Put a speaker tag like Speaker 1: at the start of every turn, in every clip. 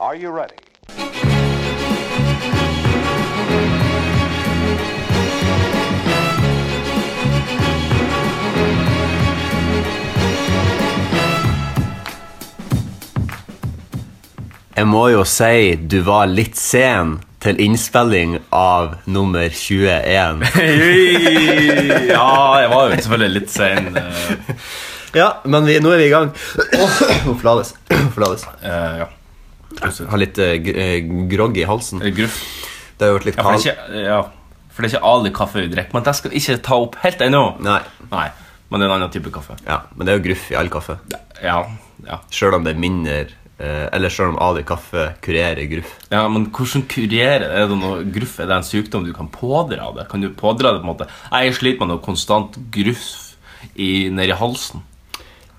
Speaker 1: Are you ready?
Speaker 2: Jeg må jo si du var litt sen til innspilling av nummer 21.
Speaker 3: ja, jeg var jo selvfølgelig litt sein. eh,
Speaker 2: ja, men vi, nå er vi i gang. Forlades. Forlades.
Speaker 3: eh, ja. Eller
Speaker 2: Har litt eh, g- eh, grogg i halsen.
Speaker 3: gruff.
Speaker 2: Det har vært litt
Speaker 3: Ja, for
Speaker 2: kald.
Speaker 3: det er ikke, ja, for det er ikke all kaffe vi drikker, men det skal vi ikke ta opp helt ennå.
Speaker 2: Nei.
Speaker 3: Nei, men det er en annen type kaffe.
Speaker 2: Ja, men det er jo gruff i all kaffe.
Speaker 3: Ja, ja.
Speaker 2: Sjøl om det er mindre eh, Eller sjøl om Ali kaffe kurerer gruff.
Speaker 3: ja men hvordan kurerer det? Er det noe gruff? Er det en sykdom du kan pådra deg? Kan du pådra deg på en måte? Jeg sliter med noe konstant gruff i, nedi halsen.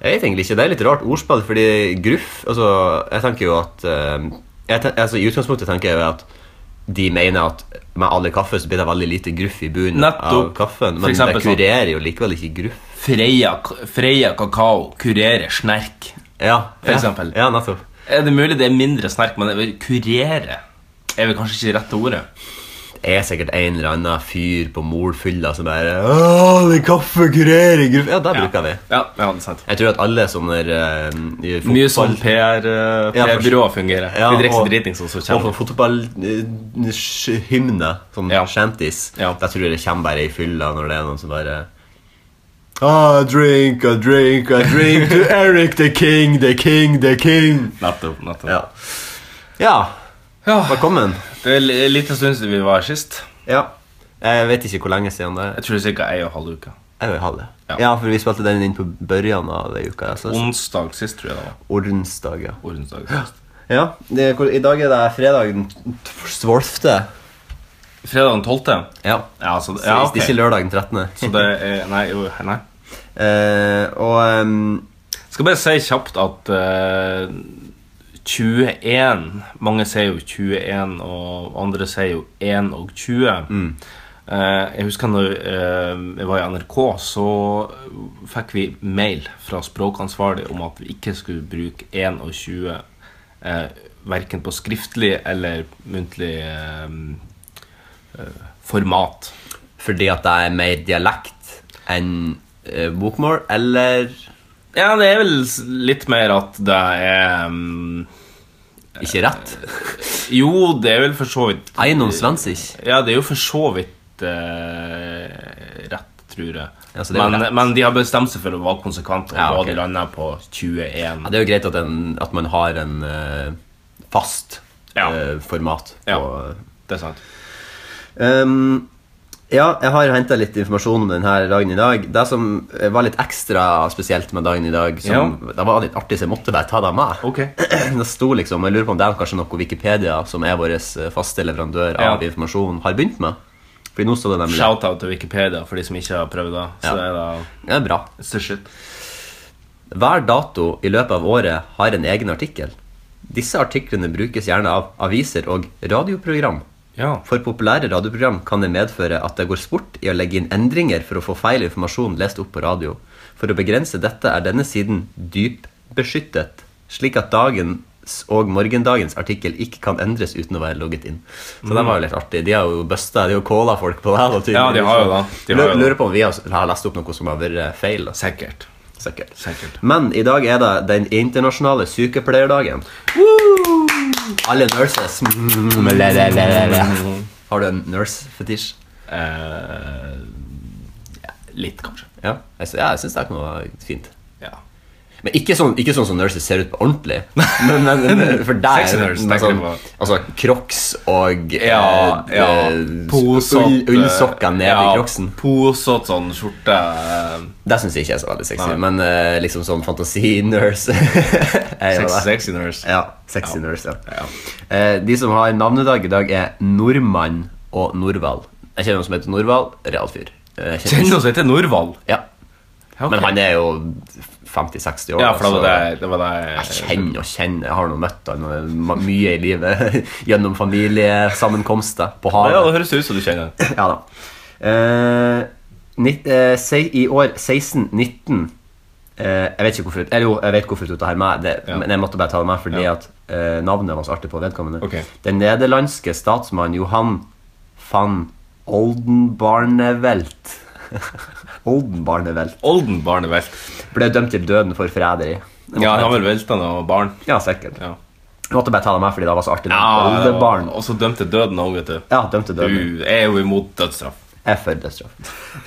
Speaker 2: Jeg vet egentlig ikke, Det er litt rart ordspill, fordi gruff altså, Jeg tenker jo at eh, jeg ten, altså, I utgangspunktet tenker jeg jo at de mener at med alle kaffe så blir det veldig lite gruff i bunnen av
Speaker 3: Nettopp.
Speaker 2: kaffen.
Speaker 3: For
Speaker 2: Men det
Speaker 3: eksempel sånn.
Speaker 2: kurerer jo likevel ikke gruff.
Speaker 3: Freia, Freia kakao kurerer snerk.
Speaker 2: Ja,
Speaker 3: For
Speaker 2: ja,
Speaker 3: eksempel.
Speaker 2: Ja, nettopp.
Speaker 3: Er det mulig det er mindre snerk, men jeg vil kurere? Er vel kanskje ikke rette ordet?
Speaker 2: Det er sikkert en eller annen fyr på molfylla som bare «Åh, det er kaffe kurerer gruff Ja, det bruker vi.
Speaker 3: Ja, ja det er sant.
Speaker 2: Jeg tror at alle sånne eh, i fotball-
Speaker 3: Mye sånn PR,
Speaker 2: Ja, for-
Speaker 3: PR-byrået fungerer.
Speaker 2: Ja,
Speaker 3: vi drikker
Speaker 2: og-
Speaker 3: seg dritings, og så
Speaker 2: Og
Speaker 3: kommer
Speaker 2: for fotballhymne, sånn
Speaker 3: Ja.
Speaker 2: shanties,
Speaker 3: Ja.
Speaker 2: da tror jeg det kommer bare i fylla når det er noen som bare Ah, drink, a drink, a drink to Eric the king, the king, the king.
Speaker 3: Nettopp. nettopp.
Speaker 2: Ja. ja.
Speaker 3: Ja,
Speaker 2: Velkommen.
Speaker 3: Det er li- lite stund siden vi var her sist.
Speaker 2: Ja. Jeg vet ikke hvor lenge siden det er.
Speaker 3: Jeg tror det er ca. ei og en halv uke.
Speaker 2: Jeg vil ha det.
Speaker 3: Ja.
Speaker 2: Ja, for vi spilte den inn på børjan av det uka. Så,
Speaker 3: Onsdag sist, tror jeg det var.
Speaker 2: Ordensdag, ja.
Speaker 3: Onsdag sist.
Speaker 2: Ja, det, hvor, I dag er det fredag den 12.
Speaker 3: Fredag den 12.
Speaker 2: Ja.
Speaker 3: Ja, så,
Speaker 2: Så,
Speaker 3: ja,
Speaker 2: hvis
Speaker 3: ok.
Speaker 2: Ikke lørdag den 13.
Speaker 3: så det er Nei, jo, nei.
Speaker 2: Eh, og ehm,
Speaker 3: Skal bare si kjapt at eh, 21 Mange sier jo 21, og andre sier jo 1 og 20. Eh, jeg husker når eh, jeg var i NRK, så fikk vi mail fra språkansvarlig om at vi ikke skulle bruke 1 og 20 eh, verken på skriftlig eller muntlig eh, eh, format.
Speaker 2: fordi at det er mer dialekt enn eh, bokmål, eller
Speaker 3: Ja, det er vel s- litt mer at det er mm,
Speaker 2: ikke rett?
Speaker 3: Jo, det er vel for så vidt
Speaker 2: Eiendom svensisk.
Speaker 3: Ja, det er jo for så vidt eh, rett, tror jeg.
Speaker 2: Ja, så det er jo
Speaker 3: men,
Speaker 2: rett.
Speaker 3: men de har bestemt seg for å være konsekvente, og
Speaker 2: Ja, ok.
Speaker 3: både landa på 21.
Speaker 2: Ja, det er jo greit at, en, at man har en eh, fast
Speaker 3: Ja.
Speaker 2: eh, format på
Speaker 3: Ja. Det er sant.
Speaker 2: Ehm, ja, jeg har henta litt informasjon om denne dagen i dag. Det som var litt ekstra spesielt med dagen i dag, som, det var litt artig, så jeg måtte bare ta det med.
Speaker 3: Ok.
Speaker 2: Det sto liksom, Jeg lurer på om det er kanskje noe Wikipedia, som er vår eh, faste leverandør
Speaker 3: Ja.
Speaker 2: av informasjon, har begynt med. Fordi nå står det nemlig
Speaker 3: Shout-out til Wikipedia for de som ikke har prøvd det. Så
Speaker 2: Ja.
Speaker 3: er
Speaker 2: Det er bra.
Speaker 3: det it's the shit.
Speaker 2: Hver dato i løpet av året har en egen artikkel. Disse artiklene brukes gjerne av aviser og radioprogram.
Speaker 3: Ja.
Speaker 2: For populære radioprogram kan det medføre at det går sport i å legge inn endringer for å få feil informasjon lest opp på radio. For å begrense dette er denne siden dypbeskyttet, slik at dagens og morgendagens artikkel ikke kan endres uten å være logget inn. Så den var jo litt artig. De har jo busta, de har jo calla folk på det. her, Da,
Speaker 3: Ja, de har jo det. De har jo
Speaker 2: Lurer-
Speaker 3: det.
Speaker 2: Lurer på om vi har har lest opp noe som har vært eh, feil. da.
Speaker 3: Sikkert.
Speaker 2: Sikkert.
Speaker 3: Sikkert.
Speaker 2: Men i dag er det den internasjonale sykepleierdagen. Alle nurses.
Speaker 3: Mm,
Speaker 2: Har du en nurse-fetisj?
Speaker 3: Eh, ja, litt, kanskje.
Speaker 2: Ja, jeg, sy- ja, jeg syns det kan være fint.
Speaker 3: Ja.
Speaker 2: Men ikke sånn, ikke sånn som nurses ser ut på ordentlig. Men, men, men for der,
Speaker 3: Sexy nurse,
Speaker 2: men
Speaker 3: tenker
Speaker 2: sånn,
Speaker 3: du på?
Speaker 2: altså Crocs og
Speaker 3: Ja,
Speaker 2: eh,
Speaker 3: ja.
Speaker 2: eh, ull,
Speaker 3: Posete-
Speaker 2: ullsokker ned
Speaker 3: eh, ja,
Speaker 2: i crocsen.
Speaker 3: Posete sånn skjorte eh,
Speaker 2: Det syns jeg ikke er så veldig sexy.
Speaker 3: Nei.
Speaker 2: Men eh, liksom sånn fantasi-nurse er jo
Speaker 3: Sexy,
Speaker 2: det.
Speaker 3: sexy nurse.
Speaker 2: Ja, sexy
Speaker 3: Ja.
Speaker 2: nurse, ja.
Speaker 3: Ja.
Speaker 2: Eh, de som har navnedag i dag, er Nordmann og Norvald. Jeg kjenner noen som heter Norvald. Real fyr. Eh, jeg kjenner-
Speaker 3: Kjenner noen som heter Norvald.
Speaker 2: Ja.
Speaker 3: Ja, ok.
Speaker 2: Men han er jo 50-60 år.
Speaker 3: Ja, for det var
Speaker 2: så
Speaker 3: det, det, var det
Speaker 2: Jeg kjenner og kjenner. Jeg har nå møtt han eh, ma- mye i livet. Gjennom familiesammenkomster på
Speaker 3: Ja,
Speaker 2: havet.
Speaker 3: det høres ut som du kjenner den.
Speaker 2: Ja da. Eh, nitt- eh, si- I år 1619 eh, Jeg vet ikke hvorfor Eller jo, jeg vet hvorfor jeg tok det her med, det,
Speaker 3: Ja.
Speaker 2: men jeg måtte bare ta det med fordi
Speaker 3: Ja.
Speaker 2: at eh, navnet var så artig på vedkommende.
Speaker 3: Ok.
Speaker 2: Den nederlandske statsmann Johan van Oldenbarnevelt Oldenbarnevelt
Speaker 3: Olden barnevelt.
Speaker 2: ble dømt til døden for forræderi. Det måtte
Speaker 3: Ja, han
Speaker 2: jeg-
Speaker 3: har vel velta noen barn.
Speaker 2: ja, sikkert.
Speaker 3: Ja.
Speaker 2: Jeg måtte bare ta det med fordi det var så artig. Oldebarn.
Speaker 3: Og så dømt til døden òg, vet du.
Speaker 2: Ja, dømt til døden.
Speaker 3: Du er jo imot dødsstraff.
Speaker 2: Jeg er for dødsstraff.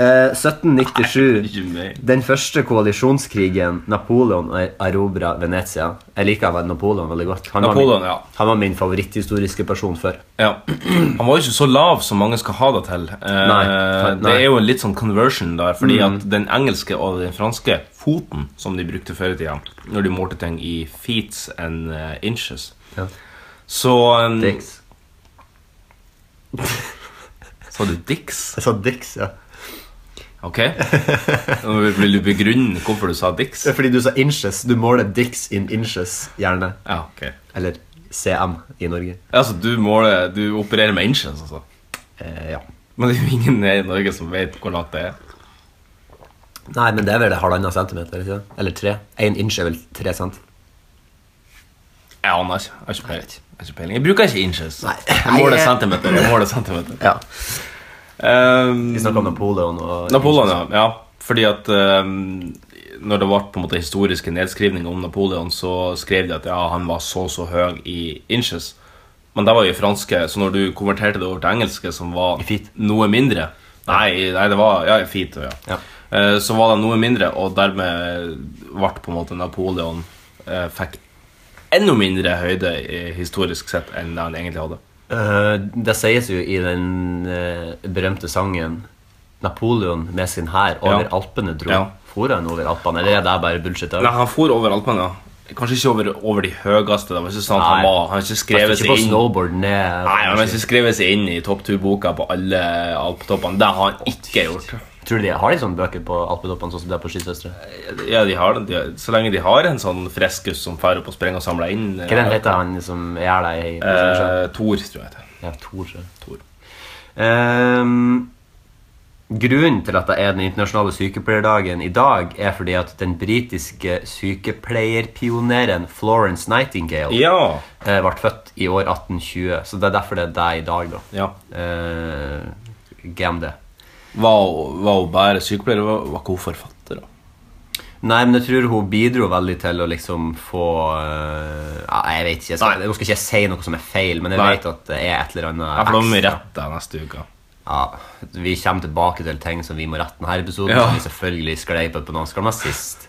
Speaker 2: Eh, 1797
Speaker 3: Ikke meg.
Speaker 2: Den første koalisjonskrigen Napoleon erobra Venezia. Jeg liker vel Napoleon veldig godt. Han var
Speaker 3: Napoleon,
Speaker 2: min,
Speaker 3: ja.
Speaker 2: han var min favoritthistoriske person før.
Speaker 3: Ja. Han var jo ikke så lav som mange skal ha det til. Eh,
Speaker 2: Nei, nei. Mm.
Speaker 3: Det er jo en litt sånn conversion der, fordi at den engelske og den franske foten som de brukte før i tida, når de målte ting i feets and eh, inches
Speaker 2: Ja.
Speaker 3: Så eh,
Speaker 2: Dix.
Speaker 3: Sa du dicks?
Speaker 2: Jeg sa Dix, ja.
Speaker 3: Ok. Nå Vil du begrunne hvorfor du sa dicks?
Speaker 2: Det er fordi du sa inches. Du måler Dix in inches, gjerne.
Speaker 3: Ja, ok.
Speaker 2: Eller CM i Norge.
Speaker 3: Altså, du måler Du opererer med inches, altså?
Speaker 2: Eh, ja.
Speaker 3: Men det er jo ingen her i Norge som vet hvor langt det er.
Speaker 2: Nei, men det er vel halvannen centimeter? Ikke? det? Eller tre? Én inch er vel tre cent?
Speaker 3: Jeg aner ikke. Jeg har ikke peiling. Jeg, har ikke peiling. jeg bruker ikke inches.
Speaker 2: Nei.
Speaker 3: Jeg måler
Speaker 2: Nei, jeg-
Speaker 3: centimeter. Jeg måler centimeter.
Speaker 2: Ja.
Speaker 3: Um,
Speaker 2: Vi snakker om Napoleon og
Speaker 3: Napoleon, ja. ja. Fordi at um, når det ble på en måte historiske nedskrivninger om Napoleon, så skrev de at ja, han var så så høy i inches. Men det var jo i franske, så når du konverterte det over til engelske, som var
Speaker 2: I feet.
Speaker 3: noe mindre Nei, nei, det var ja, i feet, ja.
Speaker 2: Ja.
Speaker 3: Eh, så var det noe mindre, og dermed ble på en måte Napoleon eh, fikk enda mindre høyde eh, historisk sett enn det han egentlig hadde.
Speaker 2: Eh, det sies jo i den eh, berømte sangen Napoleon med sin hær over
Speaker 3: Ja.
Speaker 2: Alpene dro.
Speaker 3: Ja.
Speaker 2: For han over Alpene, eller er det bare bullshit? da?
Speaker 3: Nei, han for overalt, men ja. Kanskje ikke over, over de høyeste. Det var ikke sånn at han
Speaker 2: Nei.
Speaker 3: var Han har ikke
Speaker 2: Han
Speaker 3: skrevet
Speaker 2: sto ikke på
Speaker 3: seg inn
Speaker 2: snowboard ned.
Speaker 3: Nei, han har ikke skrevet seg inn i topp 2-boka på alle alpetoppene. Det har han ikke gjort.
Speaker 2: Tror du de har de sånne bøker på alpetoppene sånn som det er på Skisøstre?
Speaker 3: Ja, de har, det. de, Så lenge de har en sånn freskus som drar opp og sprenger og samler inn eh,
Speaker 2: Hva den heter han som gjør det i
Speaker 3: Eh, Thor, tror jeg det heter.
Speaker 2: Ja, Thor. tror jeg.
Speaker 3: Thor.
Speaker 2: Ehm, grunnen til at det er den internasjonale sykepleierdagen i dag, er fordi at den britiske sykepleierpioneren Florence Nightingale
Speaker 3: Ja.
Speaker 2: eh, ble født i år 1820, så det er derfor det er deg i dag, da.
Speaker 3: ja.
Speaker 2: Eh, glem det.
Speaker 3: Var, hun- var hun bare sykepleier? Var, var ikke hun forfatter? da?
Speaker 2: Nei, men jeg tror hun bidro veldig til å liksom få eh, ja, Jeg vet ikke. Jeg skal,
Speaker 3: Nei.
Speaker 2: nå skal ikke jeg si noe som er feil, men jeg
Speaker 3: Nei.
Speaker 2: vet at det er et eller annet
Speaker 3: Ja, for da må vi
Speaker 2: ekstra.
Speaker 3: rette det neste uke.
Speaker 2: Ja, Vi kommer tilbake til ting som vi må rette denne episoden,
Speaker 3: Ja.
Speaker 2: som vi selvfølgelig sklei på på Nanskalen sist.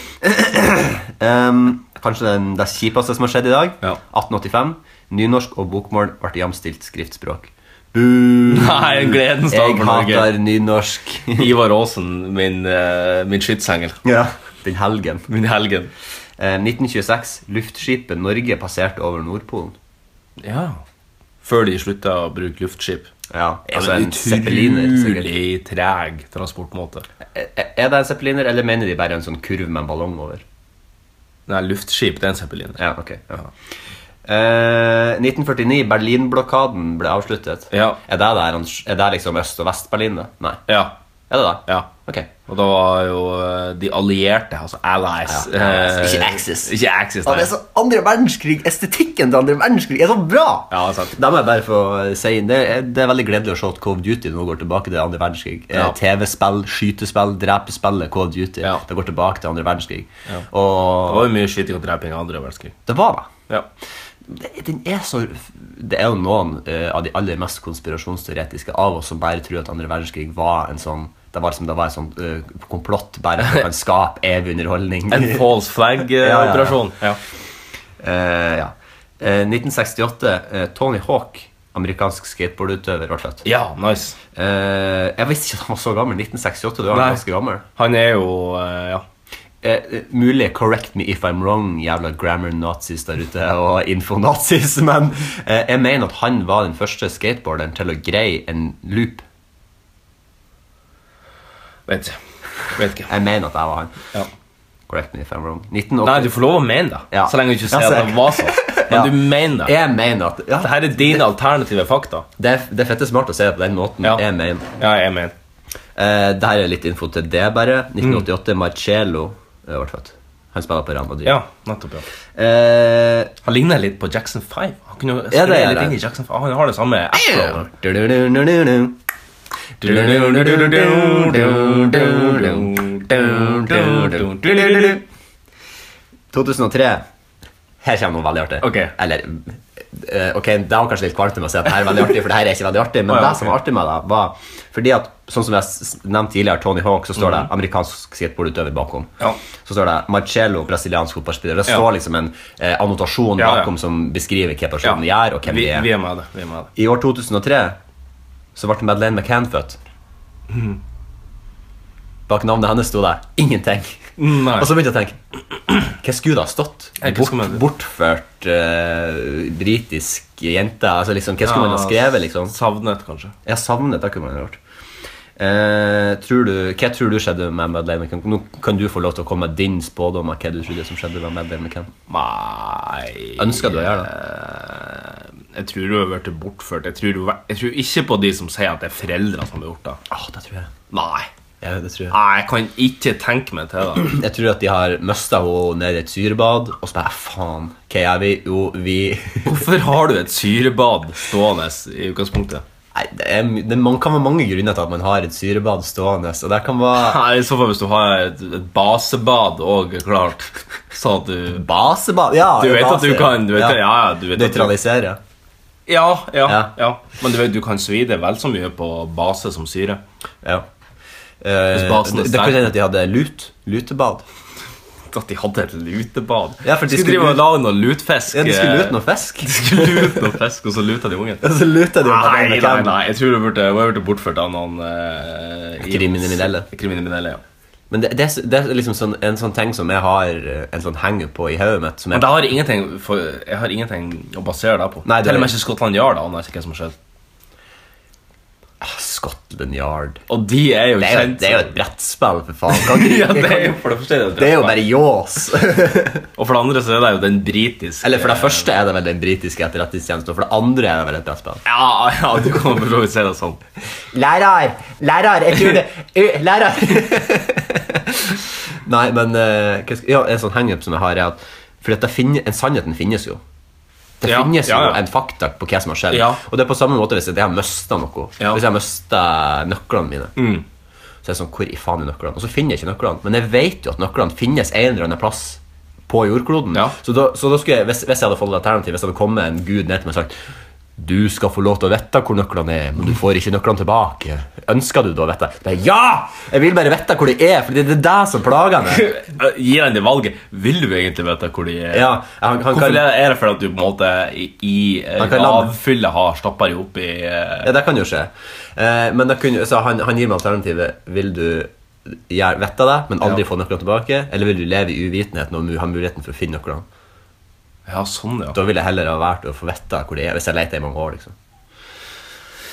Speaker 2: Em, kanskje den, det kjipeste som har skjedd i dag.
Speaker 3: Ja.
Speaker 2: 1885. Nynorsk og bokmål ble jamstilt skriftspråk. Boo!
Speaker 3: Nei, en gledens dag
Speaker 2: Jeg
Speaker 3: for Norge.
Speaker 2: hater nynorsk.
Speaker 3: Ivar Aasen, min, eh, min skytsengel.
Speaker 2: ja. Den helgen.
Speaker 3: Min helgen.
Speaker 2: Eh, 1926. Luftskipet Norge passerte over Nordpolen.
Speaker 3: Ja. Før de slutta å bruke luftskip.
Speaker 2: Ja, altså
Speaker 3: Ja, men
Speaker 2: en zeppeliner. sikkert.
Speaker 3: Utrolig treg transportmåte.
Speaker 2: Er E, er det en zeppeliner, eller mener de bare en sånn kurv med en ballong over?
Speaker 3: Nei, luftskip, det er en zeppeliner.
Speaker 2: Ja, ok. Ja. Eh, 1949. Berlinblokaden ble avsluttet.
Speaker 3: Ja.
Speaker 2: Er det der, han- er det liksom Øst- og Vest-Berlin, da? Nei.
Speaker 3: Ja.
Speaker 2: Er det det?
Speaker 3: ja.
Speaker 2: Ok.
Speaker 3: Og da var jo eh, de allierte, altså allies
Speaker 2: Ja, allies.
Speaker 3: eh,
Speaker 2: Ikke Axis.
Speaker 3: Ikke Axis, nei.
Speaker 2: så andre verdenskrig, Estetikken til andre verdenskrig er så bra!
Speaker 3: Ja, det er sant.
Speaker 2: Da må jeg bare få si inn, det er, det er veldig gledelig å se at Cove Duty nå går tilbake til andre verdenskrig. Eh,
Speaker 3: Ja.
Speaker 2: TV-spill, skytespill, drepespillet Cove Duty.
Speaker 3: Ja.
Speaker 2: Det går tilbake til andre verdenskrig.
Speaker 3: Det
Speaker 2: Og
Speaker 3: var jo mye skyting og dreping i andre verdenskrig.
Speaker 2: det var det.
Speaker 3: Ja.
Speaker 2: Det- Den er så Det er jo noen eh, av de aller mest konspirasjonsteoretiske av oss som bare tror at andre verdenskrig var en sånn Det var liksom det var et sånt eh, komplott bare for å kan skape evig underholdning.
Speaker 3: En false eh,
Speaker 2: Ja, ja, ja.
Speaker 3: flag-operasjon. ja,
Speaker 2: Eh, ja. Eh, 1968. eh, Tony Hawk, amerikansk skateboardutøver, ble født.
Speaker 3: nice.
Speaker 2: Eh, jeg visste ikke at han var så gammel. 1968, du var
Speaker 3: Nei.
Speaker 2: ganske gammel.
Speaker 3: Han er jo eh, ja.
Speaker 2: Eh, eh, mulig correct me if I'm wrong, jævla grammar nazis der ute og infonazis, men eh, jeg mener at han var den første skateboarderen til å greie en loop.
Speaker 3: Vet ikke. Vet ikke.
Speaker 2: Jeg mener at det var han.
Speaker 3: Ja.
Speaker 2: Correct me if I'm wrong.
Speaker 3: Nei,
Speaker 2: 1980.
Speaker 3: du får lov å mene det,
Speaker 2: Ja.
Speaker 3: så lenge du ikke
Speaker 2: Ja,
Speaker 3: sier
Speaker 2: så
Speaker 3: at det
Speaker 2: jeg-
Speaker 3: var sånn. Men
Speaker 2: Ja.
Speaker 3: du mener det.
Speaker 2: Jeg mener at ja,
Speaker 3: Dette er dine alternative fakta.
Speaker 2: det, er, det er fette smart å se det på den måten.
Speaker 3: Ja.
Speaker 2: Jeg mener.
Speaker 3: Ja, jeg mener.
Speaker 2: Eh, der er litt info til det, bare. 1988. Marcello eh, ble født. Han spiller på Real Madrid.
Speaker 3: Ja, nettopp. ja
Speaker 2: Eh,
Speaker 3: Han ligner litt på Jackson 5. Han kunne jo
Speaker 2: Ja, det
Speaker 3: skrevet
Speaker 2: er
Speaker 3: litt
Speaker 2: det.
Speaker 3: inn i Jackson 5. Han har det samme Afro.
Speaker 2: du-du-du-du-du-du. Du-du-du-du-du-du-du-du-du-du-du-du-du-du-du-du. 2003. Her kommer noe veldig artig.
Speaker 3: Ok.
Speaker 2: Eller eh, Ok, det var kanskje litt kvalmt med å si at det her er veldig artig, for det her er ikke veldig artig. Men
Speaker 3: Å, ja,
Speaker 2: det som var artig med det, var fordi at Sånn som jeg s- nevnte tidligere, Tony Hawk, så står det amerikansk skateboardutøver bakom.
Speaker 3: Ja.
Speaker 2: Så står det Marcello, brasiliansk fotballspiller. Det
Speaker 3: Ja.
Speaker 2: står liksom en eh, annotasjon
Speaker 3: Ja, ja.
Speaker 2: bakom som beskriver hva personen gjør, og hvem
Speaker 3: vi,
Speaker 2: de er.
Speaker 3: vi er med det. Vi er med det.
Speaker 2: I år 2003 så ble Madeleine McCann født. Mhm. Bak navnet hennes sto det ingenting.
Speaker 3: Nei.
Speaker 2: Og så begynte jeg å tenke Hva skulle det ha stått?
Speaker 3: Ja, hva
Speaker 2: Bort,
Speaker 3: skulle man-
Speaker 2: bortført eh, britisk jente? Altså liksom, Hva skulle man ha skrevet? liksom?
Speaker 3: Sånn. Savnet, kanskje.
Speaker 2: Jeg savnet det kunne man ha gjort. Eh, tror du, hva tror du skjedde med Madeleine McCann? Nå kan du få lov til å komme med din spådom av hva du trodde som skjedde med Madeleine McCann.
Speaker 3: Nei
Speaker 2: Ønsker du å gjøre det?
Speaker 3: Eh, Jeg tror du har vært bortført. Jeg tror, du, jeg tror ikke på de som sier at det er foreldrene som har gjort det.
Speaker 2: Ah, det tror jeg.
Speaker 3: Nei.
Speaker 2: Ja, det tror jeg.
Speaker 3: Nei, jeg kan ikke tenke meg til det.
Speaker 2: Jeg tror at de har mista henne ned i et syrebad, og så bare faen, hva gjør vi? Jo, vi
Speaker 3: Hvorfor har du et syrebad stående i utgangspunktet?
Speaker 2: Nei, det, er, my- det man kan være mange grunner til at man har et syrebad stående, og det kan være
Speaker 3: Nei, I så fall hvis du har et, et basebad òg, klart. Så at du
Speaker 2: basebad. Ja,
Speaker 3: Du vet
Speaker 2: base.
Speaker 3: at du kan du vet, ja. Ja, ja, du vet at du,
Speaker 2: Nøytralisere.
Speaker 3: ja, ja,
Speaker 2: Ja.
Speaker 3: ja. Men du, vet, du kan svi det vel så mye på base som syre.
Speaker 2: Ja. Eh,
Speaker 3: Hvis basen er
Speaker 2: det, det
Speaker 3: sterk.
Speaker 2: kan hende at de hadde lut. Lutebad.
Speaker 3: At de hadde et lutebad.
Speaker 2: Ja, for de skulle
Speaker 3: skulle drive og
Speaker 2: lute-
Speaker 3: lage noe lutfisk.
Speaker 2: Ja, de skulle
Speaker 3: eh,
Speaker 2: lute noe fisk.
Speaker 3: De skulle lute noe fisk, og så luta de ungen.
Speaker 2: Og så luta de jo bare
Speaker 3: Nei,
Speaker 2: med
Speaker 3: nei,
Speaker 2: hvem.
Speaker 3: nei, jeg tror hun burde, hun burde bortført av noen eh, i-
Speaker 2: Kriminelle.
Speaker 3: Kriminelle, ja
Speaker 2: Men det, det, er s- det er liksom sånn, en sånn ting som jeg har eh, en sånn hang-up på i hodet mitt. Som jeg,
Speaker 3: Men det har ingenting for, jeg har ingenting å basere det på.
Speaker 2: Nei, det er-
Speaker 3: Til og med ikke Skottland Yard aner ikke hva som har skjedd.
Speaker 2: Ah, Scotland Yard.
Speaker 3: Og de er jo
Speaker 2: Det er jo,
Speaker 3: kjent
Speaker 2: det er jo et brettspill, for faen. Kan,
Speaker 3: ja,
Speaker 2: ikke-
Speaker 3: det er jo for det første er det, et
Speaker 2: Det er jo
Speaker 3: brettspill.
Speaker 2: bare ljås.
Speaker 3: Og for det andre så er det jo den britiske
Speaker 2: Eller for det første er det vel den britiske etterretningstjenesten, og for det andre er det vel et brettspill.
Speaker 3: Ja, ja, du kan for så vidt si det sånn.
Speaker 2: Lærer! Lærer! Jeg tror det Ø, Lærer! Nei, men eh, hva skal, ja, en sånn hangup som jeg har, er at For at det finne, en sannheten finnes jo. Det
Speaker 3: Ja,
Speaker 2: finnes
Speaker 3: ja, ja.
Speaker 2: jo en fakta på hva som har skjedd.
Speaker 3: Ja.
Speaker 2: Og det er på samme måte hvis jeg har mista noe.
Speaker 3: Ja. Mm.
Speaker 2: Hvis jeg har mista nøklene mine. Så er det sånn, hvor i faen er nøklene? Og så finner jeg ikke nøklene. Men jeg vet jo at nøklene finnes en eller annen plass på jordkloden.
Speaker 3: Ja.
Speaker 2: Så da, så da skulle jeg, hvis, hvis jeg hadde fått et alternativ, hvis det hadde kommet en gud ned til meg og sagt du skal få lov til å vite hvor nøklene er, men du får ikke nøklene tilbake. Ønsker du da å vite? Men ja! Jeg vil bare vite hvor de er, for det er det som plager meg.
Speaker 3: Gi deg det valget. Vil du egentlig vite hvor de er?
Speaker 2: Ja, han, han
Speaker 3: Hvorfor
Speaker 2: kan,
Speaker 3: er det fordi at du på en måte i, i eh,
Speaker 2: Man kan la-
Speaker 3: avfyllet har stappa deg opp i eh,
Speaker 2: ja, det kan jo skje. Eh, men da kunne, så han, han gir meg alternativet. Vil du gjøre- vite det, men aldri
Speaker 3: Ja.
Speaker 2: få nøklene tilbake? Eller vil du leve i uvitenhet når du har muligheten for å finne nøklene?
Speaker 3: Ja, sånn, ja.
Speaker 2: Da vil jeg heller ha vært å få vite hvor det er, hvis jeg leter i mange år. liksom.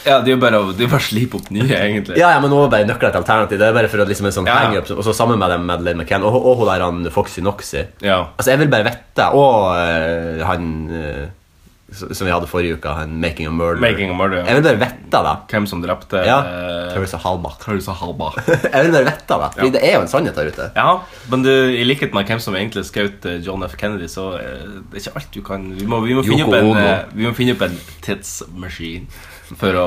Speaker 3: Ja, Det er jo bare å det er bare å slipe opp nye, egentlig.
Speaker 2: Ja, ja, men nå er bare nøkler et alternativ. Det er bare for at liksom en sånn
Speaker 3: Ja, ja.
Speaker 2: hang-up, Og så sammen med dem Madeleine McCann og, og hun der han Foxy Noxy.
Speaker 3: Ja.
Speaker 2: Altså, jeg vil bare vite Og eh, han eh, s- som vi hadde forrige uke, han Making a Murder.
Speaker 3: Making a Murder, ja.
Speaker 2: Jeg vil bare vite det.
Speaker 3: Hvem som drepte
Speaker 2: Ja.
Speaker 3: eh,
Speaker 2: Teresa Halbach.
Speaker 3: Klaus og Halba.
Speaker 2: Jeg vil bare vite det, fordi
Speaker 3: Ja.
Speaker 2: det er jo en sannhet der ute.
Speaker 3: Ja, men du, i likhet med hvem som egentlig skjøt eh, John F. Kennedy, så eh, det er ikke alt du kan Vi må, vi må, finne,
Speaker 2: Yoko
Speaker 3: opp en,
Speaker 2: Ono.
Speaker 3: eh, vi må finne opp en tidsmaskin for å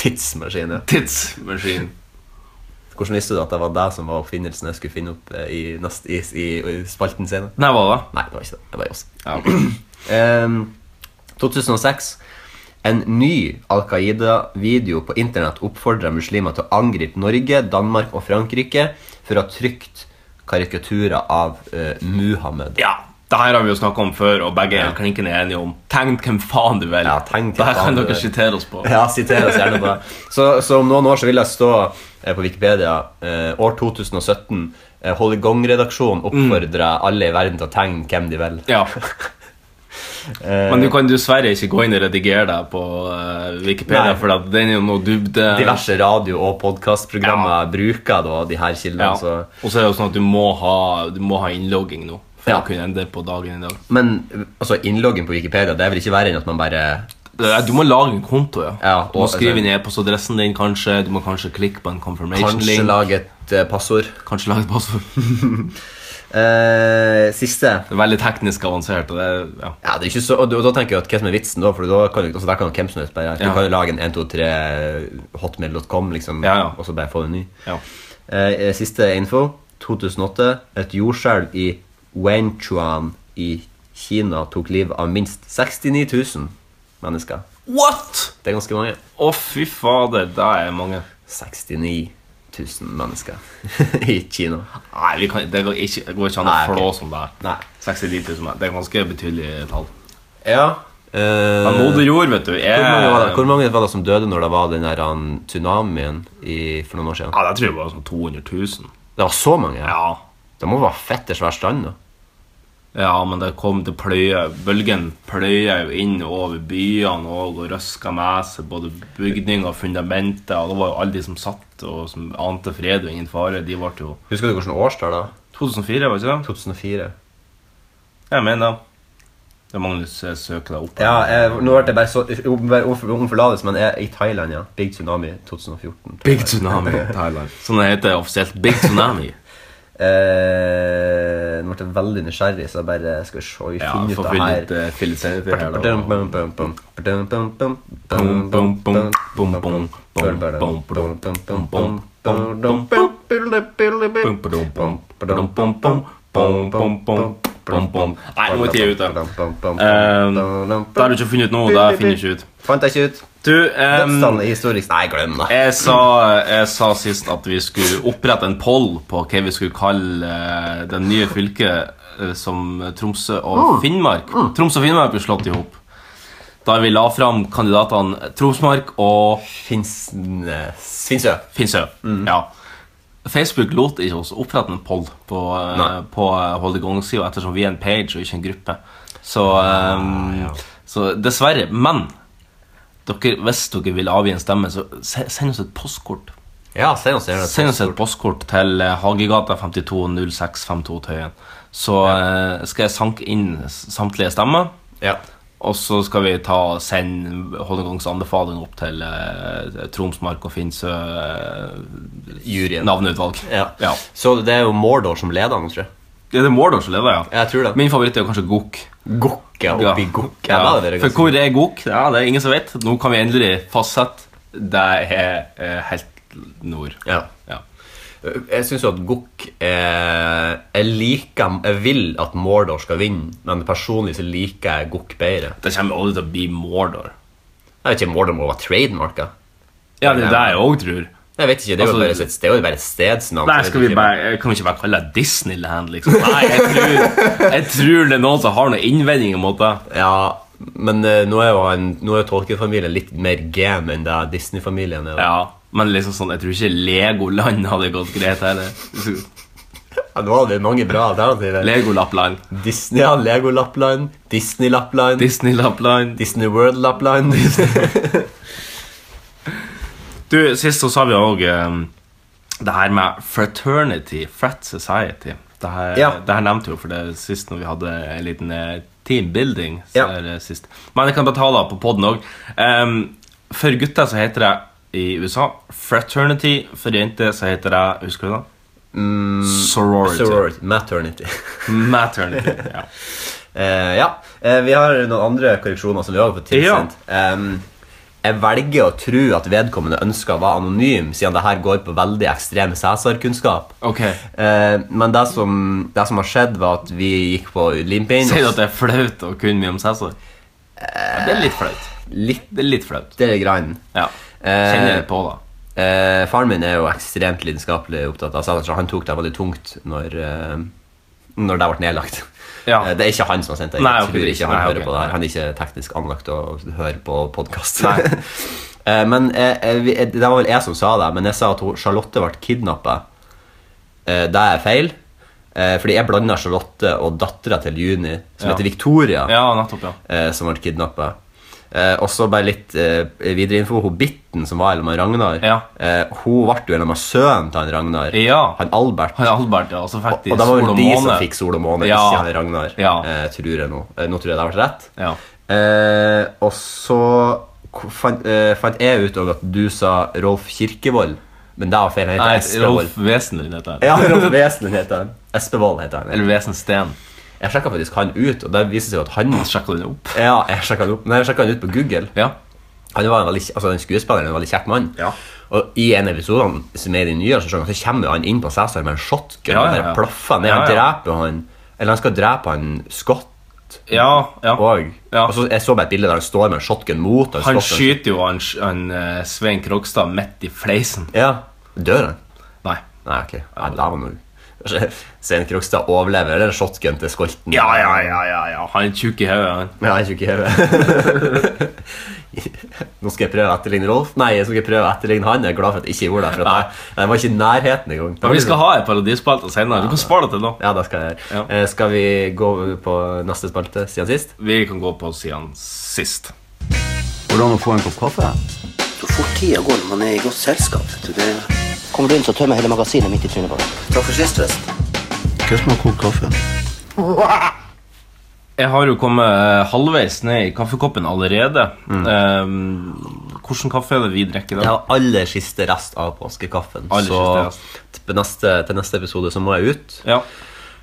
Speaker 2: Tidsmaskin, ja.
Speaker 3: Tidsmaskin.
Speaker 2: Hvordan visste du at det var deg som var oppfinnelsen jeg skulle finne opp eh, i, nest, i, i, i spalten senere?
Speaker 3: Nei, hva da?
Speaker 2: Nei, det var ikke det. Det var oss.
Speaker 3: Ja.
Speaker 2: Ehm, 2006. En ny Al Qaida-video på internett oppfordrer muslimer til å angripe Norge, Danmark og Frankrike for å ha trykt karikaturer av eh, Muhammed.
Speaker 3: ja. Det her har vi jo snakka om før, og begge
Speaker 2: Ja.
Speaker 3: er klinkende enige om. Tegn hvem faen du vil.
Speaker 2: Ja, tegn hvem
Speaker 3: det her
Speaker 2: faen
Speaker 3: kan
Speaker 2: du
Speaker 3: dere
Speaker 2: vil.
Speaker 3: sitere oss på.
Speaker 2: Ja, siter oss gjerne på det. Så, så om noen år så vil jeg stå eh, på Wikipedia eh, år 2017. Eh, Holly
Speaker 3: Mm.
Speaker 2: Gong-redaksjonen oppfordrer alle i verden til å tegne hvem de vil.
Speaker 3: Ja.
Speaker 2: Eh,
Speaker 3: Men du kan dessverre ikke gå inn og redigere deg på eh, Wikipedia,
Speaker 2: Nei.
Speaker 3: for at den er jo noe dybde.
Speaker 2: diverse radio- og podkastprogrammer bruker da de her kildene.
Speaker 3: Ja.
Speaker 2: så...
Speaker 3: Og så er det jo sånn at du må ha, du må ha innlogging nå for
Speaker 2: Ja.
Speaker 3: å kunne endre på dagen i dag.
Speaker 2: Men altså, innloggen på Wikipedia Det vil ikke være enn at man bare
Speaker 3: Ja, Du må lage en konto, ja.
Speaker 2: Ja,
Speaker 3: du må
Speaker 2: og-
Speaker 3: skrive inn e-postadressen din, kanskje. Du må kanskje klikke på en confirmation
Speaker 2: Kanskje
Speaker 3: link.
Speaker 2: lage et eh, passord.
Speaker 3: Kanskje lage et passord.
Speaker 2: Eh, siste.
Speaker 3: Det er veldig teknisk avansert. Og det, er- ja.
Speaker 2: Ja, det er ikke så, og da da tenker jeg at hva som er vitsen da? For da kan du, altså, der kan jo hvem som helst bare Du
Speaker 3: Ja.
Speaker 2: kan jo lage en 123 hotmail.com, liksom,
Speaker 3: Ja, ja.
Speaker 2: og så bare få en ny.
Speaker 3: Ja.
Speaker 2: Eh, eh, siste info. 2008. Et jordskjelv i Wenchuan i Kina tok liv av minst 69 000 mennesker.
Speaker 3: What?!
Speaker 2: Det er ganske mange.
Speaker 3: Å, fy fader, det er mange.
Speaker 2: 69 000 mennesker i Kina.
Speaker 3: Nei, vi kan, det, går ikke, det går ikke an å
Speaker 2: Nei, ok.
Speaker 3: flåse om det her.
Speaker 2: Nei.
Speaker 3: 69 000, det er ganske betydelige tall.
Speaker 2: Ja. eh,
Speaker 3: Men moder jord, vet du,
Speaker 2: hvor, mange var det,
Speaker 3: er
Speaker 2: hvor mange var det som døde når det var den der han, tsunamien i, for noen år siden?
Speaker 3: Ja, det tror jeg var sånn 200 000.
Speaker 2: Det var så mange? Ja.
Speaker 3: Ja.
Speaker 2: Det må være fette svær strand, da.
Speaker 3: Ja, men det kom det pløye. Bølgen pløyer jo inn over byene og, og røsker med seg både bygninger og fundamenter. Og det var jo alle de som satt og som ante fred og ingen fare, de ble jo
Speaker 2: Husker du hvilket årstall da?
Speaker 3: 2004, var ikke det?
Speaker 2: 2004.
Speaker 3: Jeg mener det. Det er Magnus jeg søker deg opp.
Speaker 2: Ja, jeg, nå ble det bare så omforlatelse, men jeg er i Thailand, ja. Big tsunami 2014.
Speaker 3: Big Tsunami i Thailand. Sånn det heter offisielt. Big Tsunami.
Speaker 2: Eh, nå ble jeg veldig nysgjerrig, så jeg bare skal vi se vi
Speaker 3: Ja,
Speaker 2: finner
Speaker 3: får
Speaker 2: ut det
Speaker 3: finne
Speaker 2: her.
Speaker 3: ut eh, fillisere det her. da.
Speaker 2: Nei,
Speaker 3: Nei, nå er tida ute.
Speaker 2: Um,
Speaker 3: Det har du ikke funnet ut nå. Det finner jeg ikke ut.
Speaker 2: Fant jeg ikke ut.
Speaker 3: Du, ehm,
Speaker 2: Dødstallet er historisk. Nei, glem det.
Speaker 3: Jeg sa, jeg sa sist at vi skulle opprette en poll på hva vi skulle kalle eh, den nye fylket eh, som Tromsø og Finnmark. Tromsø og Finnmark ble slått i hop. Da vi la fram kandidatene Tromsmark og
Speaker 2: Finnsnes Finnsø.
Speaker 3: Finnsø. Ja. Facebook lot ikke oss opprette en poll på, eh,
Speaker 2: Nei.
Speaker 3: på eh, Hold i gang-sida ettersom vi er en page og ikke en gruppe. Så, eh, så dessverre. Men dere, hvis dere vil avgi en stemme, så se- send oss et postkort.
Speaker 2: Ja, send oss gjerne
Speaker 3: Send oss et postkort til eh, Hagegata 520652 Tøyen. Så eh, skal jeg sanke inn s- samtlige stemmer,
Speaker 2: Ja.
Speaker 3: og så skal vi ta og sende Holmenkolls anbefaling opp til eh, Tromsmark og Finnsø eh,
Speaker 2: Juryen.
Speaker 3: navneutvalg.
Speaker 2: Ja.
Speaker 3: Ja.
Speaker 2: Så det er jo Mordor som leder nå, tror jeg.
Speaker 3: Ja, det er Mordor som lever, ja.
Speaker 2: Jeg tror det.
Speaker 3: Min favoritt er jo kanskje Gokk.
Speaker 2: Gokke
Speaker 3: Ja.
Speaker 2: oppi gokke.
Speaker 3: Ja,
Speaker 2: Ja, det er
Speaker 3: For
Speaker 2: ganske-
Speaker 3: hvor er Gokk? Ja, det er ingen som vet. Nå kan vi endelig fastsette. Det er eh, helt nord.
Speaker 2: Ja.
Speaker 3: Ja.
Speaker 2: Jeg syns jo at Gokk eh, Jeg liker Jeg vil at Mordor skal vinne, men personlig så liker jeg Gokk bedre.
Speaker 3: Det kommer aldri til å bli Mordor.
Speaker 2: Jeg vet ikke, Mordor må være trademarka.
Speaker 3: Ja, det er det jeg òg tror.
Speaker 2: Jeg vet ikke, Det er jo
Speaker 3: Altså,
Speaker 2: bare et sted, det er jo bare et stedsnavn.
Speaker 3: Nei,
Speaker 2: så jeg
Speaker 3: skal
Speaker 2: vet
Speaker 3: vi
Speaker 2: ikke.
Speaker 3: bare, Kan vi ikke bare kalle det Disneyland, liksom? Nei, jeg tror, jeg tror det er noen som har noen innvendinger mot det.
Speaker 2: Ja, men eh, nå er jo han- nå er jo tolkefamilien litt mer game enn det Disney-familien er. da.
Speaker 3: Ja, Men liksom sånn, jeg tror ikke Legoland hadde gått greit heller.
Speaker 2: Ja, nå hadde vi mange bra alternativer.
Speaker 3: Legolappland.
Speaker 2: Disney, ja, Lego Lappland, Disney Lappland,
Speaker 3: Disney-Lappland.
Speaker 2: Disney World Lappland.
Speaker 3: Du, Sist så sa vi òg det her med fraternity, frat society. Det her,
Speaker 2: Ja.
Speaker 3: det her nevnte vi jo for det sist når vi hadde en liten eh, teambuilding. så
Speaker 2: Ja.
Speaker 3: er det Sist. Men jeg kan betale på poden òg. for gutter så heter det i USA fraternity. For jenter så heter det Husker du det? sorority.
Speaker 2: Mm, Sorority. Maternity.
Speaker 3: Maternity. Ja.
Speaker 2: Eh, ja, eh, vi har noen andre korreksjoner som vi også har fått tilsendt. Em, jeg velger å tro at vedkommende ønsker å være anonym, siden det her går på veldig ekstrem Cæsar-kunnskap.
Speaker 3: Ok.
Speaker 2: Eh, men det som, det som har skjedd, var at vi gikk på limpinnen.
Speaker 3: Sier du at det er flaut å kunne mye om Cæsar?
Speaker 2: Eh.
Speaker 3: Ja, det er litt flaut.
Speaker 2: Litt
Speaker 3: Det er litt flaut.
Speaker 2: lite grann.
Speaker 3: Ja.
Speaker 2: Eh,
Speaker 3: Kjenner jeg på det.
Speaker 2: Eh, faren min er jo ekstremt lidenskapelig opptatt av Cæsar, så han tok det veldig tungt når, eh, når det ble nedlagt.
Speaker 3: Ja.
Speaker 2: Eh, Det er ikke han som har sendt det. Jeg
Speaker 3: Nei, ok,
Speaker 2: tror
Speaker 3: det er
Speaker 2: ikke
Speaker 3: ikke-
Speaker 2: han
Speaker 3: nei,
Speaker 2: hører
Speaker 3: ok,
Speaker 2: på det her.
Speaker 3: nei.
Speaker 2: Han er ikke teknisk anlagt å høre på podkast. Men eh, eh, vi- eh, det var vel jeg som sa det, men jeg sa at hun- Charlotte ble kidnappa. Eh, Det er feil, eh, fordi jeg blanda Charlotte og dattera til Juni, som
Speaker 3: Ja.
Speaker 2: heter Victoria
Speaker 3: Ja, nettopp, ja.
Speaker 2: eh, som ble kidnappa. Eh, og så bare litt eh, videre info. Hun Bitten, som var sammen med Ragnar,
Speaker 3: Ja.
Speaker 2: eh, hun ble jo sammen med sønnen til han Ragnar.
Speaker 3: Ja.
Speaker 2: Han Albert.
Speaker 3: Han Albert, ja. Så fikk de
Speaker 2: og det var
Speaker 3: sol
Speaker 2: vel
Speaker 3: og
Speaker 2: de
Speaker 3: måne.
Speaker 2: som fikk Sol og måne,
Speaker 3: Ja.
Speaker 2: ikke han Ragnar.
Speaker 3: Ja.
Speaker 2: Eh, tror jeg nå. Eh, nå tror jeg det har vært rett.
Speaker 3: Ja.
Speaker 2: Eh, og så ko- fant, eh, fant jeg ut også at du sa Rolf Kirkevold, men det var feil. Han
Speaker 3: Nei,
Speaker 2: heter Espevold.
Speaker 3: Rolf Wesenlund heter han.
Speaker 2: Ja, Rolf Wesenlund heter han. Espevold heter han.
Speaker 3: Eller Vesensten.
Speaker 2: Jeg sjekka faktisk han ut, og det viser seg jo at han
Speaker 3: Sjekka den opp?
Speaker 2: Ja, jeg sjekka han opp, men jeg sjekket han ut på Google.
Speaker 3: Ja.
Speaker 2: Han var en veldig, altså den skuespilleren er en veldig kjekk mann.
Speaker 3: Ja.
Speaker 2: Og i en av episodene som er i de nyere sesongene, så kommer jo han inn på Cæsar med en shotgun.
Speaker 3: Ja, ja,
Speaker 2: og
Speaker 3: ja.
Speaker 2: bare plaffer ned,
Speaker 3: Ja,
Speaker 2: han
Speaker 3: ja.
Speaker 2: dreper han Eller han skal drepe han Scott
Speaker 3: Ja, ja.
Speaker 2: òg.
Speaker 3: Ja.
Speaker 2: Og så jeg så bare et bilde der han står med en shotgun mot han,
Speaker 3: Han
Speaker 2: Scott,
Speaker 3: skyter jo han, han eh, Svein Krogstad midt i fleisen.
Speaker 2: Ja. Dør han?
Speaker 3: Nei.
Speaker 2: Nei, ok. Ja, da var noe. Svein Krogstad overlever eller en shotgun til skolten.
Speaker 3: Ja, ja, ja, ja, ja. Han er tjukk i hodet, han.
Speaker 2: Men jeg er tjukk i hodet. Nå skal jeg prøve å etterligne Rolf. Nei, jeg skal ikke prøve å etterligne han. Jeg er glad for at jeg ikke gjorde det. For at jeg, jeg var ikke i nærheten engang.
Speaker 3: Men vi skal ha en parodispalte senere. Du kan spare det til nå.
Speaker 2: Ja, det skal jeg gjøre.
Speaker 3: Ja.
Speaker 2: Eh, skal vi gå over på neste spalte siden sist?
Speaker 3: Vi kan gå på siden sist.
Speaker 1: Hvordan å få en kopp kaffe?
Speaker 4: Så fort tida går når man er i godt selskap. vet du, Det
Speaker 5: Kommer du inn, så tømmer jeg hele magasinet midt i trynet på deg.
Speaker 4: Takk for sist, forresten.
Speaker 1: Hva som har kokt kaffe?
Speaker 3: Jeg har jo kommet eh, halvveis ned i kaffekoppen allerede.
Speaker 2: Mm.
Speaker 3: Eh, Hvordan kaffe er det vi drikker
Speaker 2: Jeg
Speaker 3: i dag?
Speaker 2: har aller siste rest av påskekaffen.
Speaker 3: Aller
Speaker 2: så
Speaker 3: siste rest.
Speaker 2: Til, neste, til neste episode så må jeg ut.
Speaker 3: Ja.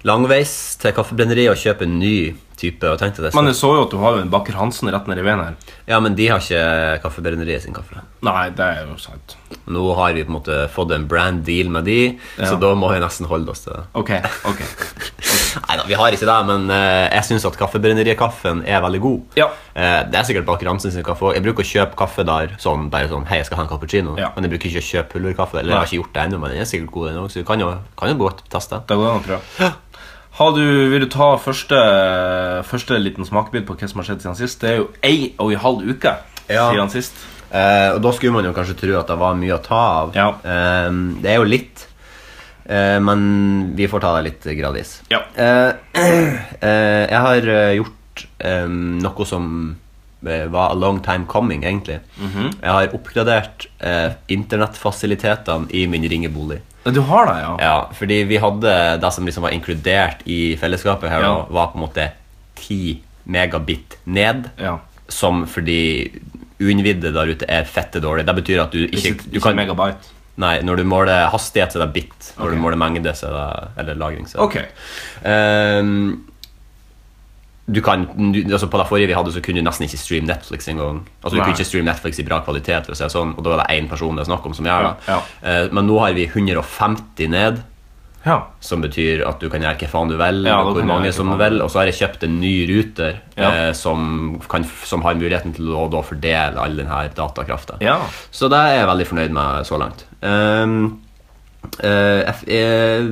Speaker 2: Langveis til kaffebrenneriet og kjøpe en ny type. Og tenkte det
Speaker 3: Men jeg så jo at du har jo en Baker Hansen rett nedi veien her.
Speaker 2: Ja, men de har ikke kaffebrenneriet sin kaffe.
Speaker 3: Nei, det er jo sant.
Speaker 2: Nå har vi på en måte fått en brand deal med de,
Speaker 3: Ja.
Speaker 2: så da må vi nesten holde oss til det.
Speaker 3: Ok, ok.
Speaker 2: Nei da, vi har ikke det, men eh, jeg syns at Kaffebrenneriet-kaffen er veldig god.
Speaker 3: Ja.
Speaker 2: Eh, det er sikkert Baker Hansen sin kaffe òg. Jeg bruker å kjøpe kaffe der sånn, bare sånn Hei, jeg skal ha en cappuccino.
Speaker 3: Ja.
Speaker 2: Men jeg bruker ikke å kjøpe pulverkaffe. Eller jeg har
Speaker 3: Nei.
Speaker 2: ikke gjort det ennå, men den er sikkert god, den òg, så vi kan jo, kan jo godt teste.
Speaker 3: Det går an å prøve. Har du, vil du ta første, første liten smakebit på hva som har skjedd siden sist? Det er jo ei og en halv uke
Speaker 2: Ja.
Speaker 3: siden sist.
Speaker 2: Eh, og da skulle man jo kanskje tro at det var mye å ta av.
Speaker 3: Ja.
Speaker 2: Eh, det er jo litt, eh, men vi får ta det litt gradvis.
Speaker 3: Ja.
Speaker 2: Eh, eh, jeg har eh, gjort eh, noe som eh, var a long time coming, egentlig.
Speaker 3: Mhm.
Speaker 2: Jeg har oppgradert eh, internettfasilitetene i min ringebolig.
Speaker 3: Du har det, ja?
Speaker 2: Ja, fordi vi hadde det som liksom var inkludert i fellesskapet her,
Speaker 3: Ja.
Speaker 2: nå, var på en måte 10 megabit ned.
Speaker 3: Ja.
Speaker 2: Som fordi uinnvidde der ute er fette dårlig. Det betyr at du ikke,
Speaker 3: Ikke,
Speaker 2: du kan,
Speaker 3: megabyte.
Speaker 2: Nei, når du måler hastighet, så er det bit. Når
Speaker 3: Ok.
Speaker 2: du måler mengde, så er det, eller lagring, så er det
Speaker 3: Ok.
Speaker 2: Ehm, du kan, du, altså på det forrige vi hadde, så kunne du nesten ikke streame Netflix engang. Altså, du
Speaker 3: Nei.
Speaker 2: kunne ikke streame Netflix i bra kvalitet, for å si det sånn, og da er det én person det er snakk om som gjør det.
Speaker 3: Ja,
Speaker 2: Eh, men nå har vi 150 ned,
Speaker 3: Ja.
Speaker 2: som betyr at du kan gjøre hva faen du vil,
Speaker 3: Ja, da
Speaker 2: og
Speaker 3: kan
Speaker 2: hvor
Speaker 3: du
Speaker 2: mange
Speaker 3: gjøre hva
Speaker 2: som
Speaker 3: faen
Speaker 2: du
Speaker 3: du
Speaker 2: vil, og så har jeg kjøpt en ny ruter
Speaker 3: Ja.
Speaker 2: eh, som, kan, f- som har muligheten til å da fordele all denne datakrafta.
Speaker 3: Ja.
Speaker 2: Så det er jeg veldig fornøyd med så langt. Ehm, eh, F- eh,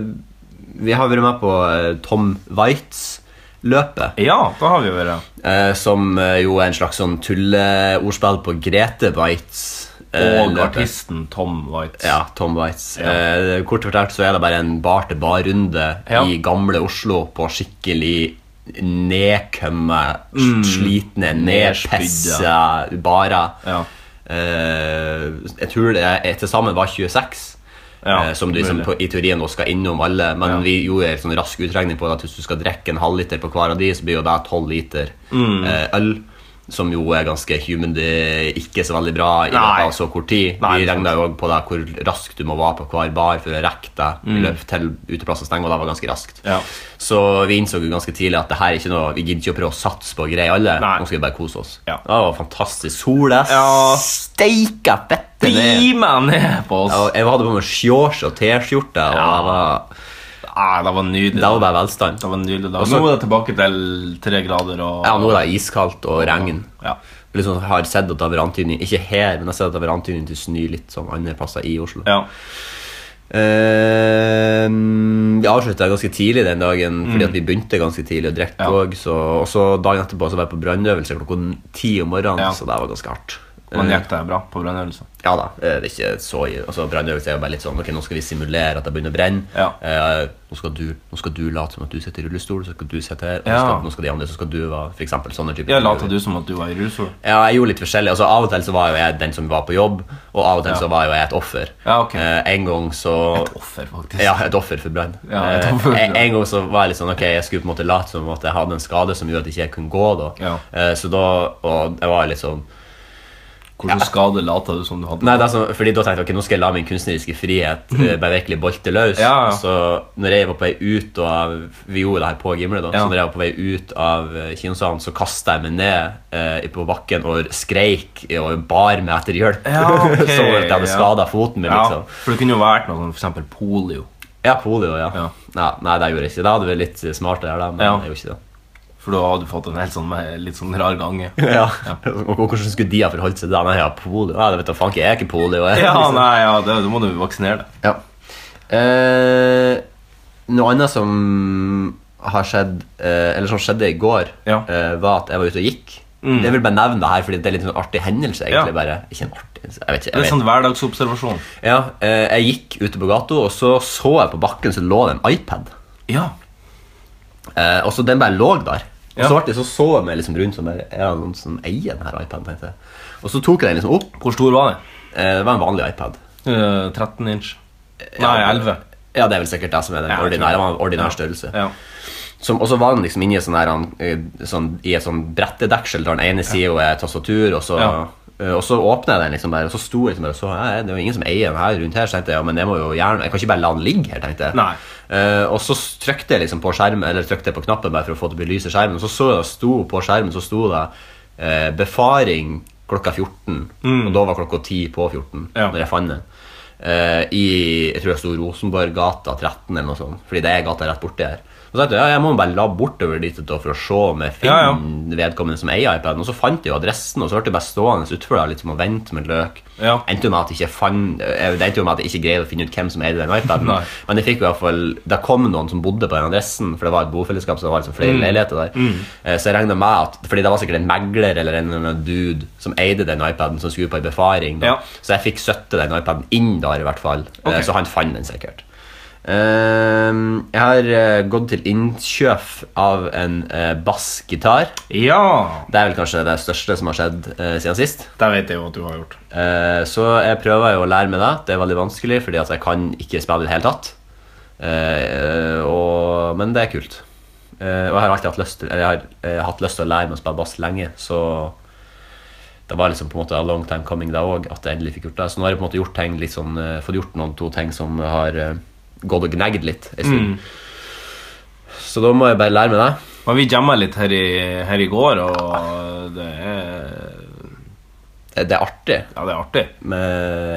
Speaker 2: vi har vært med på eh, Tom Waitz løpet,
Speaker 3: ja, da har vi vært
Speaker 2: eh, som eh, jo er en slags sånn tulleordspill på Grete Waitz. eh,
Speaker 3: Og
Speaker 2: løpet.
Speaker 3: artisten Tom Waitz.
Speaker 2: Ja, Tom Waitz.
Speaker 3: Ja.
Speaker 2: Eh, kort fortalt så er det bare en bar-til-bar-runde
Speaker 3: Ja.
Speaker 2: i gamle Oslo på skikkelig nedkømme,
Speaker 3: Mm.
Speaker 2: slitne, nedpissa barer.
Speaker 3: Ja.
Speaker 2: Eh, jeg tror det er, til sammen var 26.
Speaker 3: Ja,
Speaker 2: eh, som du liksom
Speaker 3: mulig.
Speaker 2: på, i teorien nå skal innom alle, men
Speaker 3: Ja.
Speaker 2: vi gjorde en sånn rask utregning på det at hvis du skal drikke en halvliter på hver av de, så blir jo det 12 liter
Speaker 3: Mm.
Speaker 2: eh, øl. Som jo er ganske human, det er ikke så veldig bra i
Speaker 3: Nei.
Speaker 2: løpet av så kort tid. vi
Speaker 3: Nei, det er
Speaker 2: regna jo også på det hvor raskt du må være på hver bar for å rekke deg i løpet til uteplassen stenger, og det var ganske raskt.
Speaker 3: Mm. Ja.
Speaker 2: Så vi innså jo ganske tidlig at det her er ikke noe, vi gidder ikke å prøve å satse på greier alle.
Speaker 3: Nei.
Speaker 2: Nå skal vi bare kose oss.
Speaker 3: Ja.
Speaker 2: Det var fantastisk. Sola
Speaker 3: Ja.
Speaker 2: steika fette ned.
Speaker 3: Bima ned på oss!
Speaker 2: Ja, og Jeg hadde på meg shorts og T-skjorte, og
Speaker 3: Ja.
Speaker 2: det var-
Speaker 3: Ah, det var nydelig.
Speaker 2: det var bare velstand.
Speaker 3: Det var nydelig da.
Speaker 2: Og så-
Speaker 3: Nå er det tilbake til tre grader og
Speaker 2: Ja, nå er det iskaldt og regn.
Speaker 3: Ja.
Speaker 2: Jeg Liksom har sett at det har vært antydning Ikke her, men jeg har sett at det har vært antydning til snø litt sånn andre plasser i Oslo.
Speaker 3: ja.
Speaker 2: Eh, vi avslutta ganske tidlig den dagen fordi at vi begynte ganske tidlig å drikke
Speaker 3: Mm. Ja.
Speaker 2: òg. så Og så dagen etterpå så var jeg på brannøvelse klokka ti om morgenen,
Speaker 3: Ja.
Speaker 2: så det var ganske hardt.
Speaker 3: Man
Speaker 2: Eh,
Speaker 3: gikk det bra på brannøvelsen.
Speaker 2: Ja da, eh, det er ikke så altså, Brannøvelse er jo bare litt sånn Ok, nå skal vi simulere at det begynner å brenne.
Speaker 3: Ja.
Speaker 2: Eh, nå, skal du, nå skal du late som at du sitter i rullestol, så skal du sitte her. Og
Speaker 3: Ja.
Speaker 2: så skal, nå skal de andre, så skal du være For eksempel sånne typer
Speaker 3: Ja, Lata du som at du var i rullestol?
Speaker 2: Ja, jeg gjorde litt forskjellig. Altså, av og til så var jo jeg den som var på jobb, og av og til
Speaker 3: Ja.
Speaker 2: så var jo jeg et offer.
Speaker 3: Ja, ok.
Speaker 2: Eh, en gang så
Speaker 3: Et offer, faktisk.
Speaker 2: ja, et offer for brann.
Speaker 3: Ja, et
Speaker 2: Eh,
Speaker 3: offer for
Speaker 2: en,
Speaker 3: brann.
Speaker 2: en gang så var jeg litt sånn, ok, jeg skulle på en måte late som at jeg hadde en skade som gjorde at jeg ikke kunne gå. da
Speaker 3: Ja.
Speaker 2: Eh, Så da, og jeg var litt sånn
Speaker 3: Hvordan skade later du som du hadde?
Speaker 2: Nei, det er sånn, fordi da tenkte jeg ok, nå skal jeg la min kunstneriske frihet eh, bare virkelig bolte løs.
Speaker 3: Mm. Ja, ja.
Speaker 2: Så når jeg var på vei ut av Vi gjorde det her på Gimle, da.
Speaker 3: Ja.
Speaker 2: Så når jeg var på vei ut av eh, kinosalen, så kasta jeg meg ned eh, på bakken og skreik og bar meg etter hjelp.
Speaker 3: Ja, ok,
Speaker 2: så at jeg hadde
Speaker 3: ja.
Speaker 2: skada foten min,
Speaker 3: Ja,
Speaker 2: liksom.
Speaker 3: for det kunne jo vært noe sånn for eksempel polio.
Speaker 2: Ja, polio, ja.
Speaker 3: Ja.
Speaker 2: Nei, nei, det gjorde jeg ikke. Da hadde vi vært litt eh, smart å gjøre det, men
Speaker 3: Ja.
Speaker 2: jeg gjorde ikke det.
Speaker 3: For da hadde du fått en helt sånn med litt sånn rar gange.
Speaker 2: Ja. Og, og hvordan skulle de ha forholdt seg til det? Nei, jeg har polio. Nei, det vet du, faen ikke, jeg er ikke polio. Jeg,
Speaker 3: Ja,
Speaker 2: liksom.
Speaker 3: nei, ja, det, da må du vaksinere deg.
Speaker 2: Ja. Eh, noe annet som har skjedd, eh, eller som skjedde i går,
Speaker 3: Ja.
Speaker 2: eh, var at jeg var ute og gikk. Jeg vil bare nevne det her, fordi det er litt sånn artig hendelse. egentlig
Speaker 3: Mm. Ja.
Speaker 2: bare. Ikke en artig hendelse, jeg vet ikke.
Speaker 3: Det er
Speaker 2: Jeg,
Speaker 3: sånn hverdagsobservasjon.
Speaker 2: vet. Ja, eh, jeg gikk ute på gata, og så så jeg på bakken, så lå det en iPad.
Speaker 3: Ja.
Speaker 2: Eh, og så den bare lå der. Og
Speaker 3: Ja.
Speaker 2: så, ble jeg, så så jeg meg liksom rundt sånn der, er det noen som eier den her iPaden, tenkte jeg. Og så tok jeg den liksom opp.
Speaker 3: Hvor stor var den?
Speaker 2: Eh, det var en vanlig iPad.
Speaker 3: Eh, 13 inch. Nei,
Speaker 2: Ja.
Speaker 3: 11.
Speaker 2: Ja, det er vel sikkert det som er den
Speaker 3: Eh, Ja, jeg tror
Speaker 2: ordinære,
Speaker 3: det.
Speaker 2: ordinær
Speaker 3: Ja.
Speaker 2: størrelse.
Speaker 3: Ja.
Speaker 2: Som, og så var den liksom inni sånn her, han, eh, sånn, i et sånn brettedeksel der den ene sida er tastatur, og så,
Speaker 3: Ja.
Speaker 2: eh, og så åpna jeg den liksom bare, og så sto jeg liksom bare og så «Hæ, Det er jo ingen som eier den her rundt her, så tenkte jeg ja, men jeg må jo gjerne Jeg kan ikke bare la den ligge her, tenkte jeg.
Speaker 3: Nei.
Speaker 2: Eh, og så trykte jeg liksom på skjermen, eller trykte jeg på knappen bare for å få det belyse skjermen, og så så jeg det sto på skjermen, så sto det eh, 'befaring klokka 14', og da var klokka 10 på 14
Speaker 3: Mm. Ja.
Speaker 2: når jeg fant den. Eh, I jeg tror det sto Rosenborggata 13 eller noe sånt, fordi det er gata rett borti her. Og så tenkte jeg ja, jeg må bare la bortover dit da, for å se om jeg finner
Speaker 3: Ja, ja.
Speaker 2: vedkommende som eier iPaden. Og så fant jeg jo adressen, og så ble jeg bare stående utfor der litt som å vente med løk.
Speaker 3: Ja.
Speaker 2: Endte jo med at jeg ikke fant eh, Det endte jo med at jeg ikke greide å finne ut hvem som eide den iPaden.
Speaker 3: Nei.
Speaker 2: Men jeg fikk jo i hvert fall det kom noen som bodde på den adressen, for det var et bofellesskap. Så det var liksom
Speaker 3: Mm.
Speaker 2: flere leiligheter der Eh, Så jeg regna med at Fordi det var sikkert en megler eller en eller annen dude som eide den iPaden, som skulle på ei befaring. Da.
Speaker 3: Ja.
Speaker 2: Så jeg fikk søtte den iPaden inn der, i hvert fall. Eh,
Speaker 3: Ok.
Speaker 2: Så han fant den sikkert. Ehm, jeg har eh, gått til innkjøp av en eh, bassgitar.
Speaker 3: ja.
Speaker 2: Det er vel kanskje det største som har skjedd eh, siden sist.
Speaker 3: Det vet jeg jo at du har gjort.
Speaker 2: Eh, så jeg prøver jo å lære meg det. Det er veldig vanskelig, fordi at jeg kan ikke spille i det hele tatt. Eh, og, men det er kult. Eh, og jeg har alltid hatt lyst til, eller jeg har, eh, hatt lyst til å lære meg å spille bass lenge, så det var liksom på en måte a long time coming da òg, at jeg endelig fikk gjort det. Så nå har jeg på en måte gjort ting litt sånn, eh, fått gjort noen to ting som har eh, gått og gnagd litt en stund. Så da må jeg bare lære meg det.
Speaker 3: Men vi jamma litt her i, her i går, og det er,
Speaker 2: Det- Det er artig.
Speaker 3: ja, det er artig.
Speaker 2: Men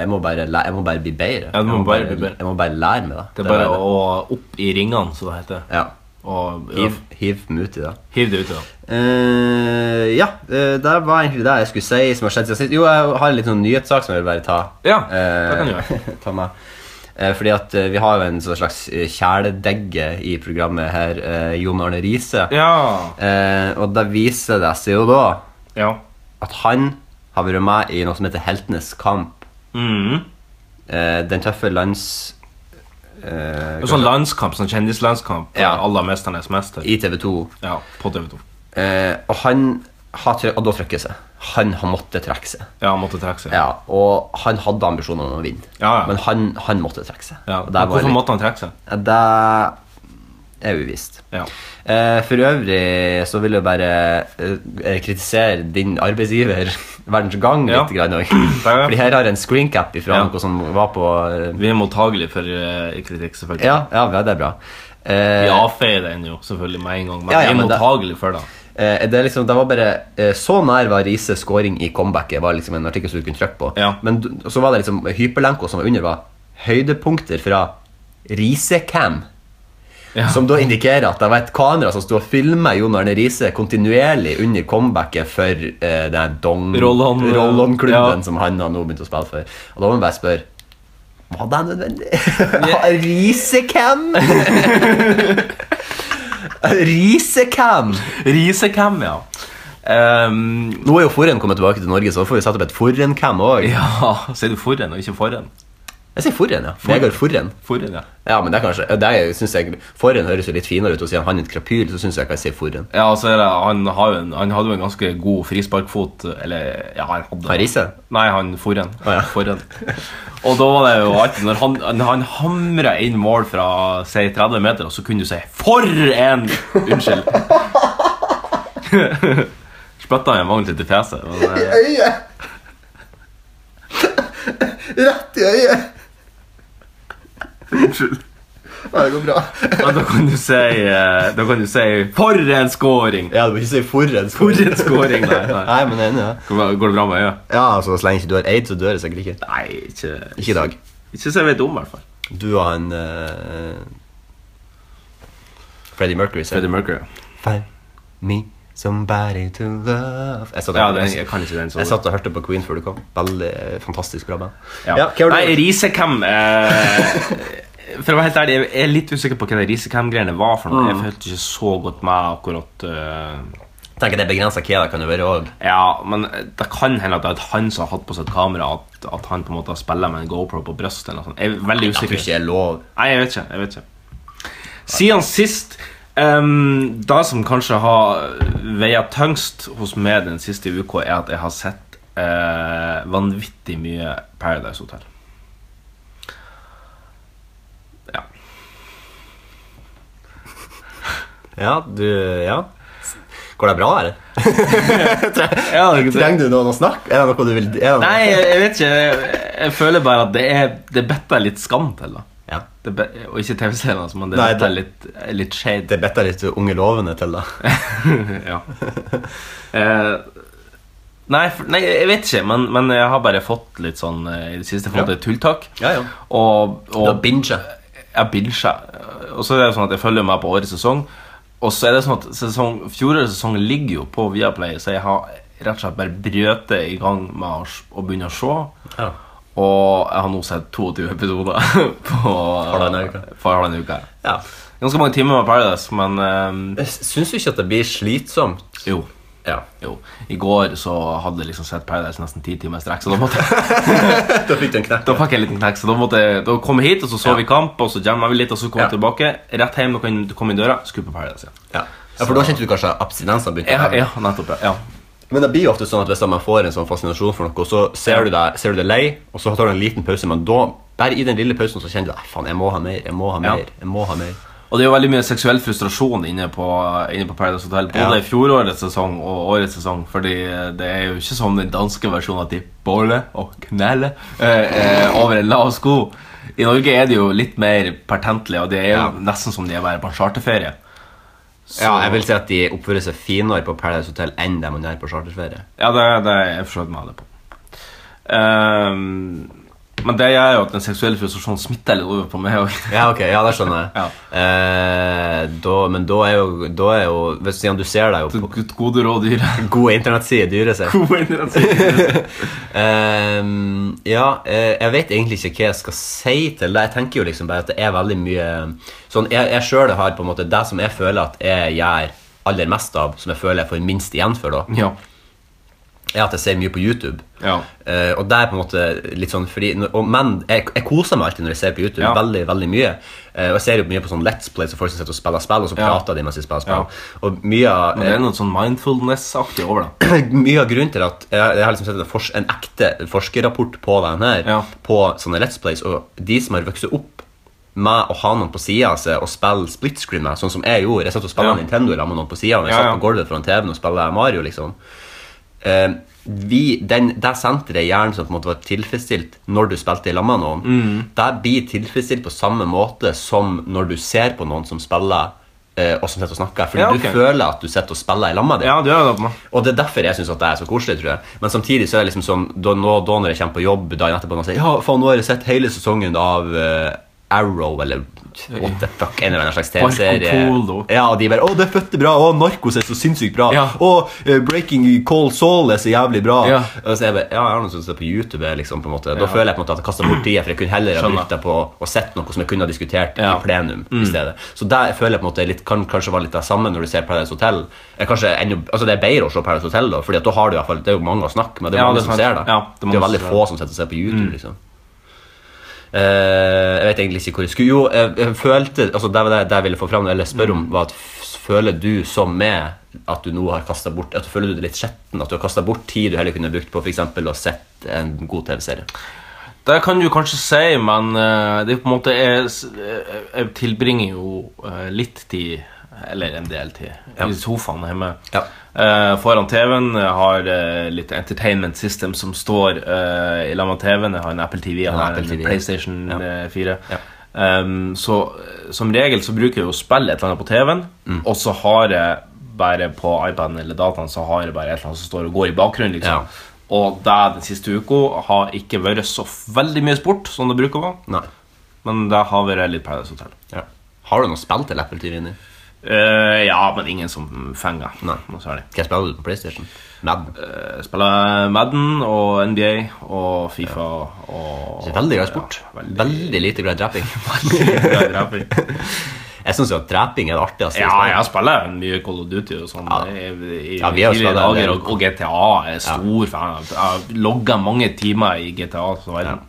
Speaker 2: jeg må bare, læ- jeg må bare bli bedre.
Speaker 3: Ja, du må
Speaker 2: jeg, må
Speaker 3: bare bli bedre.
Speaker 2: jeg må bare lære meg det.
Speaker 3: Det er bare å opp i ringene, som det heter.
Speaker 2: Ja.
Speaker 3: Og
Speaker 2: Hiv, hiv meg uti det.
Speaker 3: hiv det ut i det.
Speaker 2: Eh, ja, eh, det var egentlig det jeg skulle si som har skjedd siden sist. Jo, jeg har en liten sånn nyhetssak som jeg vil bare ta.
Speaker 3: Ja, det kan du
Speaker 2: gjøre. ta med. Eh, fordi at eh, vi har jo en sånn slags eh, kjæledegge i programmet her, eh, Jon Arne Riise.
Speaker 3: Ja.
Speaker 2: Eh, og da viser det seg jo da
Speaker 3: Ja.
Speaker 2: at han har vært med i noe som heter Heltenes kamp.
Speaker 3: Mm.
Speaker 2: Eh, den tøffe lands... eh,
Speaker 3: Det er sånn landskamp, sånn kjendislandskamp.
Speaker 2: Ja.
Speaker 3: Aller mesternes mester.
Speaker 2: I TV 2.
Speaker 3: Ja, på TV 2.
Speaker 2: Eh, og han har trø- og da trykker jeg seg. Han har måttet trekke seg.
Speaker 3: Ja, han måtte trekke seg.
Speaker 2: Ja, og han hadde ambisjoner om å vinne,
Speaker 3: Ja, ja.
Speaker 2: men han, han måtte trekke seg.
Speaker 3: Ja,
Speaker 2: Og
Speaker 3: men
Speaker 2: der var jeg
Speaker 3: Hvorfor
Speaker 2: litt-
Speaker 3: måtte han trekke seg?
Speaker 2: Ja, Det er uvisst.
Speaker 3: Ja.
Speaker 2: Eh, for øvrig så vil jeg bare eh, kritisere din arbeidsgiver, Verdens Gang,
Speaker 3: Ja.
Speaker 2: litt. Grann, også.
Speaker 3: ja.
Speaker 2: Fordi her har jeg en screencap ifra
Speaker 3: Ja.
Speaker 2: noe som var på
Speaker 3: Vi er mottagelige for eh, kritikk, selvfølgelig.
Speaker 2: Ja, ja det er bra. Eh,
Speaker 3: Vi avfeier den jo selvfølgelig med en gang, men
Speaker 2: Ja, ja,
Speaker 3: vi er
Speaker 2: men det-
Speaker 3: mottagelige for det.
Speaker 2: Eh, det, er liksom, det var bare eh, Så nær var Riise scoring i comebacket, var liksom en artikkel som du kunne trykke på.
Speaker 3: Ja.
Speaker 2: Men du- og så var det liksom hyperlenka som var under, var høydepunkter fra Riise-cam.
Speaker 3: Ja.
Speaker 2: Som da indikerer at det var et kamera som sto og filma Jon Arne Riise kontinuerlig under comebacket for eh, den dong
Speaker 3: Roll-on- eh,
Speaker 2: klubben
Speaker 3: Ja.
Speaker 2: som han har nå begynt å spille for. Og da må man bare spørre Var det nødvendig? Riise-cam? Riise-cam?
Speaker 3: Risecam, ja. Ehm,
Speaker 2: Nå er jo Forhen kommet tilbake til Norge, så da får vi sette opp et Forhen-cam òg.
Speaker 3: ja, sier du forren og ikke forren?
Speaker 2: Jeg sier Forhen, ja. Vegard Forhen.
Speaker 3: Forren, ja.
Speaker 2: Ja, men det er kanskje det er, synes jeg, Forhen høres jo litt finere ut, og siden han er et krapyl, så syns jeg jeg kan si Forhen.
Speaker 3: Ja, altså, han, har jo en, han hadde jo en ganske god frisparkfot, eller ja, han hadde
Speaker 2: Han Riise?
Speaker 3: Nei, han Forren.
Speaker 2: ja.
Speaker 3: Forren. Og da var det jo alltid Når han, når han hamra inn mål fra si 30 meter, og så kunne du si 'For en!' Unnskyld. Spytta han vanlig til fjeset. men, eh,
Speaker 1: Rett i øyet! Unnskyld. Ja, det går bra.
Speaker 3: Ja, da kan du si, eh, da kan du si For en scoring!
Speaker 2: Ja, du må ikke si for en
Speaker 3: For en scoring, nei. nei.
Speaker 2: Nei, men jeg er enig, ja.
Speaker 3: Går det bra med øyet?
Speaker 2: Ja, altså, så lenge ikke du har aids, så dør jeg sikkert ikke.
Speaker 3: Nei, ikke
Speaker 2: Ikke i dag.
Speaker 3: Ikke så jeg vet om, i hvert fall.
Speaker 2: Du og han eh, Freddie Mercury. sier
Speaker 3: Freddie Mercury.
Speaker 2: Find me somebody to love Jeg, satt,
Speaker 3: Ja, den, jeg kan ikke den
Speaker 2: jeg
Speaker 3: sånn.
Speaker 2: satt og hørte på Queen før du kom. Veldig eh, fantastisk bra band.
Speaker 3: Ja.
Speaker 2: Ja, hva har du
Speaker 3: Nei,
Speaker 2: gjort?
Speaker 3: Risekam eh, For å være helt ærlig, jeg er litt usikker på hva de Risekam-greiene var for noe.
Speaker 2: Mm.
Speaker 3: Jeg følte ikke så godt med akkurat eh,
Speaker 2: Tenk at det er begrenset hva det kan jo være òg.
Speaker 3: Ja, men det kan hende at det er at han som har hatt på seg et kamera, at, at han på en måte spiller med en GoPro på brystet eller noe sånt. Jeg er veldig
Speaker 2: Jeg tror
Speaker 3: usikker.
Speaker 2: ikke det er lov.
Speaker 3: Nei, jeg vet ikke. jeg vet ikke Siden sist ehm, Det som kanskje har veia tyngst hos meg den siste uka, er at jeg har sett eh, vanvittig mye Paradise Hotel. Ja.
Speaker 2: Ja, du Ja. Går det bra, eller?
Speaker 3: det,
Speaker 2: Trenger du noen å snakke? Er det noe du vil er det noe?
Speaker 3: nei, jeg jeg vet ikke. Jeg, jeg føler bare at det er Det bitter litt skam til, da.
Speaker 2: Ja.
Speaker 3: Det be, og ikke TV-serien, altså, men det
Speaker 2: Nei,
Speaker 3: bitter
Speaker 2: det-
Speaker 3: litt, litt shade.
Speaker 2: Det bitter litt unge lovende til, da.
Speaker 3: ja. Eh, nei, for, nei, jeg vet ikke, men, men jeg har bare fått litt sånn eh, i det siste fått
Speaker 2: Ja.
Speaker 3: et tulltak.
Speaker 2: Ja, ja.
Speaker 3: Og,
Speaker 2: Du har
Speaker 3: og
Speaker 2: binget.
Speaker 3: jeg binger. Og så er det sånn at jeg følger med på årets sesong. Og så er det sånn at sesong, fjorårets sesong ligger jo på Viaplay, så jeg har rett og slett bare brøtet i gang med å s- å begynne å se.
Speaker 2: Ja.
Speaker 3: Og jeg har nå sett 22 episoder på
Speaker 2: Halvannen uke.
Speaker 3: For halvannen uke.
Speaker 2: ja.
Speaker 3: Ganske mange timer med Paradise, men eh,
Speaker 2: Jeg Syns du ikke at det blir slitsomt?
Speaker 3: jo.
Speaker 2: Ja.
Speaker 3: Jo, I går så hadde jeg liksom sett Paradise nesten ti timer i strekk, så da, måtte jeg,
Speaker 2: Da fikk du en knekk.
Speaker 3: da fikk jeg en liten knekk. Så da, måtte jeg, da kom jeg hit, og så så vi kamp, og så jamma vi litt, og så kom jeg
Speaker 2: Ja.
Speaker 3: tilbake. Rett hjem, og kan du komme inn døra, skru på Paradise igjen.
Speaker 2: Ja. ja, For da kjente du kanskje at abstinensene begynte?
Speaker 3: Ja,
Speaker 2: å-
Speaker 3: ja nettopp. Ja. ja.
Speaker 2: Men det blir jo ofte sånn at hvis man får en sånn fascinasjon for noe, så ser du deg, ser du deg lei, og så tar du en liten pause, men da, bare i den lille pausen, så kjenner du deg, faen, jeg må ha mer, jeg må ha
Speaker 3: Ja.
Speaker 2: mer, jeg må ha mer.
Speaker 3: Og det er jo veldig mye seksuell frustrasjon inne på, inne på Paradise Hotel, både
Speaker 2: Ja.
Speaker 3: i fjorårets sesong og årets sesong, fordi det er jo ikke som den danske versjonen at de båler og kneller eh, eh, over en lav sko. I Norge er det jo litt mer pertentlig, og det er jo
Speaker 2: Ja.
Speaker 3: nesten som de er bare på en charterferie. Så-
Speaker 2: Ja, jeg vil si at de oppfører seg finere på Paradise Hotel enn det man gjør på charterferie.
Speaker 3: Ja, det, det er jeg forstått meg det på. Ehm, men det gjør jo at den seksuelle frustrasjonen smitter litt over på meg også.
Speaker 2: Ja, ok, ja, det skjønner jeg.
Speaker 3: Ja.
Speaker 2: Eh, da, men da er jo, da er jo hvis, Siden du ser deg jo på
Speaker 3: Gutt, Gode råd, dyr.
Speaker 2: gode internettsider dyre seg. Ehm, ja, eh, jeg vet egentlig ikke hva jeg skal si til det. Jeg tenker jo liksom bare at det er veldig mye Sånn, Jeg, jeg sjøl har på en måte det som jeg føler at jeg gjør aller mest av, som jeg føler jeg får minst igjen for, da,
Speaker 3: ja.
Speaker 2: er at jeg ser mye på YouTube.
Speaker 3: Ja.
Speaker 2: Eh, og det er på en måte litt sånn fordi når- og, Men jeg, jeg koser meg alltid når jeg ser på YouTube.
Speaker 3: Ja.
Speaker 2: Veldig, veldig mye. Eh, og jeg ser jo mye på sånn Let's Play, så folk som sitter og spiller spill, og så
Speaker 3: Ja.
Speaker 2: prater de mens de spiller
Speaker 3: Ja.
Speaker 2: spill. Og mye av
Speaker 3: Men det er noe sånn mindfulness-aktig over det.
Speaker 2: mye av grunnen til at jeg, jeg har liksom sett en, fors en ekte forskerrapport på den her,
Speaker 3: Ja.
Speaker 2: på sånne Let's Plays, og de som har vokst opp med å ha noen på sida av seg og spille split screen med, sånn som jeg gjorde Jeg satt og spilte
Speaker 3: Ja.
Speaker 2: Nintendo sammen med noen på sida, og jeg
Speaker 3: Ja,
Speaker 2: satt
Speaker 3: ja.
Speaker 2: på gulvet foran TV-en og spilte Mario, liksom. Eh, vi, den, det senteret i hjernen som på en måte var tilfredsstilt når du spilte i lag med noen,
Speaker 3: Mm.
Speaker 2: det blir tilfredsstilt på samme måte som når du ser på noen som spiller, eh, og som sitter og snakker. Fordi
Speaker 3: Ja, ok.
Speaker 2: du føler at du sitter og spiller i lag med dem.
Speaker 3: Ja, du gjør det på meg.
Speaker 2: Og det er derfor jeg syns det er så koselig. tror jeg Men samtidig så er det liksom sånn da, nå, da når jeg kommer på jobb dagen etterpå og sier jeg, Ja, faen, nå har jeg sett hele sesongen av eh, Arrow eller what the fuck, en eller annen slags TV-serie.
Speaker 3: Marco Polo.
Speaker 2: Ja, og de bare 'Å, det er fette bra'. 'Å, Narkos er så sinnssykt bra'.
Speaker 3: Ja.
Speaker 2: 'Å, eh, Breaking Call Saul er så jævlig bra'.
Speaker 3: Ja.
Speaker 2: Og så jeg bare, ja, jeg har noe som står på YouTube. liksom på en måte Da
Speaker 3: Ja.
Speaker 2: føler jeg på en måte at jeg kaster bort tida, for jeg kunne heller ha
Speaker 3: Skjønner.
Speaker 2: brukt det på å sett noe som jeg kunne ha diskutert
Speaker 3: Ja. Mm.
Speaker 2: i plenum. i stedet Så der føler jeg på en måte litt, kan kanskje være litt det samme når du ser Paradise Hotel. Eh, Kanskje enda, altså Det er bedre å se Paradise Hotel, da Fordi at da har du i hvert fall, det er jo mange å snakke med. Det er
Speaker 3: Ja,
Speaker 2: mange
Speaker 3: det er
Speaker 2: som
Speaker 3: sant.
Speaker 2: ser det.
Speaker 3: Ja, det Mm. er
Speaker 2: det, er
Speaker 3: mange
Speaker 2: jo
Speaker 3: som
Speaker 2: veldig
Speaker 3: ser
Speaker 2: få som setter seg på YouTube. liksom Eh, jeg vet egentlig ikke hvor jeg skulle Jo, jeg, jeg følte altså det, var det, det jeg ville få fram, eller spørre
Speaker 3: Mm.
Speaker 2: om, var at f- føler du som meg at du nå har kastet bort At du føler du det litt skjetten? At du har kasta bort tid du heller kunne brukt på for eksempel å sett en god TV-serie?
Speaker 3: Det kan du kanskje si, men eh, det er på en måte jeg, s- eh, jeg tilbringer jo eh, litt tid, eller en del tid, i sofaen hjemme.
Speaker 2: Ja.
Speaker 3: eh, foran TV-en. Jeg har eh, litt entertainment system som står eh, i lag med TV-en. Jeg har en Apple TV, jeg har
Speaker 2: Apple
Speaker 3: en
Speaker 2: TV.
Speaker 3: PlayStation
Speaker 2: Ja.
Speaker 3: eh, 4. Ehm, så eh, som regel så bruker jeg jo å spille et eller annet på TV-en,
Speaker 2: Mm.
Speaker 3: og så har jeg bare på iPaden eller dataen så har jeg bare et eller annet som står og går i bakgrunnen.
Speaker 2: Ja.
Speaker 3: liksom Og det den siste uka har ikke vært så veldig mye sport som det bruker å være.
Speaker 2: Nei.
Speaker 3: Men det har vært litt Paradise Hotel.
Speaker 2: Ja. Har du noe spill til Apple TV inni?
Speaker 3: Eh, ja, men ingen som fenger
Speaker 2: Nei.
Speaker 3: noe særlig.
Speaker 2: Hva spiller du på PlayStation? Madden.
Speaker 3: Jeg spiller Madden og NBA og Fifa og
Speaker 2: Så veldig glad i sport.
Speaker 3: Ja,
Speaker 2: veldig...
Speaker 3: veldig,
Speaker 2: lite glad i dreping.
Speaker 3: glad i draping.
Speaker 2: jeg syns jo at dreping er det artigste.
Speaker 3: ja,
Speaker 2: spillet.
Speaker 3: jeg spiller mye Call of Duty og sånn.
Speaker 2: Ja.
Speaker 3: I, i
Speaker 2: Ja, vi har
Speaker 3: tidligere
Speaker 2: spilt en del.
Speaker 3: dager, og, og GTA. Jeg er stor fan. av- Jeg har logga mange timer i GTA. Så verden.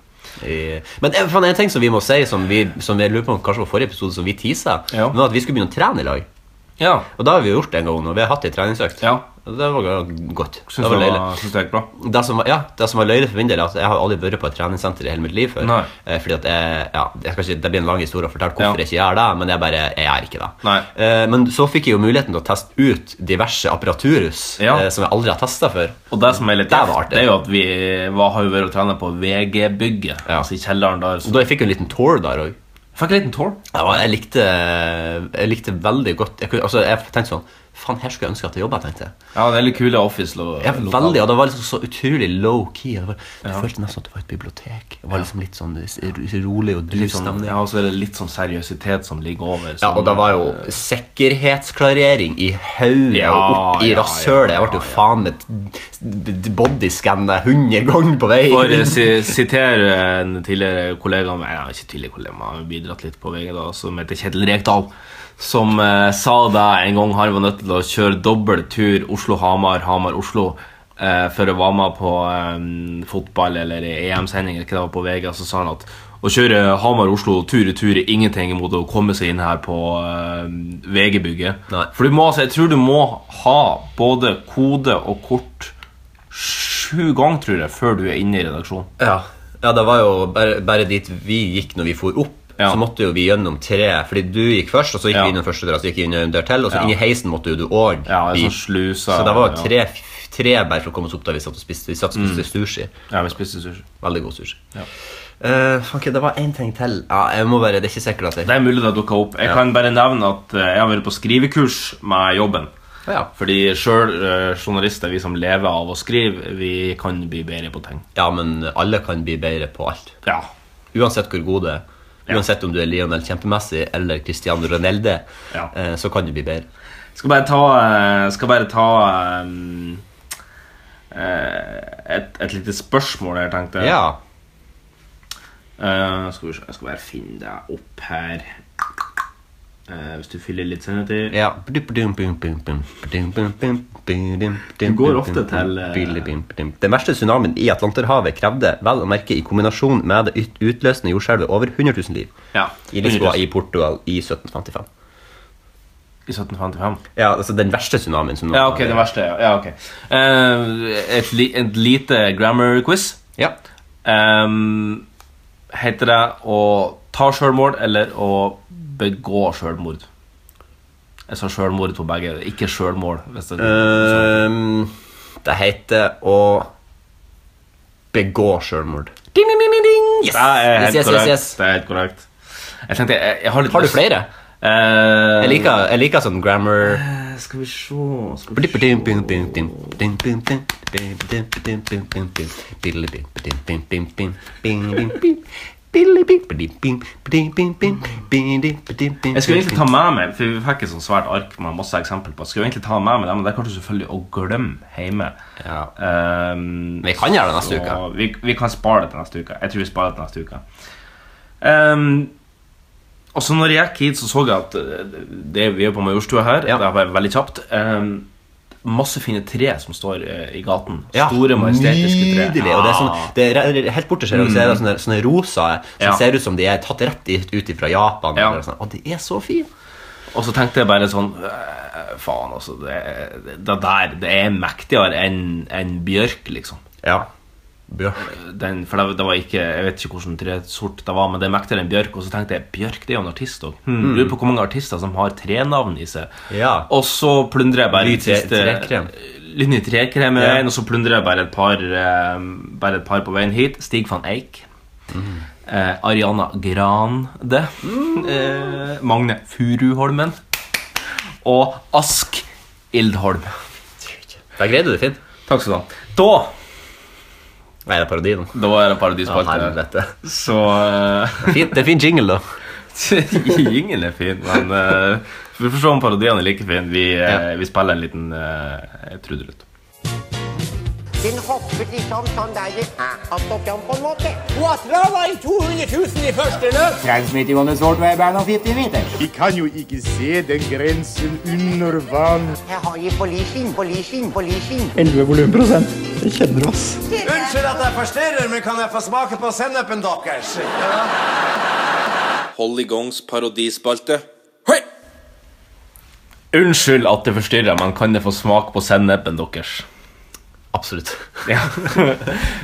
Speaker 2: I- Men eh, faen, en ting som vi må si, som vi, som vi lurer på om kanskje var forrige episode, som vi teaset,
Speaker 3: Ja.
Speaker 2: men at vi skulle begynne å trene i lag.
Speaker 3: Ja.
Speaker 2: Og det har vi jo gjort en gang nå. Vi har hatt ei treningsøkt.
Speaker 3: Ja.
Speaker 2: Og Det var go- godt. det
Speaker 3: Syns
Speaker 2: var
Speaker 3: det
Speaker 2: løyelig.
Speaker 3: var- syns det gikk bra.
Speaker 2: Det som var, ja, det som var løyelig for min del, er at jeg har aldri vært på et treningssenter i hele mitt liv før.
Speaker 3: Nei.
Speaker 2: Eh, Fordi at jeg, ja, jeg skal ikke, Det blir en lang historie å fortelle hvorfor
Speaker 3: Ja.
Speaker 2: jeg ikke gjør det, men jeg bare, jeg gjør ikke det.
Speaker 3: Nei.
Speaker 2: Eh, Men så fikk jeg jo muligheten til å teste ut diverse apparaturhus
Speaker 3: Ja.
Speaker 2: eh, som jeg aldri har testa før.
Speaker 3: Og det som er litt
Speaker 2: Det var
Speaker 3: jævlig,
Speaker 2: artig.
Speaker 3: det er jo at vi var, har jo vært og trent på VG-bygget.
Speaker 2: Ja.
Speaker 3: Altså i kjelleren der.
Speaker 2: Og
Speaker 3: Så
Speaker 2: da jeg fikk jo en liten tour der òg.
Speaker 3: fikk en liten tår.
Speaker 2: Jeg, likte- jeg likte veldig godt jeg, kunne, altså, jeg tenkte sånn Faen, her skulle jeg ønske at jeg jobba, tenkte jeg.
Speaker 3: Ja, det er litt kule office-lokaler.
Speaker 2: Ja, veldig, og det var liksom så utrolig low key. Det, var, det føltes nesten at det var et bibliotek. Det var liksom litt sånn s- ro- rolig og dyr
Speaker 3: Litt sånn,
Speaker 2: stemning.
Speaker 3: ja, og så er det litt sånn seriøsitet som ligger over.
Speaker 2: Ja,
Speaker 3: som-
Speaker 2: og det var jo sikkerhetsklarering i hodet
Speaker 3: Ja,
Speaker 2: og opp i
Speaker 3: ja, ja,
Speaker 2: rasshølet. Jeg
Speaker 3: ja,
Speaker 2: ble jo faen med bodyscanna 100 ganger på vei.
Speaker 3: For å si- sitere en tidligere kollega med, Nei, ikke tidligere kollega, men han har bidratt litt på VG, da, som heter Kjetil Rekdal, som eh, sa det en gang han var nødt til å kjøre dobbel tur Oslo-Hamar, Hamar-Oslo. Eh, for å være med på eh, fotball eller EM-sending eller hva det var på VG. Så sa han at å kjøre Hamar-Oslo tur i tur er ingenting imot å komme seg inn her på eh, VG-bygget.
Speaker 2: Nei.
Speaker 3: For du må, altså, jeg tror du må ha både kode og kort sju ganger, tror jeg, før du er inne i redaksjonen.
Speaker 2: Ja, ja det var jo bare, bare dit vi gikk når vi for opp.
Speaker 3: Ja.
Speaker 2: Så måtte jo vi gjennom tre. Fordi du gikk først, og så gikk
Speaker 3: Ja.
Speaker 2: vi innom første døra. Så gikk vi innom dør til, og så
Speaker 3: Ja.
Speaker 2: inn i heisen måtte jo du òg.
Speaker 3: Ja, en sånn sluse.
Speaker 2: så det var jo
Speaker 3: ja.
Speaker 2: tre, tre bare for å komme oss opp da vi satt og spiste. Vi satt og spiste sushi.
Speaker 3: Ja, vi spiste sushi.
Speaker 2: Veldig god sushi.
Speaker 3: Ja.
Speaker 2: Eh, fuck, det var én ting til. Ja, jeg må bare, Det er ikke sikkert at jeg
Speaker 3: Det er mulig det dukka opp. Jeg
Speaker 2: Ja.
Speaker 3: kan bare nevne at eh, jeg har vært på skrivekurs med jobben.
Speaker 2: Ja.
Speaker 3: Fordi sjøl journalister, vi som lever av å skrive, vi kan bli bedre på ting.
Speaker 2: ja, men alle kan bli bedre på alt.
Speaker 3: Ja.
Speaker 2: Uansett hvor god du er. Uansett om du er Lionel Kjempemessig eller Cristiano Ronaldo,
Speaker 3: Ja.
Speaker 2: eh, så kan du bli bedre.
Speaker 3: Skal bare ta, eh, skal bare ta eh, eh, et, et lite spørsmål her, tenkte jeg.
Speaker 2: Ja.
Speaker 3: Eh, skal vi se, Jeg skal bare finne deg opp her. Eh, hvis du fyller litt senere til.
Speaker 2: Ja. Du
Speaker 3: Du går ofte til, eh,
Speaker 2: Den verste tsunamien i Atlanterhavet krevde vel å merke i kombinasjon med det ut- utløsende jordskjelvet over 100 000 liv.
Speaker 3: Ja,
Speaker 2: I Lisboa
Speaker 3: 100 000.
Speaker 2: i Portugal i 1755.
Speaker 3: I 1755.
Speaker 2: Ja, altså den verste tsunamien som noen
Speaker 3: Ja, ok,
Speaker 2: har-
Speaker 3: det verste. Ja, ja ok. Eh, et, li et lite grammar quiz.
Speaker 2: Ja.
Speaker 3: Ehm, heter det å ta selvmord eller å begå selvmord? Jeg sa selvmord på begge. Ikke selvmål. Hvis det,
Speaker 2: Eh, Ehm, det heter å begå selvmord.
Speaker 3: Yes! Det er
Speaker 2: Yes, yes,
Speaker 3: helt
Speaker 2: yes,
Speaker 3: korrekt.
Speaker 2: yes.
Speaker 3: Det er helt korrekt. Jeg tenkte, jeg, jeg har litt
Speaker 2: Har du
Speaker 3: lyst-
Speaker 2: flere?
Speaker 3: Eh,
Speaker 2: Jeg liker, jeg liker sånn grammar
Speaker 3: eh, Skal vi se skal vi Jeg
Speaker 2: Jeg
Speaker 3: skulle egentlig ta med meg For vi fikk et sånt svært ark med masse eksempler på Jeg skulle egentlig ta med meg det, men det er kanskje selvfølgelig å glemme hjemme
Speaker 2: Ja.
Speaker 3: Ehm,
Speaker 2: Vi kan gjøre det neste
Speaker 3: så
Speaker 2: uke.
Speaker 3: vi, vi kan spare det til neste uke Jeg tror vi sparer det til neste uke Ehm, Og så når jeg gikk hit så så jeg at eh, det, Vi er på Majorstua her
Speaker 2: Ja.
Speaker 3: Det er bare veldig kjapt Ehm, Masse fine tre som står eh, i gaten
Speaker 2: ja,
Speaker 3: Store majestetiske tre Mm.
Speaker 2: Nydelig. Og det er sånn, det er re- re- helt borte ser du så er det sånne, sånne rosa som
Speaker 3: Ja.
Speaker 2: ser ut som de er tatt rett i- ut fra Japan.
Speaker 3: Ja.
Speaker 2: Eller sånn. Å, de er så fine!
Speaker 3: Og så tenkte jeg bare sånn «Øh, Faen, altså. Det, det der det er mektigere enn enn bjørk, liksom.
Speaker 2: Ja. Bjørk.
Speaker 3: Den, for det, det var ikke, Jeg vet ikke hvilken tresort det var, men det er mektigere enn Bjørk. Og så tenkte jeg Bjørk det er jo en artist òg. Hmm, Lurer på hvor mange artister som har trenavn i seg.
Speaker 2: Ja.
Speaker 3: Og så plundrer jeg bare
Speaker 2: Lyn
Speaker 3: den
Speaker 2: tre-
Speaker 3: siste-
Speaker 2: trekrem.
Speaker 3: Lyn i trekrem er
Speaker 2: Ja.
Speaker 3: en, og så plundrer jeg bare et par eh, Bare et par på veien hit. Stig van Eik. Eh, Ariana Grande. Eh, Magne Furuholmen. Og Ask Ildholm.
Speaker 2: Da greide du det fint.
Speaker 3: Takk skal du ha. Da
Speaker 2: Nei, det er parodi nå.
Speaker 3: Da var det
Speaker 2: Ja,
Speaker 3: Paradispalte.
Speaker 2: helvete.
Speaker 3: så eh,
Speaker 2: Fint, det er fin jingle, da.
Speaker 3: Ingen er fin, men eh, vi får se om parodiene er like fine. Vi, eh, vi spiller en liten uh, trudelutt.
Speaker 6: Den hoppet liksom sånn der i at opp igjen på en måte. Quatra var i 200 000 i første løp.
Speaker 7: Transmitting on the short wave band of 50 meters.
Speaker 8: Vi kan jo ikke se den grensen under vann.
Speaker 6: Jeg har gitt på leasing, på leasing, på leasing.
Speaker 9: Unnskyld at jeg forstyrrer, men kan jeg få smake på sennepen deres?
Speaker 10: Hold i gangs parodispalte. Hei!
Speaker 3: Unnskyld at det forstyrrer, men kan det få smak på sennepen deres?
Speaker 2: Absolutt.
Speaker 3: Ja.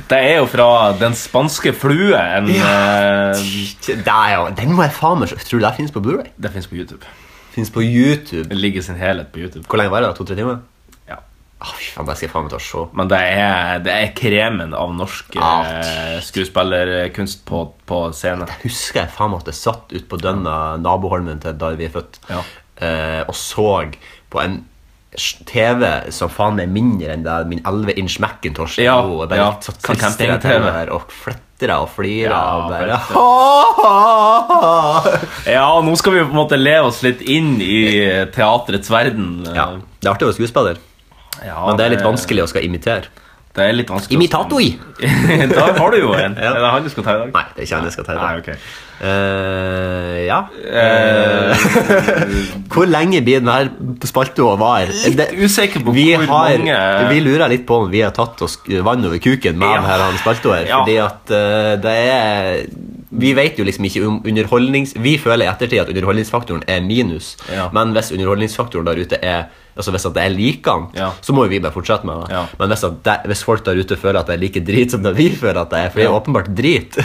Speaker 3: det er jo fra Den spanske flue. En, eh,
Speaker 2: Det er jo, den må jeg faen meg Tror du det finnes på Blu-ray?
Speaker 3: det fins på YouTube.
Speaker 2: Finnes på YouTube.
Speaker 3: Det ligger i sin helhet på YouTube.
Speaker 2: Hvor lenge var det? da? To-tre timer?
Speaker 3: Ja.
Speaker 2: Å, fy faen, det skal jeg faen meg ta og se.
Speaker 3: Men det er, det er kremen av norsk eh, skuespillerkunst på, på scenen.
Speaker 2: husker jeg faen meg at jeg satt ut på dønna naboholmen til der vi er født,
Speaker 3: Ja.
Speaker 2: eh, og så på en s- TV som faen er mindre enn det min 11 inch Macintosh er
Speaker 3: Ja,
Speaker 2: nå, og bare
Speaker 3: ja,
Speaker 2: satt
Speaker 3: sånn
Speaker 2: klistret
Speaker 3: camping-TV.
Speaker 2: til den her og flettra og flira
Speaker 3: Ja,
Speaker 2: og bare
Speaker 3: vet du. Ja, og nå skal vi på en måte le oss litt inn i eh, teatrets verden. eh.
Speaker 2: ja, Det er artig å være skuespiller,
Speaker 3: Ja,
Speaker 2: men det er litt vanskelig å skal imitere.
Speaker 3: Det er litt vanskelig.
Speaker 2: Imitator!
Speaker 3: Der har du jo en.
Speaker 2: Ja.
Speaker 3: Er det han du skal ta i dag?
Speaker 2: Nei, det er ikke han jeg skal ta i dag.
Speaker 3: Nei, ok.
Speaker 2: Eh, ja
Speaker 3: Eh.
Speaker 2: Eh, Hvor lenge blir denne spalta å vare? Det-
Speaker 3: usikker på
Speaker 2: vi
Speaker 3: hvor
Speaker 2: har,
Speaker 3: mange-
Speaker 2: Vi lurer litt på om vi har tatt oss vann over kuken med
Speaker 3: Ja.
Speaker 2: denne her spalta her.
Speaker 3: Ja.
Speaker 2: Fordi at eh, det er Vi vet jo liksom ikke om underholdnings... Vi føler i ettertid at underholdningsfaktoren er minus,
Speaker 3: Ja.
Speaker 2: men hvis underholdningsfaktoren der ute er Altså Hvis at det er likant,
Speaker 3: Ja.
Speaker 2: så må jo vi bare fortsette med det.
Speaker 3: Ja.
Speaker 2: Men hvis, at det, hvis folk der ute føler at det er like drit som det vi føler at det er, for det er
Speaker 3: Ja.
Speaker 2: åpenbart drit,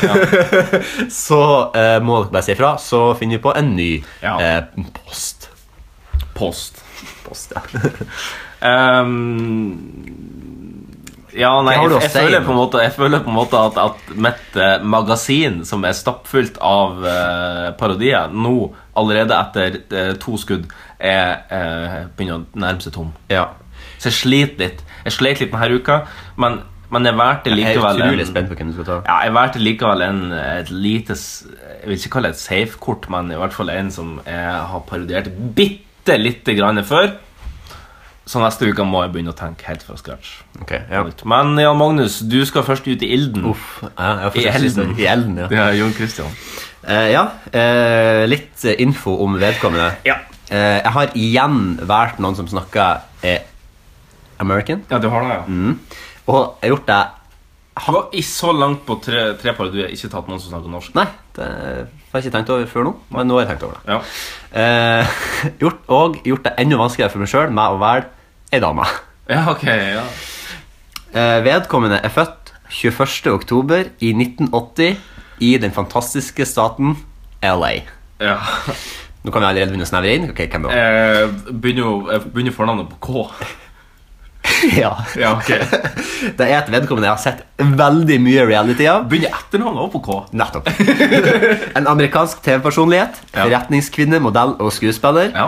Speaker 2: så eh, må dere bare si ifra, så finner vi på en ny
Speaker 3: Ja.
Speaker 2: eh, post.
Speaker 3: Post.
Speaker 2: post ja.
Speaker 3: Ehm, ja, nei,
Speaker 2: Det har
Speaker 3: jeg,
Speaker 2: du å
Speaker 3: jeg,
Speaker 2: si,
Speaker 3: føler
Speaker 2: men-
Speaker 3: på en måte, jeg føler på en måte at, at mitt eh, magasin, som er stappfullt av eh, parodier, nå, allerede etter eh, to skudd, er, eh, begynner å nærme seg tom.
Speaker 2: ja.
Speaker 3: Så jeg sliter litt. Jeg slet litt denne uka, men, men jeg valgte
Speaker 2: Jeg er
Speaker 3: likevel
Speaker 2: utrolig
Speaker 3: en-
Speaker 2: spent på hvem du skal ta.
Speaker 3: Ja, jeg valgte likevel en, et lite s- Jeg vil ikke kalle det et safe-kort, men i hvert fall en som jeg har parodiert bitte lite grann før. Så neste uke må jeg begynne å tenke helt fra scratch.
Speaker 2: Ok, ja.
Speaker 3: Men Jan Magnus, du skal først ut i ilden.
Speaker 2: Uff, ja, jeg har fått
Speaker 3: I
Speaker 2: en siste-
Speaker 3: elden.
Speaker 2: I elden, ja.
Speaker 3: Ja, Jon Christian.
Speaker 2: Eh, ja eh, litt eh, info om vedkommende.
Speaker 3: Ja.
Speaker 2: Eh, jeg har igjen valgt noen som snakker eh, American,
Speaker 3: Ja, du har det, ja.
Speaker 2: og jeg har gjort det
Speaker 3: Du var ikke så langt på tre, tre par, du har ikke tatt noen som snakker norsk.
Speaker 2: Nei, det har jeg ikke tenkt over før nå, men nå har jeg tenkt over det.
Speaker 3: Ja.
Speaker 2: Eh, gjort, og gjort det enda vanskeligere for meg sjøl med å velge ei dame.
Speaker 3: ja, ok, ja.
Speaker 2: Eh, vedkommende er født 21. oktober i 1980 i den fantastiske staten LA.
Speaker 3: ja.
Speaker 2: Nå kan vi allerede begynne å snevre inn. Ok, hvem da?
Speaker 3: Eh, begynner, jo- jeg begynner fornavnet på K.
Speaker 2: Ja.
Speaker 3: Ja, ok.
Speaker 2: Det er et vedkommende jeg har sett veldig mye reality av.
Speaker 3: Begynner etternavnet også på K.
Speaker 2: Nettopp. En amerikansk TV-personlighet,
Speaker 3: Ja.
Speaker 2: forretningskvinne, modell og skuespiller.
Speaker 3: Ja.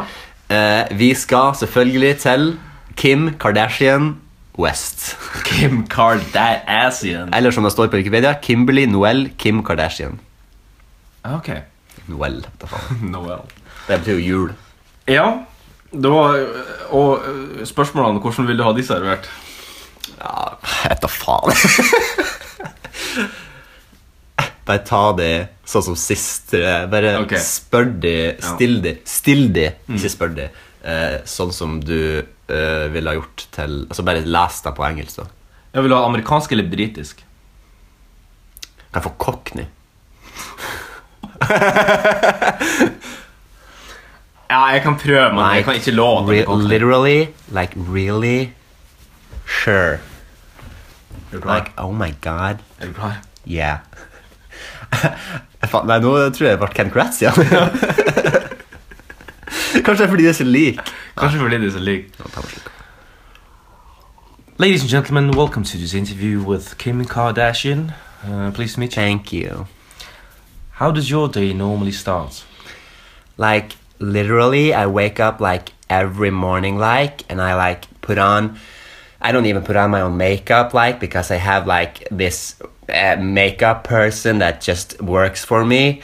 Speaker 2: Eh, vi skal selvfølgelig til Kim Kardashian West.
Speaker 3: Kim Kardashian.
Speaker 2: Eller som det står på Wikipedia, Kimberly Noel Kim Kardashian.
Speaker 3: Ja, Ah, Ok.
Speaker 2: Noel, hva faen.
Speaker 3: Noel.
Speaker 2: Det betyr jo jul.
Speaker 3: Ja, det var Og øh, spørsmålene hvordan vil du ha de servert?
Speaker 2: Ja, etter faen. Bare ta de sånn som sist. eh, Bare
Speaker 3: Ok.
Speaker 2: spør de, still de, still de, ikke spør de. Eh, sånn som du eh, ville ha gjort til Altså bare les deg på engelsk, da.
Speaker 3: Jeg vil ha amerikansk eller britisk.
Speaker 2: Kan jeg få cockney?
Speaker 3: Ja, jeg kan prøve, men jeg
Speaker 2: Like,
Speaker 3: kan ikke love at
Speaker 2: re-
Speaker 3: det blir cockney.
Speaker 2: Literally, like really Sure.
Speaker 3: Er du klar?
Speaker 2: Like, oh my god,
Speaker 3: Er du klar?
Speaker 2: yeah. Faen, Nei, nå tror jeg det ble Ken Kratz igjen. Kanskje det er fordi det er så lik.
Speaker 3: Kanskje fordi det er så lik.
Speaker 2: Nå tar vi slutt.
Speaker 3: Ladies and gentlemen, welcome to this interview with Kim Kardashian. Uh, please meet you.
Speaker 2: Thank you.
Speaker 3: How does your day normally start?
Speaker 2: like literally i wake up like every morning like and i like put on i don't even put on my own makeup like because i have like this uh, makeup person that just works for me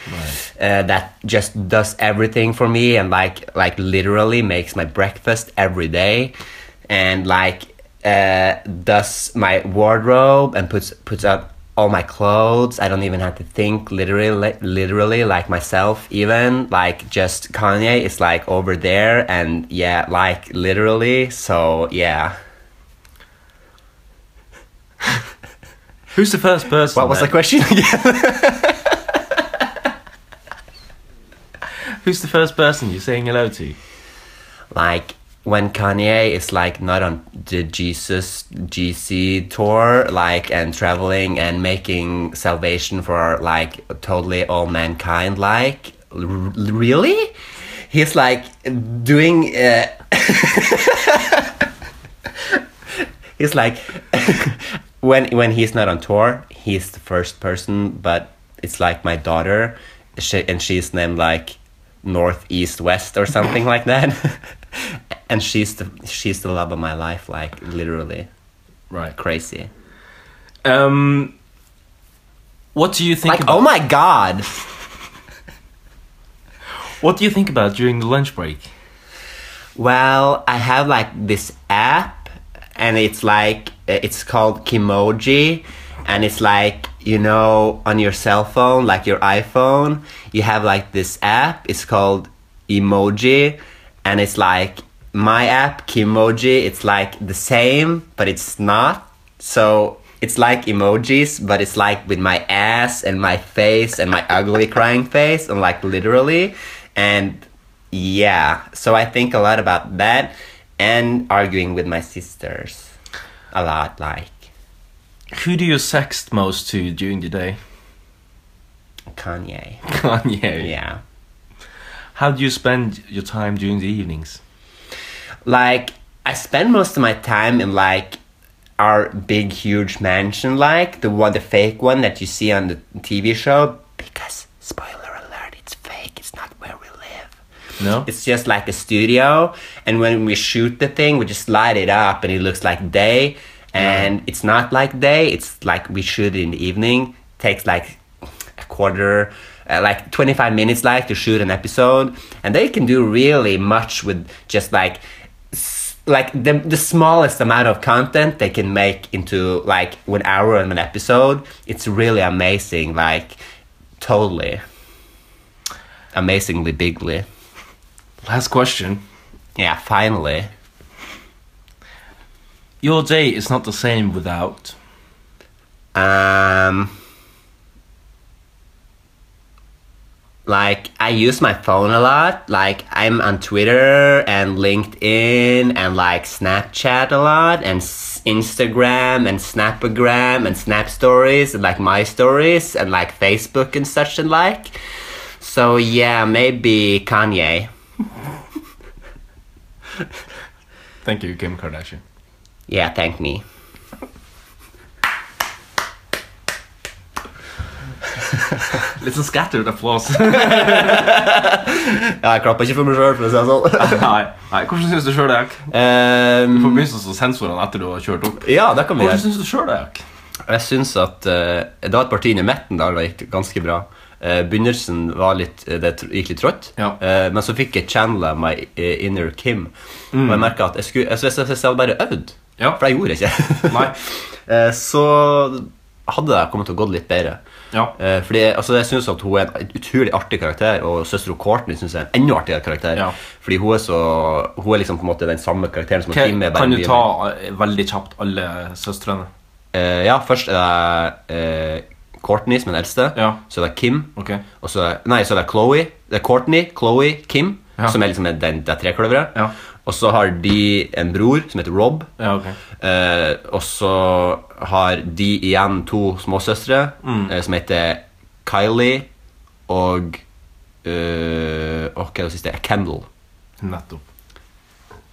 Speaker 2: uh, that just does everything for me and like like literally makes my breakfast every day and like uh, does my wardrobe and puts puts up all my clothes. I don't even have to think literally, literally like myself. Even like just Kanye is like over there, and yeah, like literally. So yeah.
Speaker 3: Who's the first person?
Speaker 2: What was the
Speaker 3: that,
Speaker 2: question again?
Speaker 3: Who's the first person you're saying hello to?
Speaker 2: like when Kanye is like not on the Jesus GC tour, like and traveling and making salvation for like totally all mankind, like r- really, he's like doing. Uh, he's like when when he's not on tour, he's the first person. But it's like my daughter, she, and she's named like North East West or something like that. and she's the she's the love of my life, like literally
Speaker 3: Right.
Speaker 2: crazy.
Speaker 3: Um, what do you think?
Speaker 2: Like
Speaker 3: about,
Speaker 2: oh my god.
Speaker 3: What do you think about during the lunch break?
Speaker 2: Well, I have like this app, and it's like uh, it's called Kimoji, and it's like you know on your cell phone, like your iPhone, you have like this app. It's called Emoji, and it's like my app Kimoji. It's like the same, but it's not. So it's like emojis, but it's like with my ass and my face and my ugly crying face, and like literally, and yeah, so I think a lot about that and arguing with my sisters. A lot, like
Speaker 3: Who do you sext most to during the day?
Speaker 2: Kanye.
Speaker 3: Kanye.
Speaker 2: Yeah.
Speaker 3: How do you spend your time during the evenings?
Speaker 2: Like, I spend most of my time in like our big, huge mansion, like the one, the fake one that you see on the TV show. Because, spoiler alert, it's fake, it's not where we live.
Speaker 3: No.
Speaker 2: It's just like a studio, and when we shoot the thing, we just light it up, and it looks like day. And it's not like day. It's like we shoot it in the evening. Takes like a quarter, uh, like twenty five minutes, like to shoot an episode. And they can do really much with just like, s- like the the smallest amount of content they can make into like one hour and an episode. It's really amazing. Like, totally, amazingly bigly.
Speaker 3: Last question.
Speaker 2: Yeah, finally.
Speaker 3: Your day is not the same without.
Speaker 2: Um, like I use my phone a lot. Like I'm on Twitter and LinkedIn and like Snapchat a lot and s- Instagram and Snapagram and Snap Stories and like My Stories and like Facebook and such and like. So yeah, maybe Kanye.
Speaker 3: Thank you, Kim Kardashian.
Speaker 2: Yeah, thank me.
Speaker 3: Little scattered applause.
Speaker 2: Ja, Ah, jeg er klapper ikke for meg sjøl, for å si det sånn.
Speaker 3: nei, nei, hvordan syns du sjøl det gikk?
Speaker 2: Um,
Speaker 3: På begynnelsen så sensorene etter du har kjørt opp.
Speaker 2: ja, det kan vi
Speaker 3: Hvordan
Speaker 2: gjøre.
Speaker 3: syns du sjøl det gikk?
Speaker 2: Jeg syns at eh, Det var et parti inn i midten der det gikk ganske bra. Eh, begynnelsen var litt, eh, det tr- gikk litt trått,
Speaker 3: Ja.
Speaker 2: Eh, men så fikk jeg channela my eh, inner Kim. Og jeg merka at jeg skulle jeg, jeg, jeg, jeg hadde bare øvd,
Speaker 3: Mm. Ja.
Speaker 2: for jeg gjorde ikke.
Speaker 3: Nei.
Speaker 2: Eh, så hadde det kommet til å gå litt bedre.
Speaker 3: Ja.
Speaker 2: Eh, fordi altså, Jeg syns hun er en utrolig artig karakter, og søstera Courtney synes jeg er en enda artigere karakter.
Speaker 3: Ja.
Speaker 2: Fordi hun er så Hun er liksom på en måte den samme karakteren som Kim. er
Speaker 3: Kan,
Speaker 2: bare
Speaker 3: kan du
Speaker 2: mye
Speaker 3: ta eh, veldig kjapt alle søstrene?
Speaker 2: Eh, ja, først er det eh, Courtney som er den eldste.
Speaker 3: Ja.
Speaker 2: Så er det Kim.
Speaker 3: Ok.
Speaker 2: Og så er, nei, så er det Chloé. Det er Courtney, Chloé, Kim.
Speaker 3: Ja.
Speaker 2: Som er liksom den, det er trekløveret.
Speaker 3: Ja.
Speaker 2: Og så har de en bror som heter Rob.
Speaker 11: Ja, ok.
Speaker 2: Eh, og så har de igjen to småsøstre
Speaker 3: Mm.
Speaker 2: eh, som heter Kylie og eh, Åh, Hva er det siste? Kendal.
Speaker 11: Nettopp.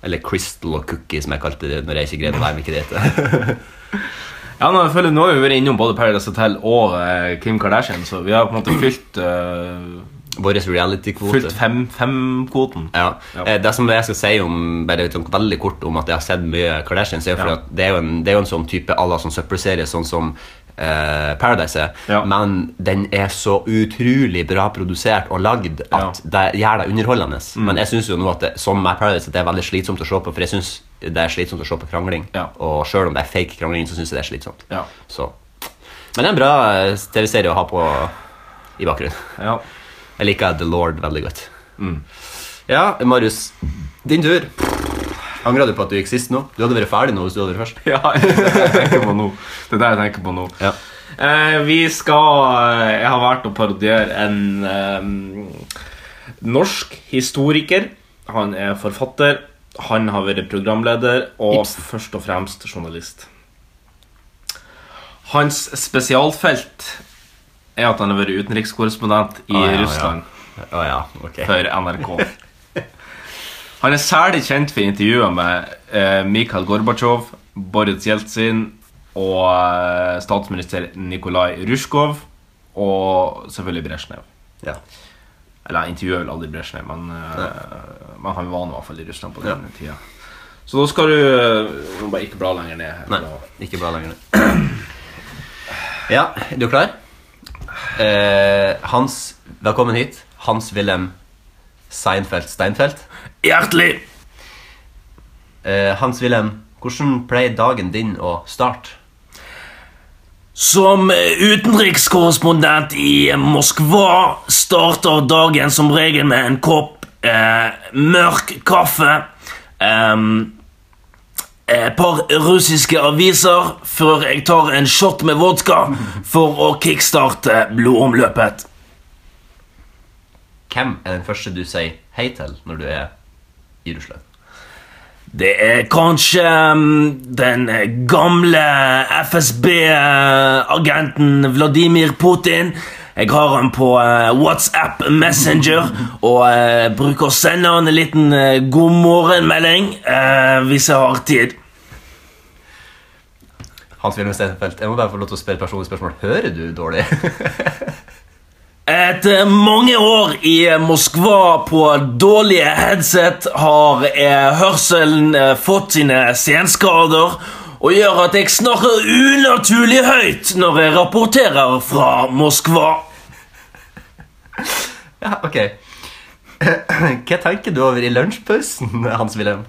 Speaker 2: Eller Crystal og Cookie, som jeg kalte det når jeg ikke greide å lære meg hva det heter.
Speaker 11: Ja, nå, jeg føler, nå har vi vært innom både Paradise Hotel og eh, Kim Kardashian, så vi har på en måte fylt, eh,
Speaker 2: Vår reality-kvote.
Speaker 11: fylt fem- fem-kvoten.
Speaker 2: Ja. Eh, Det som jeg skal si om bare sånn veldig kort om at jeg har sett mye Kardashians, er jo fordi
Speaker 11: Ja.
Speaker 2: at det er jo en, det er jo en sånn type à la sånn søppelserie, sånn som eh, Paradise er.
Speaker 11: Ja.
Speaker 2: Men den er så utrolig bra produsert og lagd at det gjør det underholdende.
Speaker 11: Mm.
Speaker 2: Men jeg syns jo nå at det, som med Paradise, at det er veldig slitsomt å se på, for jeg syns det er slitsomt å se på krangling.
Speaker 11: Ja.
Speaker 2: Og sjøl om det er fake krangling, så syns jeg det er slitsomt.
Speaker 11: Ja.
Speaker 2: Så. Men det er en bra eh, TV-serie å ha på i bakgrunnen.
Speaker 11: Ja.
Speaker 2: Jeg liker The Lord veldig godt. Mm. Ja, Marius, din tur. Angrer du på at du gikk sist nå? Du hadde vært ferdig nå hvis du hadde vært først.
Speaker 11: Ja, det er det jeg tenker på nå. Det er det jeg tenker på nå.
Speaker 2: Ja.
Speaker 11: Eh, vi skal eh, Jeg har valgt å parodiere en eh, norsk historiker. Han er forfatter. Han har vært programleder og først og fremst journalist. Hans spesialfelt er at han har vært utenrikskorrespondent i
Speaker 2: Ah, ja, ja.
Speaker 11: Russland
Speaker 2: Å ja, ok.
Speaker 11: for NRK. Han er særlig kjent for intervjuer med eh, Mikhail Gorbatsjov, Boris Jeltsin og eh, statsminister Nikolai Rusjkov og selvfølgelig Brezjnev.
Speaker 2: Ja.
Speaker 11: Eller han intervjuer vel aldri Brezjnev, men, eh, men han var nå i hvert fall i Russland på den tida. Så da skal du eh, må bare ikke bla lenger ned. her,
Speaker 2: Nei,
Speaker 11: for da-
Speaker 2: ikke bra lenger. nå. Ja, er du klar? Eh, Hans, velkommen hit. Hans-Wilhelm Seinfeld Steinfeld.
Speaker 11: Hjertelig!
Speaker 2: Eh, Hans-Wilhelm, hvordan pleier dagen din å starte?
Speaker 11: Som eh, utenrikskorrespondent i eh, Moskva starter dagen som regel med en kopp eh, mørk kaffe. em, et par russiske aviser før jeg tar en shot med vodka for å kickstarte blodomløpet.
Speaker 2: Hvem er den første du sier hei til når du er i Russland?
Speaker 11: Det er kanskje mm, den gamle FSB-agenten Vladimir Putin. Jeg har han på eh, WhatsApp Messenger og eh, bruker å sende han en liten eh, god morgen-melding eh, hvis jeg har tid.
Speaker 2: Hans Wilhelm Steinfeld, jeg må bare få lov til å spørre et personlig spørsmål. Hører du dårlig?
Speaker 11: Etter eh, mange år i eh, Moskva på dårlige headset har eh, hørselen eh, fått sine senskader og gjør at jeg snakker unaturlig høyt når jeg rapporterer fra Moskva.
Speaker 2: ja, ok. Hva tenker du over i lunsjpausen, Hans Wilhelm?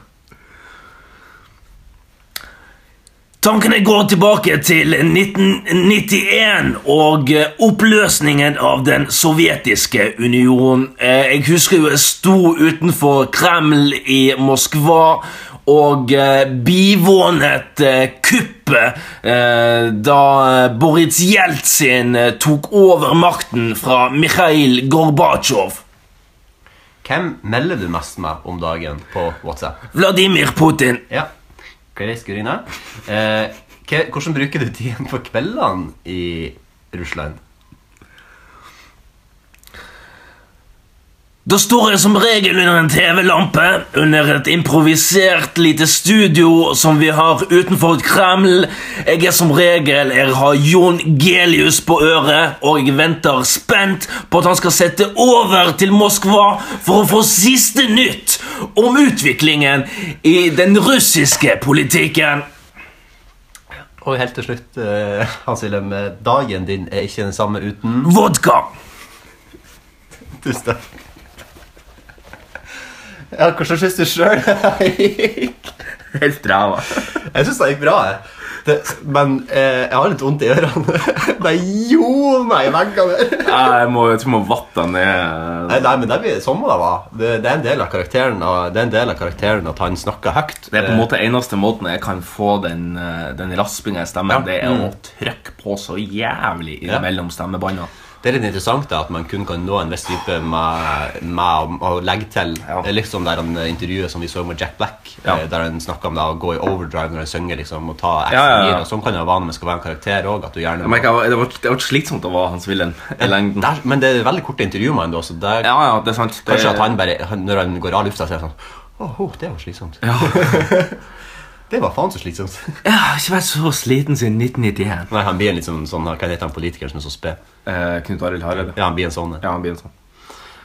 Speaker 11: Tankene går tilbake til 1991 og eh, oppløsningen av den sovjetiske union. Eh, Jeg husker jo jeg sto utenfor Kreml i Moskva og eh, bivånet eh, kuppet eh, da eh, Boris Jeltsin eh, tok over makten fra Mikhail Gorbatsjov.
Speaker 2: Hvem melder du mest med om dagen på WhatsApp?
Speaker 11: Vladimir Putin.
Speaker 2: Ja, Grace Gurina. Eh, hva- hvordan bruker du tiden på kveldene i Russland?
Speaker 11: Da står jeg som regel under en TV-lampe, under et improvisert lite studio som vi har utenfor et Kreml. Jeg er som regel Jeg har Jon Gelius på øret, og jeg venter spent på at han skal sette over til Moskva for å få siste nytt om utviklingen i den russiske politikken.
Speaker 2: Og helt til slutt, eh, Hans Wilhelm, eh, dagen din er ikke den samme uten
Speaker 11: Vodka!
Speaker 2: Tusen takk. Ja, hvordan syns du sjøl det gikk?
Speaker 11: Helt ræva.
Speaker 2: Jeg syns det gikk bra, jeg. Det, men eh, jeg har litt vondt i ørene. Det gjorde meg i veggene der.
Speaker 11: Jeg må, jeg må vatte ned eh,
Speaker 2: Nei, nei, men det blir sånn må det være. Det, det, er en del av karakteren av- det er en del av karakteren at han snakker høyt. Eh,
Speaker 11: Det er
Speaker 3: Eh,
Speaker 11: på en måte eneste måten jeg kan få den,
Speaker 3: Mm.
Speaker 11: eh, den raspinga i stemmen. Det er å trykke på så jævlig i
Speaker 2: Ja.
Speaker 11: mellom stemmebåndene.
Speaker 2: Det er litt interessant da, at man kun kan nå en viss type med, med å legge til
Speaker 3: Ja.
Speaker 2: Det er Liksom der han, eh, intervjuet som vi så med Jack Black,
Speaker 3: Ja.
Speaker 2: eh, der han snakka om det å gå i overdrive når han synger. liksom, og ta ekstra
Speaker 3: Ja, ja, ja.
Speaker 2: gir, og Sånn kan det være når man skal være en karakter òg.
Speaker 3: Jeg merker, jeg var- det var- det var slitsomt å være Hans Wilhelm i lengden.
Speaker 2: Der, men det er veldig korte intervjuer med han da, så det er
Speaker 3: Ja, ja, det er sant. Det,
Speaker 2: kanskje at han bare han, Når han går av lufta, så er han sånn Åh, det var slitsomt. det var faen så slitsomt.
Speaker 3: Jeg har ikke vært så sliten siden 1991.
Speaker 2: Nei, han blir en litt sånn, sånn Hva heter han politikeren som er så sped?
Speaker 3: Eh, Knut Arild Hareide.
Speaker 2: Ja, han blir en sånn en.
Speaker 3: Ja, han blir en sånn.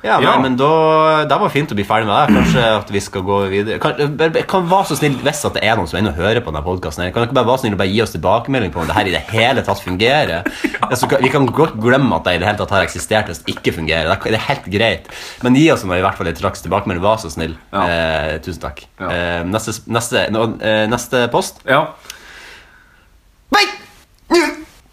Speaker 2: Ja, nei,
Speaker 3: Ja.
Speaker 2: men da, Det var fint å bli ferdig med det. Kanskje at vi skal gå videre Kan, bare- bare- kan være så snill, Hvis at det er noen som ennå hører på denne podkasten, kan dere bare være så snill og bare gi oss tilbakemelding på om det her i det hele tatt fungerer? Altså, kan- vi kan godt glemme at det i det hele tatt har eksistert hvis det ikke fungerer. Det er- Det er helt greit. Men gi oss nå i hvert fall et slags tilbakemelding. Vær så snill.
Speaker 3: Ja.
Speaker 2: Eh, tusen takk.
Speaker 3: Ja.
Speaker 2: Eh, neste, neste, nå, eh, neste post
Speaker 3: Ja.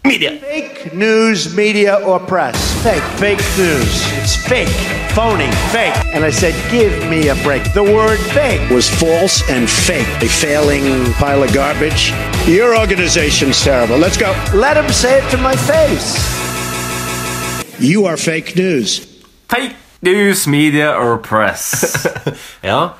Speaker 9: Fake news, media, or press. Fake. Fake news. It's fake. Phony. Fake. And I said, give me a break. The word fake was false and fake. A failing pile of garbage. Your organization's terrible. Let's go. Let him say it to my face. You are fake news.
Speaker 3: Fake news, media or press.
Speaker 2: Ja,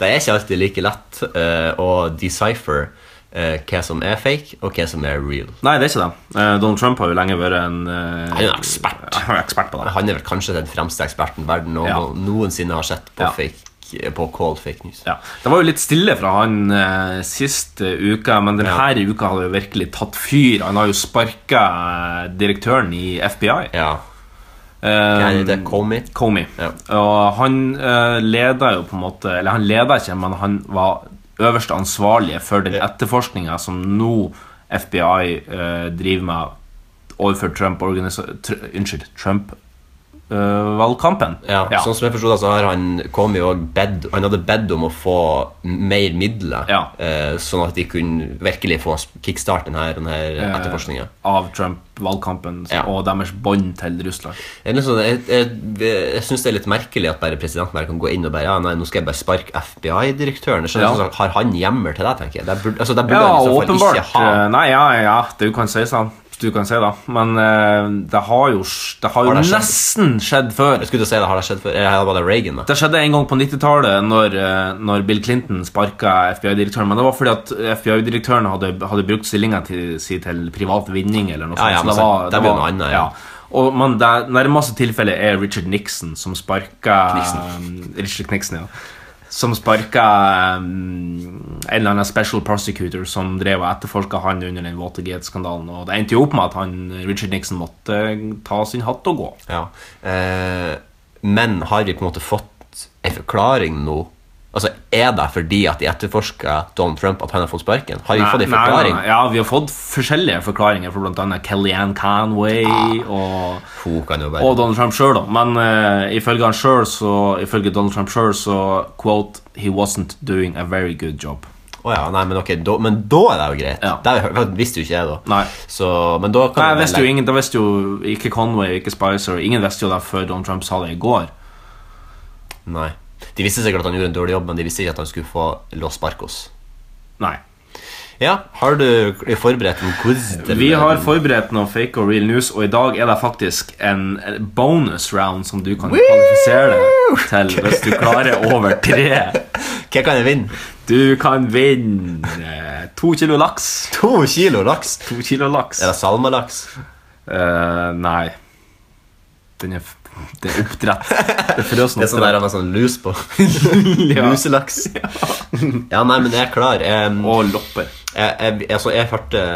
Speaker 2: det er ikke alltid like lett eh, å decipher eh, hva som er fake, og hva som er real.
Speaker 3: Nei, det er ikke det. Eh, Donald Trump har jo lenge vært en eh,
Speaker 2: Han er en ekspert.
Speaker 3: Han er ekspert på det.
Speaker 2: Han er vel kanskje den fremste eksperten verden noen,
Speaker 3: Ja.
Speaker 2: noensinne har sett på,
Speaker 3: Ja.
Speaker 2: fake, på cold fake news.
Speaker 3: Ja. Det var jo litt stille fra han eh, siste uka, men denne uka har det jo virkelig tatt fyr. Han har jo sparka eh, direktøren i FBI.
Speaker 2: Ja.
Speaker 3: Eh,
Speaker 2: Er det Comey?
Speaker 3: Comey.
Speaker 2: Ja.
Speaker 3: Og han eh, leda jo på en måte Eller han leda ikke, men han var øverste ansvarlige for den etterforskninga som nå FBI eh, driver med overfor Trump organisa- tr Unnskyld, eh, Trump-valgkampen.
Speaker 2: Ja. Sånn som jeg forstod det, så har han Comey også bedt Han hadde bedt om å få mer midler,
Speaker 3: Ja.
Speaker 2: eh, sånn at de kunne virkelig få kickstart denne, denne
Speaker 3: Eh.
Speaker 2: etterforskninga.
Speaker 3: av Trump-valgkampen
Speaker 2: Ja.
Speaker 3: og deres bånd til Russland.
Speaker 2: Det er litt sånn, jeg jeg, jeg syns det er litt merkelig at bare presidenten bare kan gå inn og bare ja, nei, nå skal jeg bare sparke FBI-direktøren. Jeg skjønner
Speaker 3: Ja.
Speaker 2: ikke, sånn, Har han hjemmel til det, tenker jeg? Det burde, altså, det burde
Speaker 3: Ja,
Speaker 2: han i så fall
Speaker 3: åpenbart.
Speaker 2: ikke ha.
Speaker 3: Eh, Nei, ja, ja, du kan si sånn. Du kan si det. Men eh, det har jo, det har jo
Speaker 2: det skjedd?
Speaker 3: nesten skjedd før.
Speaker 2: Jeg skulle til å si det, Har det skjedd før? Eller var det Reagan, da?
Speaker 3: Det skjedde en gang på 90-tallet, når, eh, når Bill Clinton sparka FBI-direktøren. Men det var fordi at FBI-direktøren hadde, hadde brukt stillinga til- si til privat vinning. eller noe
Speaker 2: Ja, ja,
Speaker 3: sånt.
Speaker 2: men
Speaker 3: så det var,
Speaker 2: sant, det blir noe annet, ja.
Speaker 3: Og, men det nærmeste tilfellet er Richard Nixon, som sparka
Speaker 2: Nixon.
Speaker 3: Richard Nixon, ja. Som sparka um, en eller annen special prosecutor som drev og etterforska han under den Watergate-skandalen. Og det endte jo opp med at han, Richard Nixon måtte ta sin hatt og gå.
Speaker 2: Ja. Eh, men har vi på en måte fått en forklaring nå? Altså, Er det fordi at de etterforsker Donald Trump at han har fått sparken? Har vi fått en
Speaker 3: Nei, nei,
Speaker 2: forklaring?
Speaker 3: nei, nei. Ja, vi har fått forskjellige forklaringer fra bl.a. Kellyanne Conway og,
Speaker 2: Hun kan jo
Speaker 3: og
Speaker 2: bare
Speaker 3: Donald Trump sjøl, da. Men eh, ifølge han selv, så Ifølge Donald Trump sjøl, så quote, He wasn't doing a very good job.
Speaker 2: Å ja, nei, men ok, da, men da er det jo greit.
Speaker 3: Ja.
Speaker 2: Det er jo- visste jo ikke jeg, da.
Speaker 3: Nei.
Speaker 2: Så, men da kan
Speaker 3: Nei,
Speaker 2: vi
Speaker 3: jeg
Speaker 2: bare
Speaker 3: visste
Speaker 2: legge-
Speaker 3: jo ingen, Det visste jo ikke Conway, ikke Spicer. Ingen visste jo det før Donald Trump sa det i går.
Speaker 2: Nei. De visste sikkert at han gjorde en dårlig jobb, men de visste ikke at han skulle få Los Barcos.
Speaker 3: Nei.
Speaker 2: Ja, har du forberedt en quiz? til-
Speaker 3: Vi har forberedt noe fake og real news, og i dag er det faktisk en bonus round som du kan kvalifisere deg til hvis du klarer over tre.
Speaker 2: eh, Hva kan jeg vinne?
Speaker 3: Du kan vinne eh, to kilo laks.
Speaker 2: To kilo laks.
Speaker 3: To kilo laks.
Speaker 2: Er det salmalaks?
Speaker 3: Eh, nei. Den er, f- det er oppdrett. Det er frøsen
Speaker 2: Det er sånn der
Speaker 3: oppdrett.
Speaker 2: han har sånn lus på. Luselaks. Ja, nei, men jeg er klar. Em,
Speaker 3: Og lopper.
Speaker 2: jeg, jeg, altså, jeg hørte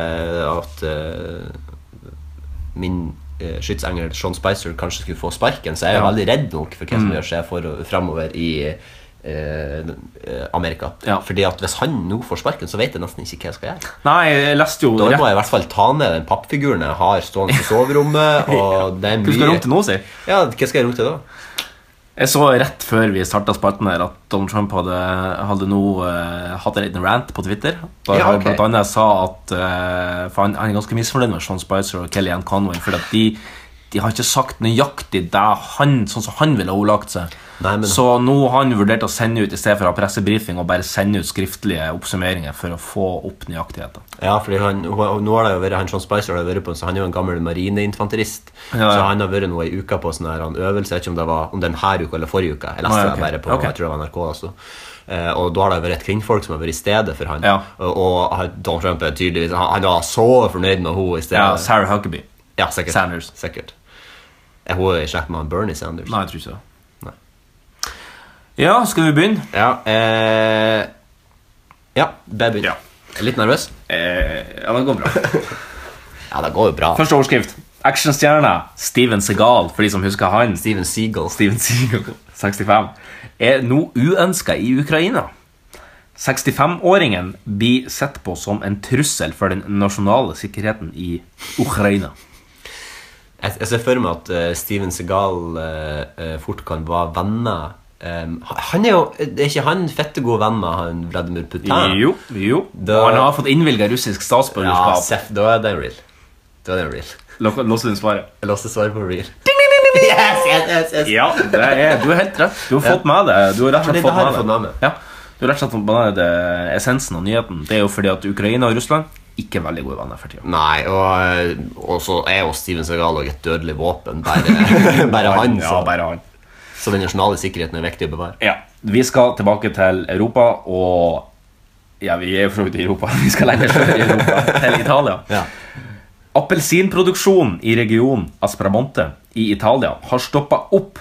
Speaker 2: at eh, min eh, skytsengel Sean Spicer kanskje skulle få sparken, så jeg er
Speaker 3: Ja. Mm.
Speaker 2: veldig redd nok for hva som gjør seg for, framover i eh, eh, Amerika.
Speaker 3: Ja.
Speaker 2: Fordi at hvis han nå får sparken, så vet jeg nesten ikke hva jeg skal gjøre.
Speaker 3: Nei, jeg leste jo
Speaker 2: Da må
Speaker 3: rett
Speaker 2: jeg i hvert fall ta ned den pappfiguren jeg har stående på soverommet. Og det er
Speaker 3: Hva
Speaker 2: mye
Speaker 3: skal du om til nå, si?
Speaker 2: Ja, hva skal jeg rote til da?
Speaker 3: Jeg så rett før vi starta spalten her at Donald Trump hadde, hadde nå eh, hatt en liten rant på Twitter. Da
Speaker 2: Ja, ok.
Speaker 3: han blant annet sa at eh, For han, han er ganske misfornøyd med Sean Spicer og Kellyanne Conway. Fordi at de, de har ikke sagt nøyaktig det han, sånn som han ville ha ordlagt seg.
Speaker 2: Nei, men-
Speaker 3: Så nå har han vurdert å sende ut i stedet for å ha pressebrifing og bare sende ut skriftlige oppsummeringer for å få opp nøyaktigheten.
Speaker 2: Ja, fordi han, hun- hun- nå har det jo vært, han Sean Spicer har jo vært på en så han er jo en gammel marineinfanterist.
Speaker 3: Ja, ja.
Speaker 2: Så han har vært nå ei uke på sånn her han øvelse, jeg vet ikke om det var om den her uka eller forrige uka. Jeg leste
Speaker 3: Ah, ja, ok.
Speaker 2: det bare på
Speaker 3: Ok.
Speaker 2: jeg tror det var NRK. Altså. Eh, og da har det vært et kvinnfolk som har vært i stedet for han.
Speaker 3: Ja.
Speaker 2: Og, og han- Donald Trump er tydeligvis Han, han var så fornøyd med henne i stedet.
Speaker 3: Ja, Eh, Sarah Huckabee.
Speaker 2: Ja, sikkert.
Speaker 3: Sanders.
Speaker 2: Sikkert. Er hun i slekt med han Bernie Sanders?
Speaker 3: Nei, jeg tror ikke det.
Speaker 2: Nei.
Speaker 3: Ja, skal vi begynne?
Speaker 2: Ja, eh, ja baby.
Speaker 3: Ja.
Speaker 2: Er Litt nervøs?
Speaker 3: Eh, ja, det går bra.
Speaker 2: Ja, det går jo bra.
Speaker 3: Første overskrift. Actionstjerna Steven Segal, for de som husker han.
Speaker 2: Steven Seagal.
Speaker 3: Steven Seagal, 65, er nå uønska i Ukraina. 65-åringen blir sett på som en trussel for den nasjonale sikkerheten i Ukraina.
Speaker 2: Jeg, jeg ser for meg at eh, Steven Segal fort kan være venner Em, ha- Han er jo Det er ikke han fette gode venn med han Vladimir Putin?
Speaker 3: Jo, jo.
Speaker 2: Ah. Da-
Speaker 3: Og han har fått innvilga russisk
Speaker 2: Ja,
Speaker 3: statsborgerskap.
Speaker 2: Seff, da er det real. Da er det real.
Speaker 3: Lo- Låser du inn svaret?
Speaker 2: Jeg låste svaret på real. Yes, yes, yes, yes.
Speaker 3: Ja, det er, du er helt rett. Du har fått med det. Du har rett og
Speaker 2: Fordi
Speaker 3: slett
Speaker 2: det
Speaker 3: fått
Speaker 2: har jeg
Speaker 3: med
Speaker 2: fått
Speaker 3: det.
Speaker 2: med meg.
Speaker 3: Ja, du har rett og slett fått med det essensen av nyheten. Det er jo fordi at Ukraina og Russland ikke er veldig gode venner for tida.
Speaker 2: Nei, og, eh, og så er jo Steven Segal også et dødelig våpen. Bare, bare han.
Speaker 3: Ja,
Speaker 2: Så,
Speaker 3: bare han.
Speaker 2: så den nasjonale sikkerheten er viktig å bevare.
Speaker 3: Ja, vi skal tilbake til Europa og Ja, vi er jo for så vidt i Europa. Vi skal lenger sør i Europa, til Italia.
Speaker 2: Ja.
Speaker 3: Appelsinproduksjonen i regionen Aspramonte i Italia har stoppa opp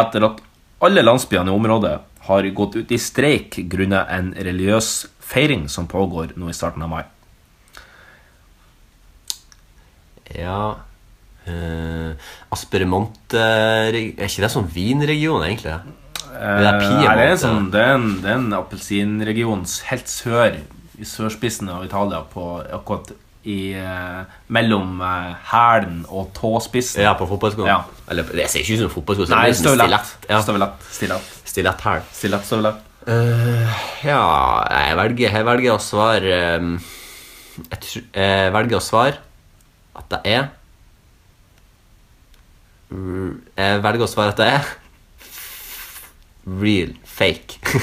Speaker 3: etter at alle landsbyene i området har gått ut i streik grunnet en religiøs feiring som pågår nå i starten av mai.
Speaker 2: Ja uh, Asperemonte Er ikke det sånn vinregion, egentlig?
Speaker 3: Eh,
Speaker 2: det er Piemonte.
Speaker 3: nei, det er en sånn, det er en, det er en appelsinregion helt sør, i sørspissen av Italia, på, akkurat i, eh, mellom eh, hælen og tåspissen.
Speaker 2: Ja, på fotballsko?
Speaker 3: Ja.
Speaker 2: Eller, det ser ikke ut som fotballsko. så
Speaker 3: Nei,
Speaker 2: det er liksom
Speaker 3: støvlett.
Speaker 2: Stilett. Ja.
Speaker 3: Støvlett, stilett,
Speaker 2: Stilett her.
Speaker 3: stilett, støvlett.
Speaker 2: Ja, jeg velger, jeg velger å svare ehm, jeg, tr- jeg velger å svare at det er R- Jeg velger å svare at det er real fake.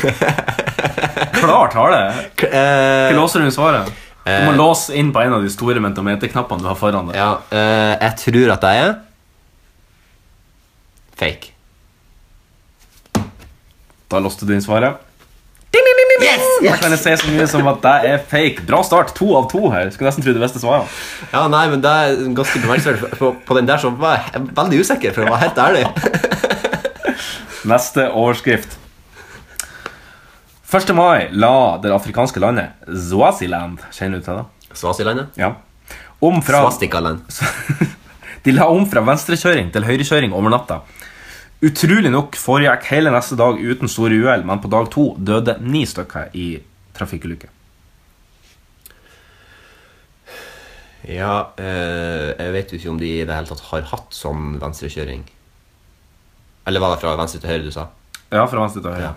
Speaker 3: Klar tale!
Speaker 2: Eh,
Speaker 3: Hva låser du i svaret? Du må låse inn på en av de store mentometerknappene du har foran deg.
Speaker 2: ja, eh, jeg tror at det er fake.
Speaker 3: Da låste du inn svaret. Kan jeg si så mye som at det er fake? Bra start. To av to her. Skulle nesten tro du visste svaret.
Speaker 2: Ja, nei, men det er ganske bemerkelsesverdig. for- for På den der så var jeg veldig usikker, for å være helt ærlig.
Speaker 3: Neste overskrift. 1. mai la det afrikanske landet Swaziland Kjenner du til det?
Speaker 2: Svasilandet?
Speaker 3: Ja. Om fra,
Speaker 2: Svastikaland.
Speaker 3: de la om fra venstrekjøring til høyrekjøring over natta. Utrolig nok foregikk hele neste dag uten store uhell, men på dag to døde ni stykker i trafikkulykker.
Speaker 2: Ja, eh, jeg vet jo ikke om de i det hele tatt har hatt sånn venstrekjøring. Eller var det fra venstre til høyre du sa?
Speaker 3: Ja, fra venstre til høyre.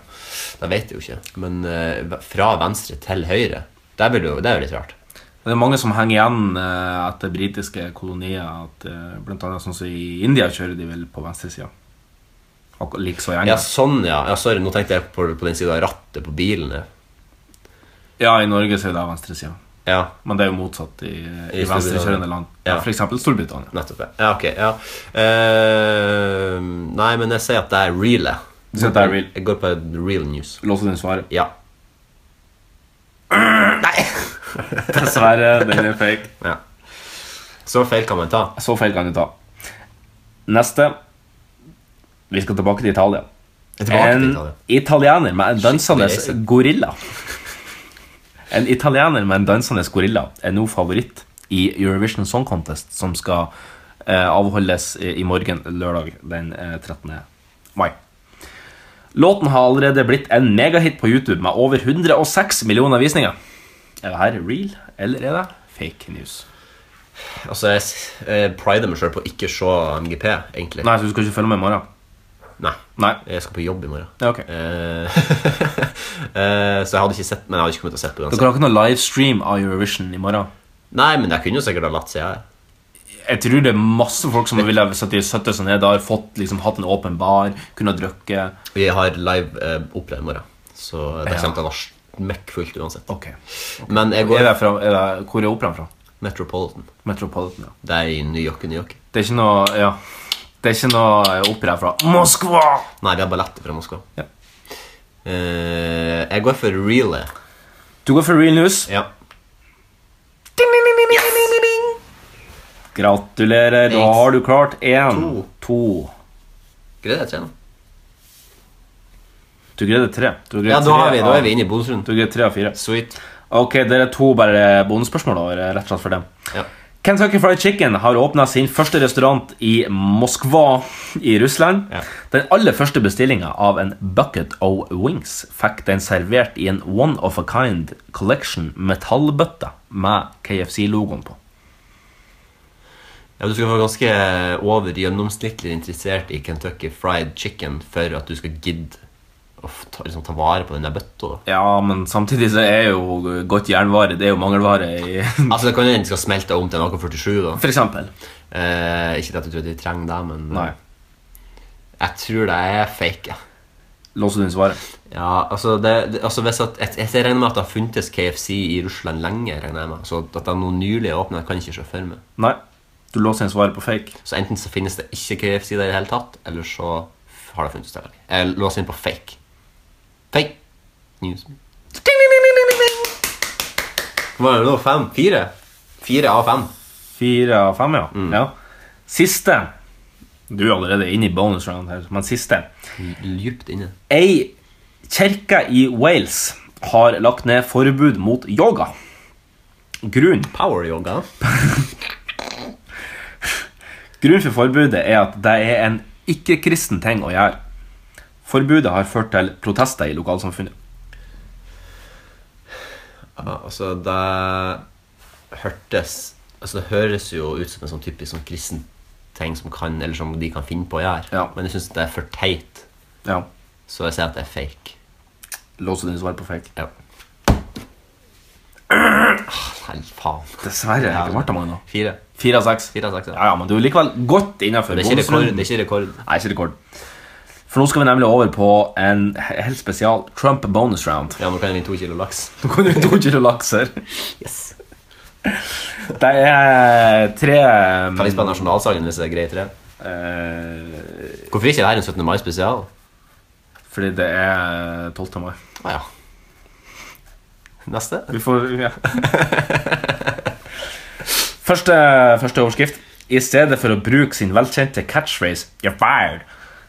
Speaker 2: Det vet jeg jo ikke. Men eh, ve- fra venstre til høyre, det, blir jo, det er jo litt rart.
Speaker 3: Det er mange som henger igjen eh, etter britiske kolonier. At, eh, blant annet sånn som i India kjører de vel på venstresida. Akkurat Likså i
Speaker 2: Ja,
Speaker 3: England.
Speaker 2: sånn, ja. ja sorry, nå tenkte jeg på, på den siden av rattet på bilen. ja.
Speaker 3: Ja, i Norge så er det venstresida.
Speaker 2: Ja,
Speaker 3: Men det er jo motsatt i, i,
Speaker 2: I Storbritannia.
Speaker 3: venstrekjørende land.
Speaker 2: Ja.
Speaker 3: Ja. For eksempel Storbritannia.
Speaker 2: nettopp. Ja, Ja, ok, ja. Eh, nei, men jeg sier at det er real, jeg.
Speaker 3: Du sier at det er real.
Speaker 2: Jeg går på real news.
Speaker 3: Lås inn svaret.
Speaker 2: Ja.
Speaker 3: Dessverre, den er fake.
Speaker 2: ja. Så feil kan man ta.
Speaker 3: Så feil kan du ta. Neste. Vi skal tilbake til Italia.
Speaker 2: Tilbake
Speaker 3: en
Speaker 2: til Italia.
Speaker 3: italiener med en dansende
Speaker 2: Skikkelig reise.
Speaker 3: gorilla. En italiener med en dansende gorilla er nå favoritt i Eurovision Song Contest, som skal eh, avholdes i i morgen, lørdag den eh, 13. mai. Låten har allerede blitt en megahit på YouTube med over 106 millioner visninger. Er det her real, eller er det fake news?
Speaker 2: Altså, jeg s- eh, prider meg selv på å ikke se MGP, egentlig.
Speaker 3: Nei, så du skal ikke følge med i morgen?
Speaker 2: Nei.
Speaker 3: Nei.
Speaker 2: Jeg skal på jobb i morgen.
Speaker 3: Ja, ok.
Speaker 2: Eh, eh, så jeg hadde ikke sett Men jeg hadde ikke kommet til å sett på den.
Speaker 3: Dere har ikke noe livestream av Eurovision i morgen?
Speaker 2: Nei, men jeg kunne jo sikkert ha latt seg her.
Speaker 3: Jeg tror det er masse folk som ville satt satt seg ned der, fått, liksom, hatt en åpen bar, kunne drukke.
Speaker 2: Vi har live eh, oppleved i morgen, så det
Speaker 3: Ja.
Speaker 2: kommer til å være smekkfullt uansett.
Speaker 3: Ok.
Speaker 2: Men jeg
Speaker 3: Er
Speaker 2: går
Speaker 3: det fra, er det, hvor er operaen fra?
Speaker 2: Metropolitan.
Speaker 3: Metropolitan, ja.
Speaker 2: Det er i New York, New York.
Speaker 3: Det er ikke noe ja. Det er ikke noe eh, opera fra Moskva!
Speaker 2: Nei, vi har balletter fra Moskva.
Speaker 3: Ja.
Speaker 2: Eh, jeg går for reale.
Speaker 3: Du går for real news.
Speaker 2: Ja.
Speaker 3: Gratulerer. Da
Speaker 2: Thanks.
Speaker 3: har du klart én,
Speaker 2: To.
Speaker 3: to.
Speaker 2: Greide jeg tre nå?
Speaker 3: Du greide tre. Du greide
Speaker 2: Ja, da er vi, da
Speaker 3: av-
Speaker 2: er vi inne i bonusrunden.
Speaker 3: Du greide tre av fire.
Speaker 2: Sweet.
Speaker 3: Ok, dere to bare bonusspørsmål over, rett og slett for dem.
Speaker 2: Ja.
Speaker 3: Kentucky Fried Chicken har åpna sin første restaurant i Moskva i Russland.
Speaker 2: Ja.
Speaker 3: Den aller første bestillinga av en bucket of wings fikk den servert i en one of a kind collection metallbøtte med KFC-logoen på.
Speaker 2: Ja, Du skal være ganske eh, over gjennomsnittlig interessert i Kentucky Fried Chicken for at du skal gidde å f- ta, liksom, ta vare på den der bøtta. da.
Speaker 3: Ja, men samtidig så er jo godt jernvare Det er jo mangelvare i
Speaker 2: Altså, Det kan jo hende de skal smelte om til en AK-47. da.
Speaker 3: For eksempel.
Speaker 2: Eh, ikke at jeg tror at de trenger det, men eh,
Speaker 3: Nei.
Speaker 2: jeg tror det er fake. ja.
Speaker 3: Låser du inn svaret?
Speaker 2: Ja, altså, det, det, altså hvis at, jeg, jeg regner med at det har funtes KFC i Russland lenge. regner jeg med Så at det er noe nylig åpnet, kan jeg ikke se for meg.
Speaker 3: Nei. Du låser inn svaret på fake.
Speaker 2: Så enten så finnes det ikke KFC der i det hele tatt, eller så har det funnes der. lenge. Jeg låser inn på fake. Fake news. Hva er det nå? Fem? Fire? Fire av fem.
Speaker 3: Fire av fem, ja. ja. Siste. Du er allerede inne i bonus round her, men siste.
Speaker 2: Dypt inne.
Speaker 3: Ei kirke i Wales har lagt ned forbud mot yoga. Grunn,
Speaker 2: Power yoga.
Speaker 3: grunn for forbudet er at det er en ikke-kristen ting å gjøre. Forbudet har ført til protester i lokalsamfunnet.
Speaker 2: Ja, altså, det hørtes Altså, det høres jo ut som en sånn typisk sånn kristen ting som, kan, eller som de kan finne på å gjøre.
Speaker 3: Ja.
Speaker 2: Men jeg syns det er for teit,
Speaker 3: Ja,
Speaker 2: så jeg sier at det er fake.
Speaker 3: Låser dine svar på fake.
Speaker 2: Ja. Ah, Nei, faen.
Speaker 3: Dessverre. Ikke Martha Magna.
Speaker 2: Fire.
Speaker 3: Fire av seks.
Speaker 2: Fire av seks, ja.
Speaker 3: ja, ja, men du er likevel godt innafor
Speaker 2: Det er ikke rekord. Det er ikke rekord.
Speaker 3: Nei, ikke rekord. For nå skal vi nemlig over på en helt spesial Trump bonus round.
Speaker 2: Ja, nå kan jeg vinne to kilo laks.
Speaker 3: Nå kan du to kilo laks her. Det er tre
Speaker 2: Kan vi spille nasjonalsangen hvis det er greit? det?
Speaker 3: eh,
Speaker 2: Hvorfor ikke det her en 17. mai-spesial?
Speaker 3: Fordi det er 12. mai.
Speaker 2: Ah, ja. Neste.
Speaker 3: Vi får ja. første, første overskrift. I stedet for å bruke sin velkjente catchphrase You're fired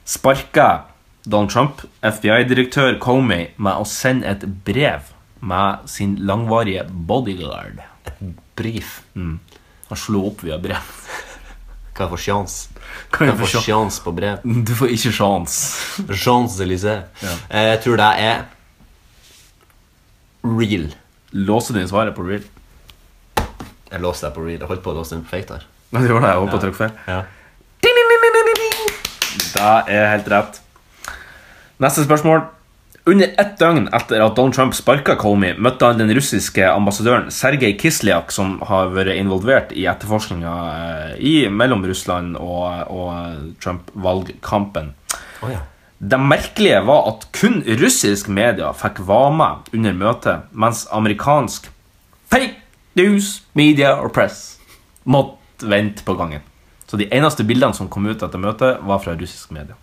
Speaker 3: sparka Donald Trump FBI-direktør Comey med å sende et brev med sin langvarige bodyguard. Mm.
Speaker 2: Brief.
Speaker 3: Han slo opp via brev.
Speaker 2: Hva er for sjans?
Speaker 3: Hva
Speaker 2: Hva
Speaker 3: er
Speaker 2: er
Speaker 3: for
Speaker 2: for
Speaker 3: sjans?
Speaker 2: sjans på brev?
Speaker 3: Du får ikke sjans.
Speaker 2: Champs-Élysées. Eh, Jeg tror det er real.
Speaker 3: Låser du inn svaret på real?
Speaker 2: Jeg låste deg på real. Jeg holdt på å låse den på fake der.
Speaker 3: Nei, det var det. Jeg håper jeg trakk feil.
Speaker 2: Ja.
Speaker 3: Det er helt rett. Neste spørsmål. Under ett døgn etter at Donald Trump sparka Comey, møtte han den russiske ambassadøren Sergej Kislyak, som har vært involvert i etterforskninga eh, i- mellom Russland og, og Trump-valgkampen.
Speaker 2: Å ja.
Speaker 3: Det merkelige var at kun russisk media fikk være med under møtet, mens amerikansk fake news, media og press måtte vente på gangen. Så de eneste bildene som kom ut etter møtet, var fra russisk media.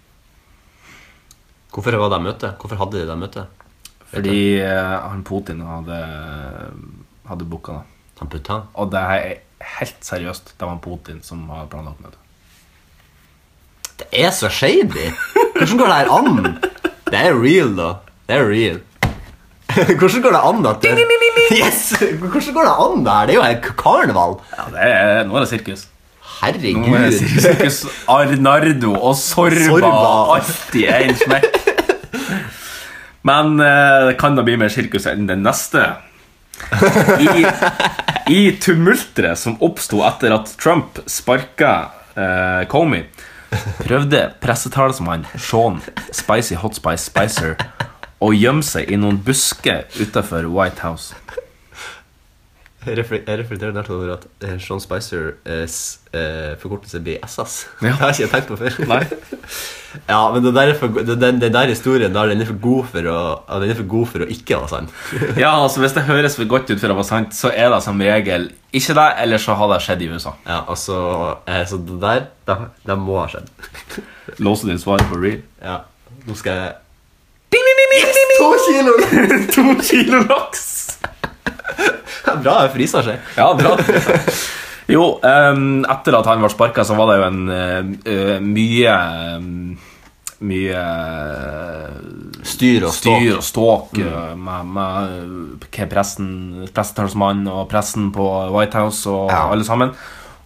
Speaker 2: Hvorfor var det møte? Hvorfor hadde de det møtet?
Speaker 3: Fordi eh, han Putin hadde, hadde booka det.
Speaker 2: Han putta han.
Speaker 3: Og det her er helt seriøst, det var han Putin som hadde planlagt møtet.
Speaker 2: Det er så shady! Hvordan går det her an? Det er real, da. Det er real. Hvordan går det an at det Yes! Hvordan går det an, det her? Det er jo en karneval.
Speaker 3: Ja, det er, nå er det sirkus. Nå er det
Speaker 2: Herregud.
Speaker 3: sirkus Arnardo og Sorba,
Speaker 2: Sorba.
Speaker 3: alltid en smekk. Men eh, det kan da bli mer sirkus enn den neste. I, i tumulteret som oppsto etter at Trump sparka eh, Comey, prøvde pressetalsmann Sean Spicy Hot Spice Spicer å gjemme seg i noen busker utafor White House.
Speaker 2: Jeg refle- jeg reflekterer nært over at eh, Sean Spicer eh, s- eh, forkortelse blir SS.
Speaker 3: Ja.
Speaker 2: Det har jeg ikke tenkt på før.
Speaker 3: Nei.
Speaker 2: ja, men den der, er for, go- den, den den der historien der, den er for god for å, ja, den er for god for å ikke være sann.
Speaker 3: Ja, altså Hvis det høres for godt ut for å være sant, så er det som regel ikke det, eller så har det skjedd i USA.
Speaker 2: Ja, altså, eh, så det der, det, det må ha skjedd.
Speaker 3: Låser din svar på real?
Speaker 2: Ja, nå skal jeg
Speaker 1: To kilo!
Speaker 3: to kilo laks!
Speaker 2: Det er Bra, jeg fryser seg.
Speaker 3: Ja, bra. Jo, ehm, etter at han var sparka, så var det jo en eh, eh, mye ehm, Mye eh,
Speaker 2: Styr
Speaker 3: styr og ståk eh, med, med eh, hva pressen, pressetalsmannen og pressen på White House og alle sammen.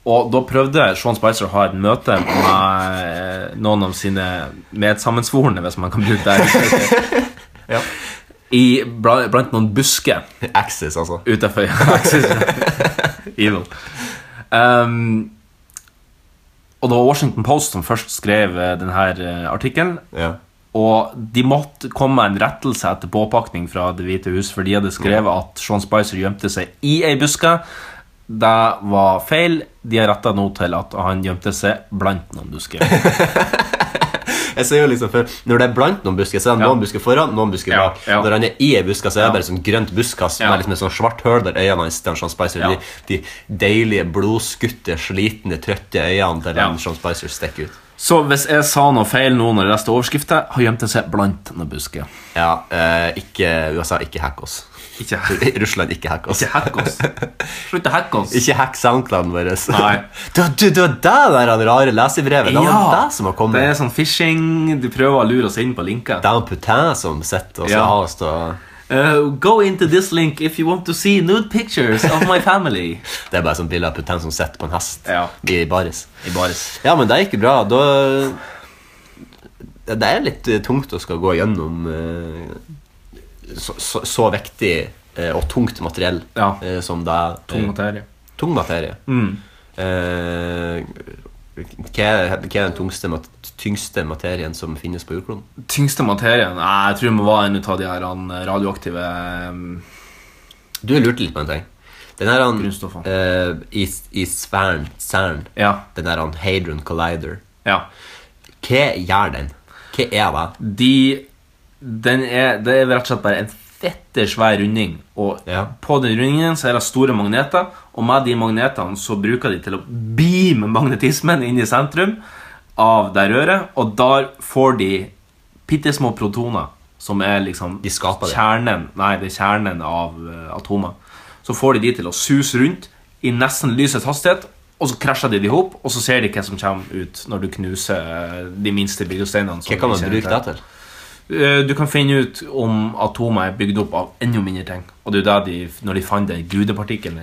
Speaker 3: Og da prøvde Sean Spicer å ha et møte med eh, noen av sine medsammensvorne, hvis man kan bruke det. uttrykket, I, blant, blant noen busker
Speaker 2: Axis, altså.
Speaker 3: utenfor Axis. Evil. Ehm, og det var Washington Post som først skrev eh, denne eh, artikkelen.
Speaker 2: Ja.
Speaker 3: Og de måtte komme med en rettelse etter påpakning fra Det hvite hus, for de hadde skrevet at Sean Spicer gjemte seg i ei buske. Det var feil. De har retta nå til at han gjemte seg blant noen busker.
Speaker 2: Jeg ser jo liksom for, Når det er blant noen busker, så er det noen
Speaker 3: Ja.
Speaker 2: busker foran, noen busker
Speaker 3: Ja,
Speaker 2: bak.
Speaker 3: ja.
Speaker 2: Når han er i ei buska, så er det bare sånn grønt buskass
Speaker 3: Ja.
Speaker 2: med liksom et sånn svart høl der øynene hans til han Sean Spicer.
Speaker 3: Ja.
Speaker 2: De, de deilige, blodskutte, slitne, trøtte øynene til
Speaker 3: Ja.
Speaker 2: han Sean Spicer stikker ut.
Speaker 3: Så hvis jeg sa noe feil nå når jeg leste overskrifta, han gjemte seg blant noen busker.
Speaker 2: Ja, eh, ikke USA, ikke hack oss.
Speaker 3: Ikke,
Speaker 2: Russland, ikke hack oss.
Speaker 3: ikke hack oss. Slutt å hacke oss.
Speaker 2: Ikke hack soundclouden vår.
Speaker 3: Nei.
Speaker 2: Det var det var det der han rare lesebrevet. Det var det som har
Speaker 3: det
Speaker 2: kommet.
Speaker 3: er sånn phishing. De prøver å lure oss inn på linker.
Speaker 2: Det er han Putin som sitter og skal
Speaker 3: Ja.
Speaker 2: ha oss til å
Speaker 3: Uh, go into this link if you want to see nude pictures of my family.
Speaker 2: Det er bare sånn bilde av Putin som sitter på en hest
Speaker 3: Ja.
Speaker 2: i baris.
Speaker 3: I baris.
Speaker 2: Ja, men det gikk jo bra. Da Det er litt eh, tungt å skal gå gjennom eh, så, så, så viktig eh, og tungt materiell
Speaker 3: Ja.
Speaker 2: eh, som det er.
Speaker 3: Tung materie. Mm.
Speaker 2: Eh, tung materie. Eh, hva, er, hva er den tungste, mat, tyngste materien som finnes på jordkloden?
Speaker 3: Tyngste materien Nei, Jeg tror det var en ut av de her han, radioaktive um,
Speaker 2: Du har lurt litt på en ting. Den her han,
Speaker 3: Grunnstoffene.
Speaker 2: eh, i, i sfæren, CERN,
Speaker 3: Ja.
Speaker 2: den her han Hadron Collider,
Speaker 3: Ja.
Speaker 2: hva gjør den? Hva er det?
Speaker 3: De den er, Det er rett og slett bare en fette svær runding. Og
Speaker 2: Ja.
Speaker 3: på den rundingen så er det store magneter, og med de magnetene så bruker de til å beame magnetismen inn i sentrum av det røret, og der får de bitte små protoner, som er liksom
Speaker 2: De skaper det.
Speaker 3: kjernen Nei, det er kjernen av eh, atomer. Så får de de til å suse rundt i nesten lysets hastighet, og så krasjer de de ihop, og så ser de hva som kommer ut når du knuser eh, de minste byggesteinene. som
Speaker 2: Hva kan
Speaker 3: vi
Speaker 2: man
Speaker 3: kjenner
Speaker 2: bruke
Speaker 3: til.
Speaker 2: det til?
Speaker 3: Eh, Du kan finne ut om atomer er bygd opp av enda mindre ting. Og det er jo der de, når de fant den gudepartikkelen,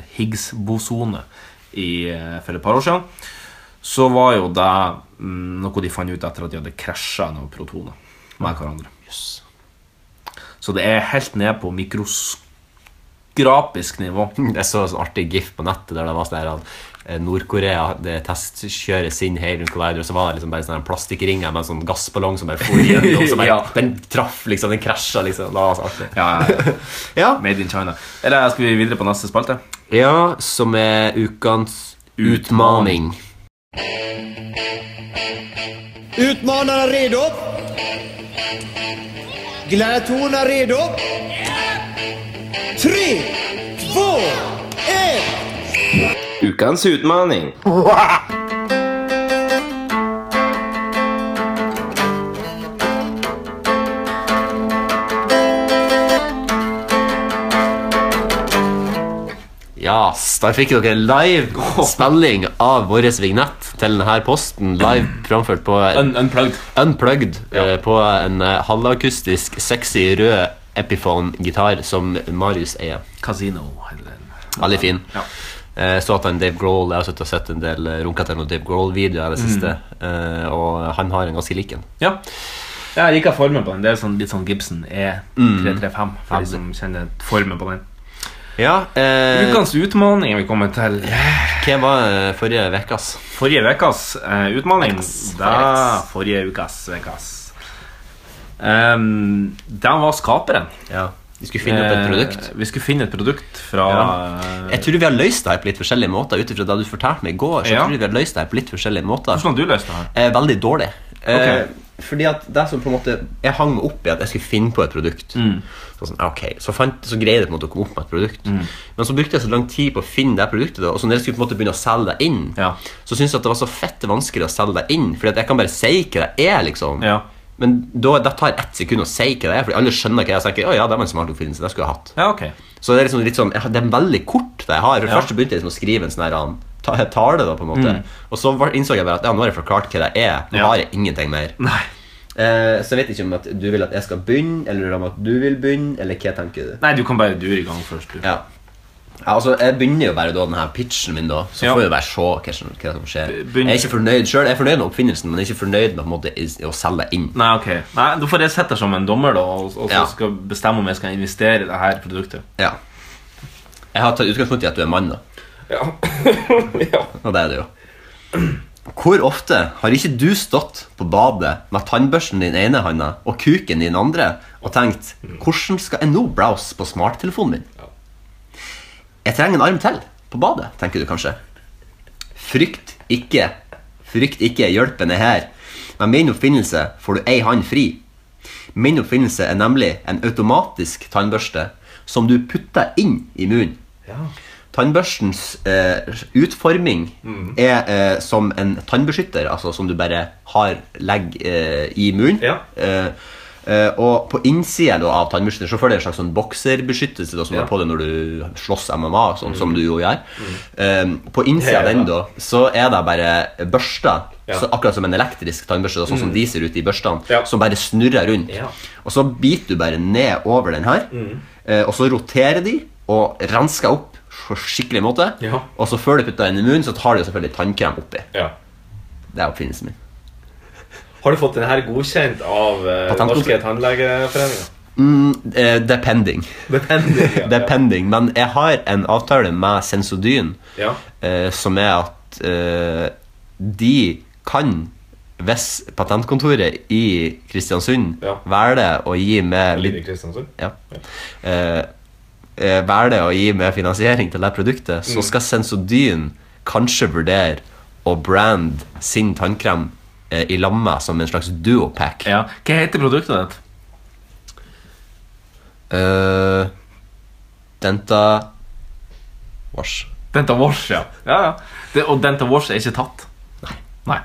Speaker 3: Higgs-bosonet, i, eh, for et par år siden, så var jo det mm, noe de fant ut etter at de hadde krasja noen protoner med hverandre. Så det er helt ned på mikroskrapisk nivå.
Speaker 2: Jeg så en sånn artig gif på nettet der det var sånn her at, eh, Nord-Korea det testkjører sin Hadron Collider, og så var det liksom bare sånne plastikkringer med en sånn gassballong som bare for igjennom. Som bare,
Speaker 3: Ja.
Speaker 2: Den traff, liksom. Den krasja, liksom. Det var så artig.
Speaker 3: Ja, ja, ja.
Speaker 2: Ja.
Speaker 3: Made in China. Eller skal vi videre på neste spalte?
Speaker 2: ja, som er ukens utmaning.
Speaker 6: Utmanarna redo? Gladiatorerna redo? Tre, två, ett!
Speaker 10: Ukens utmaning.
Speaker 2: Ja, yes, der fikk dere en live spilling av vår vignett til denne posten. Live framført på
Speaker 3: Un unplugged.
Speaker 2: Unplugged eh, på en eh, halvakustisk, sexy rød Epiphone-gitar som Marius eier.
Speaker 3: Casino. Eller...
Speaker 2: Veldig fin.
Speaker 3: Ja.
Speaker 2: Eh, Så at han Dave Grohl Jeg har sittet og sett en del eh, runka til noen Dave Grohl-videoer i det siste, eh, og han har en ganske lik en.
Speaker 3: Ja. Jeg liker formen på den. Det er sånn, litt sånn Gibson E335.
Speaker 2: Mm.
Speaker 3: For de som kjenner formen på den.
Speaker 2: Ja, eh,
Speaker 3: Ukens utmaning vi kommer til.
Speaker 2: Hvem var eh, forrige ukas?
Speaker 3: Forrige ukas eh, utmaning
Speaker 2: Ukas.
Speaker 3: da, Forrige ukas ukas. Ehm, Den var skaperen.
Speaker 2: Ja. Vi skulle finne opp et produkt.
Speaker 3: Eh, Vi skulle finne et produkt fra Eh,
Speaker 2: Ja. Jeg tror vi har løst det her på litt forskjellige måter. Ut ifra det du fortalte meg i går, så
Speaker 3: Ja.
Speaker 2: tror jeg vi har løst det her på litt forskjellige måter.
Speaker 3: Hvordan har du løst det her?
Speaker 2: Eh, veldig dårlig. Eh, fordi at det som på en måte Jeg hang meg opp i at jeg skulle finne på et produkt.
Speaker 3: Mm.
Speaker 2: Så, sånn, ok, så, fant, så greide jeg på en måte å komme opp med et produkt.
Speaker 3: Mm.
Speaker 2: Men så brukte jeg så lang tid på å finne det produktet. Da, og så når jeg skulle på en måte begynne å selge det inn,
Speaker 3: Ja.
Speaker 2: så syntes jeg at det var så fette vanskelig å selge det inn. Fordi at jeg kan bare si hva det er, liksom.
Speaker 3: Ja.
Speaker 2: Men da, det tar ett sekund å si hva det er, Fordi alle skjønner hva jeg tenker. Å ja, det var en smart oppfinnelse. Det skulle jeg hatt.
Speaker 3: Ja, ok.
Speaker 2: Så det er liksom litt sånn, jeg har- det er veldig kort det jeg har. For
Speaker 3: Ja. Mm.
Speaker 2: Først så begynte jeg liksom å skrive en sånn her um, ta- tale, da, på en måte. Og så var, innså jeg bare at ja, nå har jeg forklart hva det er. Nå
Speaker 3: Ja.
Speaker 2: har jeg ingenting mer.
Speaker 3: Nei.
Speaker 2: Eh, så jeg vet ikke om at du vil at jeg skal begynne, eller om at du vil begynne, eller hva tenker du?
Speaker 3: Nei, du kan bare dure i gang først, du.
Speaker 2: Ja. ja, altså, jeg begynner jo bare da denne pitchen min, da. Så
Speaker 3: Ja.
Speaker 2: får vi bare se hva som, hva som skjer.
Speaker 3: Begynn.
Speaker 2: Jeg er ikke fornøyd selv, jeg er fornøyd med oppfinnelsen, men jeg er ikke fornøyd med på en måte, i- å selge det inn.
Speaker 3: Nei, ok. Nei, Da får jeg sette deg som en dommer da, og, og så
Speaker 2: Ja.
Speaker 3: skal bestemme om jeg skal investere i det her produktet.
Speaker 2: Ja. Jeg har tatt utgangspunkt i at du er mann, da.
Speaker 3: Ja.
Speaker 2: Og det er det jo. Hvor ofte har ikke du stått på badet med tannbørsten din ene handa og kuken din andre og tenkt 'Hvordan skal jeg nå browse på smarttelefonen min?' Jeg trenger en arm til på badet, tenker du kanskje. Frykt ikke. Frykt ikke, hjelpen er her. Med min oppfinnelse får du ei hand fri. Min oppfinnelse er nemlig en automatisk tannbørste som du putter inn i munnen. Tannbørstens eh, utforming
Speaker 3: Mm.
Speaker 2: er eh, som en tannbeskytter, altså som du bare har legg eh, i munnen.
Speaker 3: Ja.
Speaker 2: Eh, eh, og på innsida da, av tannbørsten så føler jeg en slags sånn bokserbeskyttelse da, som du
Speaker 3: Ja. Mm.
Speaker 2: har på deg når du slåss MMA, sånn som du jo gjør. Eh, på innsida av den da, så er det bare børster,
Speaker 3: Ja. Mm.
Speaker 2: så akkurat som en elektrisk tannbørste, da, sånn som de ser ut i børstene,
Speaker 3: Ja.
Speaker 2: som bare snurrer rundt.
Speaker 3: Ja. Mm.
Speaker 2: Og så biter du bare ned over den her, eh, og så roterer de og rensker opp på skikkelig måte.
Speaker 3: Ja.
Speaker 2: Og så før du putter den i munnen, så tar du selvfølgelig tannkrem oppi.
Speaker 3: ja.
Speaker 2: Det er oppfinnelsen min.
Speaker 3: Har du fått den her godkjent av eh,
Speaker 2: Patentkontor-
Speaker 3: Norske tannlegeforeninger?
Speaker 2: Eh, depending.
Speaker 3: Depending, ja.
Speaker 2: Depending. Men jeg har en avtale med Sensodyn
Speaker 3: Ja.
Speaker 2: eh, som er at eh, de kan hvis patentkontoret i Kristiansund
Speaker 3: Ja.
Speaker 2: velger å gi meg
Speaker 3: Linn i
Speaker 2: litt
Speaker 3: Kristiansund?
Speaker 2: ja. Eh, eh, velger å gi mer finansiering til det produktet,
Speaker 3: Mm.
Speaker 2: så skal Sensodyn kanskje vurdere å brande sin tannkrem eh, i lamme som en slags duopack.
Speaker 3: Ja. Hva heter produktet ditt?
Speaker 2: Eh, Denta Vars.
Speaker 3: Denta Wash, ja. ja, ja. Det, og Denta Wash er ikke tatt? Nei. Hva,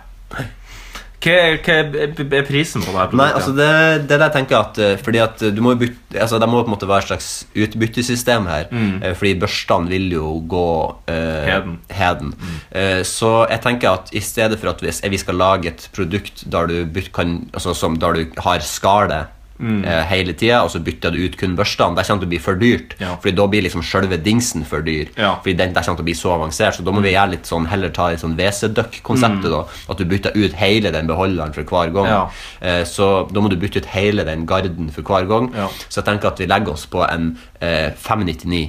Speaker 3: hva er b- er prisen på det her produktet?
Speaker 2: Nei, altså det, det er det jeg tenker at eh, Fordi at du må jo bytte altså Det må på en måte være et slags utbyttesystem her eh, Fordi børstene vil jo gå eh,
Speaker 3: Mm. Heden. Mm.
Speaker 2: heden. Eh, Så jeg tenker at i stedet for at hvis vi skal lage et produkt Der du, byt- kan, altså, som, der du har skade
Speaker 3: Mm.
Speaker 2: eh, hele tiden Og så bytter du ut kun børstene Det kommer til å bli for dyrt
Speaker 3: Ja.
Speaker 2: Fordi da blir liksom selve dingsen for dyr
Speaker 3: Ja. Mm.
Speaker 2: Fordi den, det kommer til å bli så avansert Så da må vi gjøre litt sånn Heller ta litt sånn WC-døkk-konseptet da At du bytter ut hele den beholderen for hver gang
Speaker 3: Ja.
Speaker 2: Eh, Så da må du bytte ut hele den garden for hver gang.
Speaker 3: Ja.
Speaker 2: Så jeg tenker at vi legger oss på en eh, 599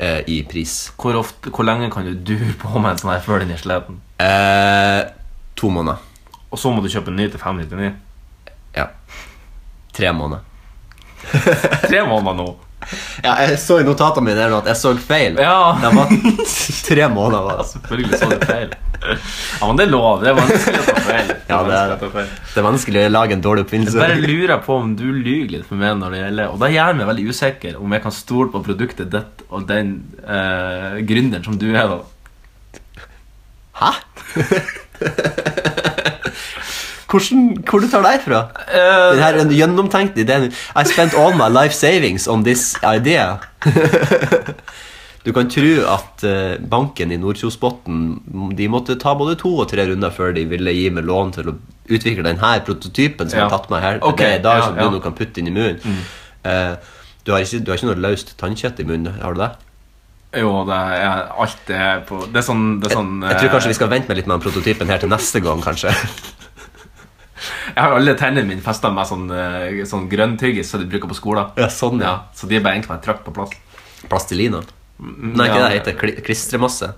Speaker 2: eh, i pris.
Speaker 3: hvor, ofte, hvor lenge kan du dure på med en sånn her før den er sliten?
Speaker 2: Eh, to måneder.
Speaker 3: Og så må du kjøpe en ny til 599?
Speaker 2: Ja. Tre måneder.
Speaker 3: Tre måneder nå?
Speaker 2: Ja, jeg så i notatene mine her nå at jeg så feil.
Speaker 3: Ja.
Speaker 2: Det var tre måneder. altså. var det.
Speaker 3: Selvfølgelig så du feil. Ja, men det er lov. Det er vanskelig å ta feil. Det er
Speaker 2: Ja, det er-
Speaker 3: vanskelig å ta feil.
Speaker 2: Det er vanskelig å lage en dårlig oppfinnelse.
Speaker 3: Bare lurer på om du lyver litt for meg når det gjelder Og det gjør meg veldig usikker om jeg kan stole på produktet ditt og den eh, gründeren som du er, da.
Speaker 2: Hæ? Hvordan, hvor du tar deg fra?
Speaker 3: Eh,
Speaker 2: Den her er en gjennomtenkt ideen. I spent all my life savings on this idea. Du kan tro at eh, banken i Nordkjosbotn De måtte ta både to og tre runder før de ville gi meg lån til å utvikle denne prototypen som
Speaker 3: Ja.
Speaker 2: har tatt meg her til
Speaker 3: Ok,
Speaker 2: det i dag,
Speaker 3: ja,
Speaker 2: som
Speaker 3: ja. Mm.
Speaker 2: du nå kan putte inn i munnen. Eh, du, har ikke, du har ikke noe løst tannkjøtt i munnen? Har du det?
Speaker 3: Jo, det er alt det er på Det er sånn, det er sånn
Speaker 2: Jeg tror kanskje vi skal vente med litt med den prototypen her til neste gang, kanskje.
Speaker 3: Jeg har alle tennene mine festa med sånn, eh, sånn grønn tyggis som de bruker på skolen.
Speaker 2: Ja, sånn, ja.
Speaker 3: Ja, så de er bare egentlig bare trøkt på plass.
Speaker 2: Plastilina. Nei, ikke
Speaker 3: ja.
Speaker 2: det det heter. Kli- Klistremasse.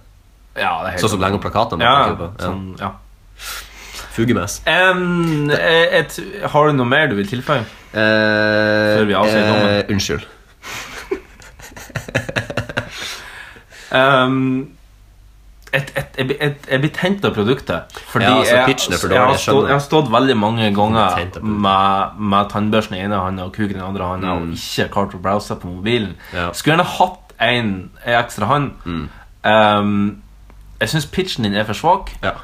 Speaker 3: Ja, det er helt
Speaker 2: Sånn som lenger plakatene.
Speaker 3: ja,
Speaker 2: tenker jeg på.
Speaker 3: sånn, ja.
Speaker 2: ja. Fugemes.
Speaker 3: Em, eh, et, har du noe mer du vil tilføye?
Speaker 2: Eh,
Speaker 3: vi avslutter nå, men-
Speaker 2: eh, Unnskyld.
Speaker 3: Ehm, et, et, jeg blir- et, jeg blir tent av produktet. Fordi
Speaker 2: Ja, altså,
Speaker 3: jeg,
Speaker 2: pitchen er for
Speaker 3: jeg,
Speaker 2: dårlig,
Speaker 3: har
Speaker 2: jeg skjønner
Speaker 3: stått,
Speaker 2: det.
Speaker 3: jeg har stått veldig mange ganger
Speaker 2: tent av produktet. Mm.
Speaker 3: med, med tannbørsten i ene hånda og kuken i den andre hånda og ikke klart å browse på mobilen.
Speaker 2: Ja. Mm.
Speaker 3: Skulle gjerne hatt en, en ekstra hånd. Ehm, jeg syns pitchen din er for svak.
Speaker 2: Ja.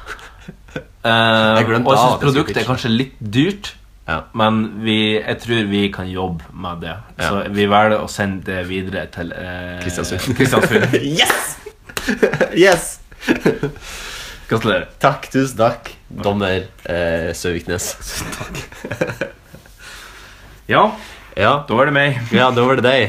Speaker 3: Eh,
Speaker 2: Jeg glemte av at jeg
Speaker 3: og jeg syns
Speaker 2: skulle
Speaker 3: produktet er
Speaker 2: pitche.
Speaker 3: kanskje litt dyrt,
Speaker 2: Ja.
Speaker 3: men vi, jeg tror vi kan jobbe med det. Så vi velger å sende det videre til eh,
Speaker 2: Kristiansund.
Speaker 3: Kristiansund.
Speaker 2: Yes! yes!
Speaker 3: Gratulerer.
Speaker 2: Takk, tusen takk, dommer eh, Søviknes.
Speaker 3: Ja,
Speaker 2: Ja,
Speaker 3: da er det meg.
Speaker 2: ja, da var det deg.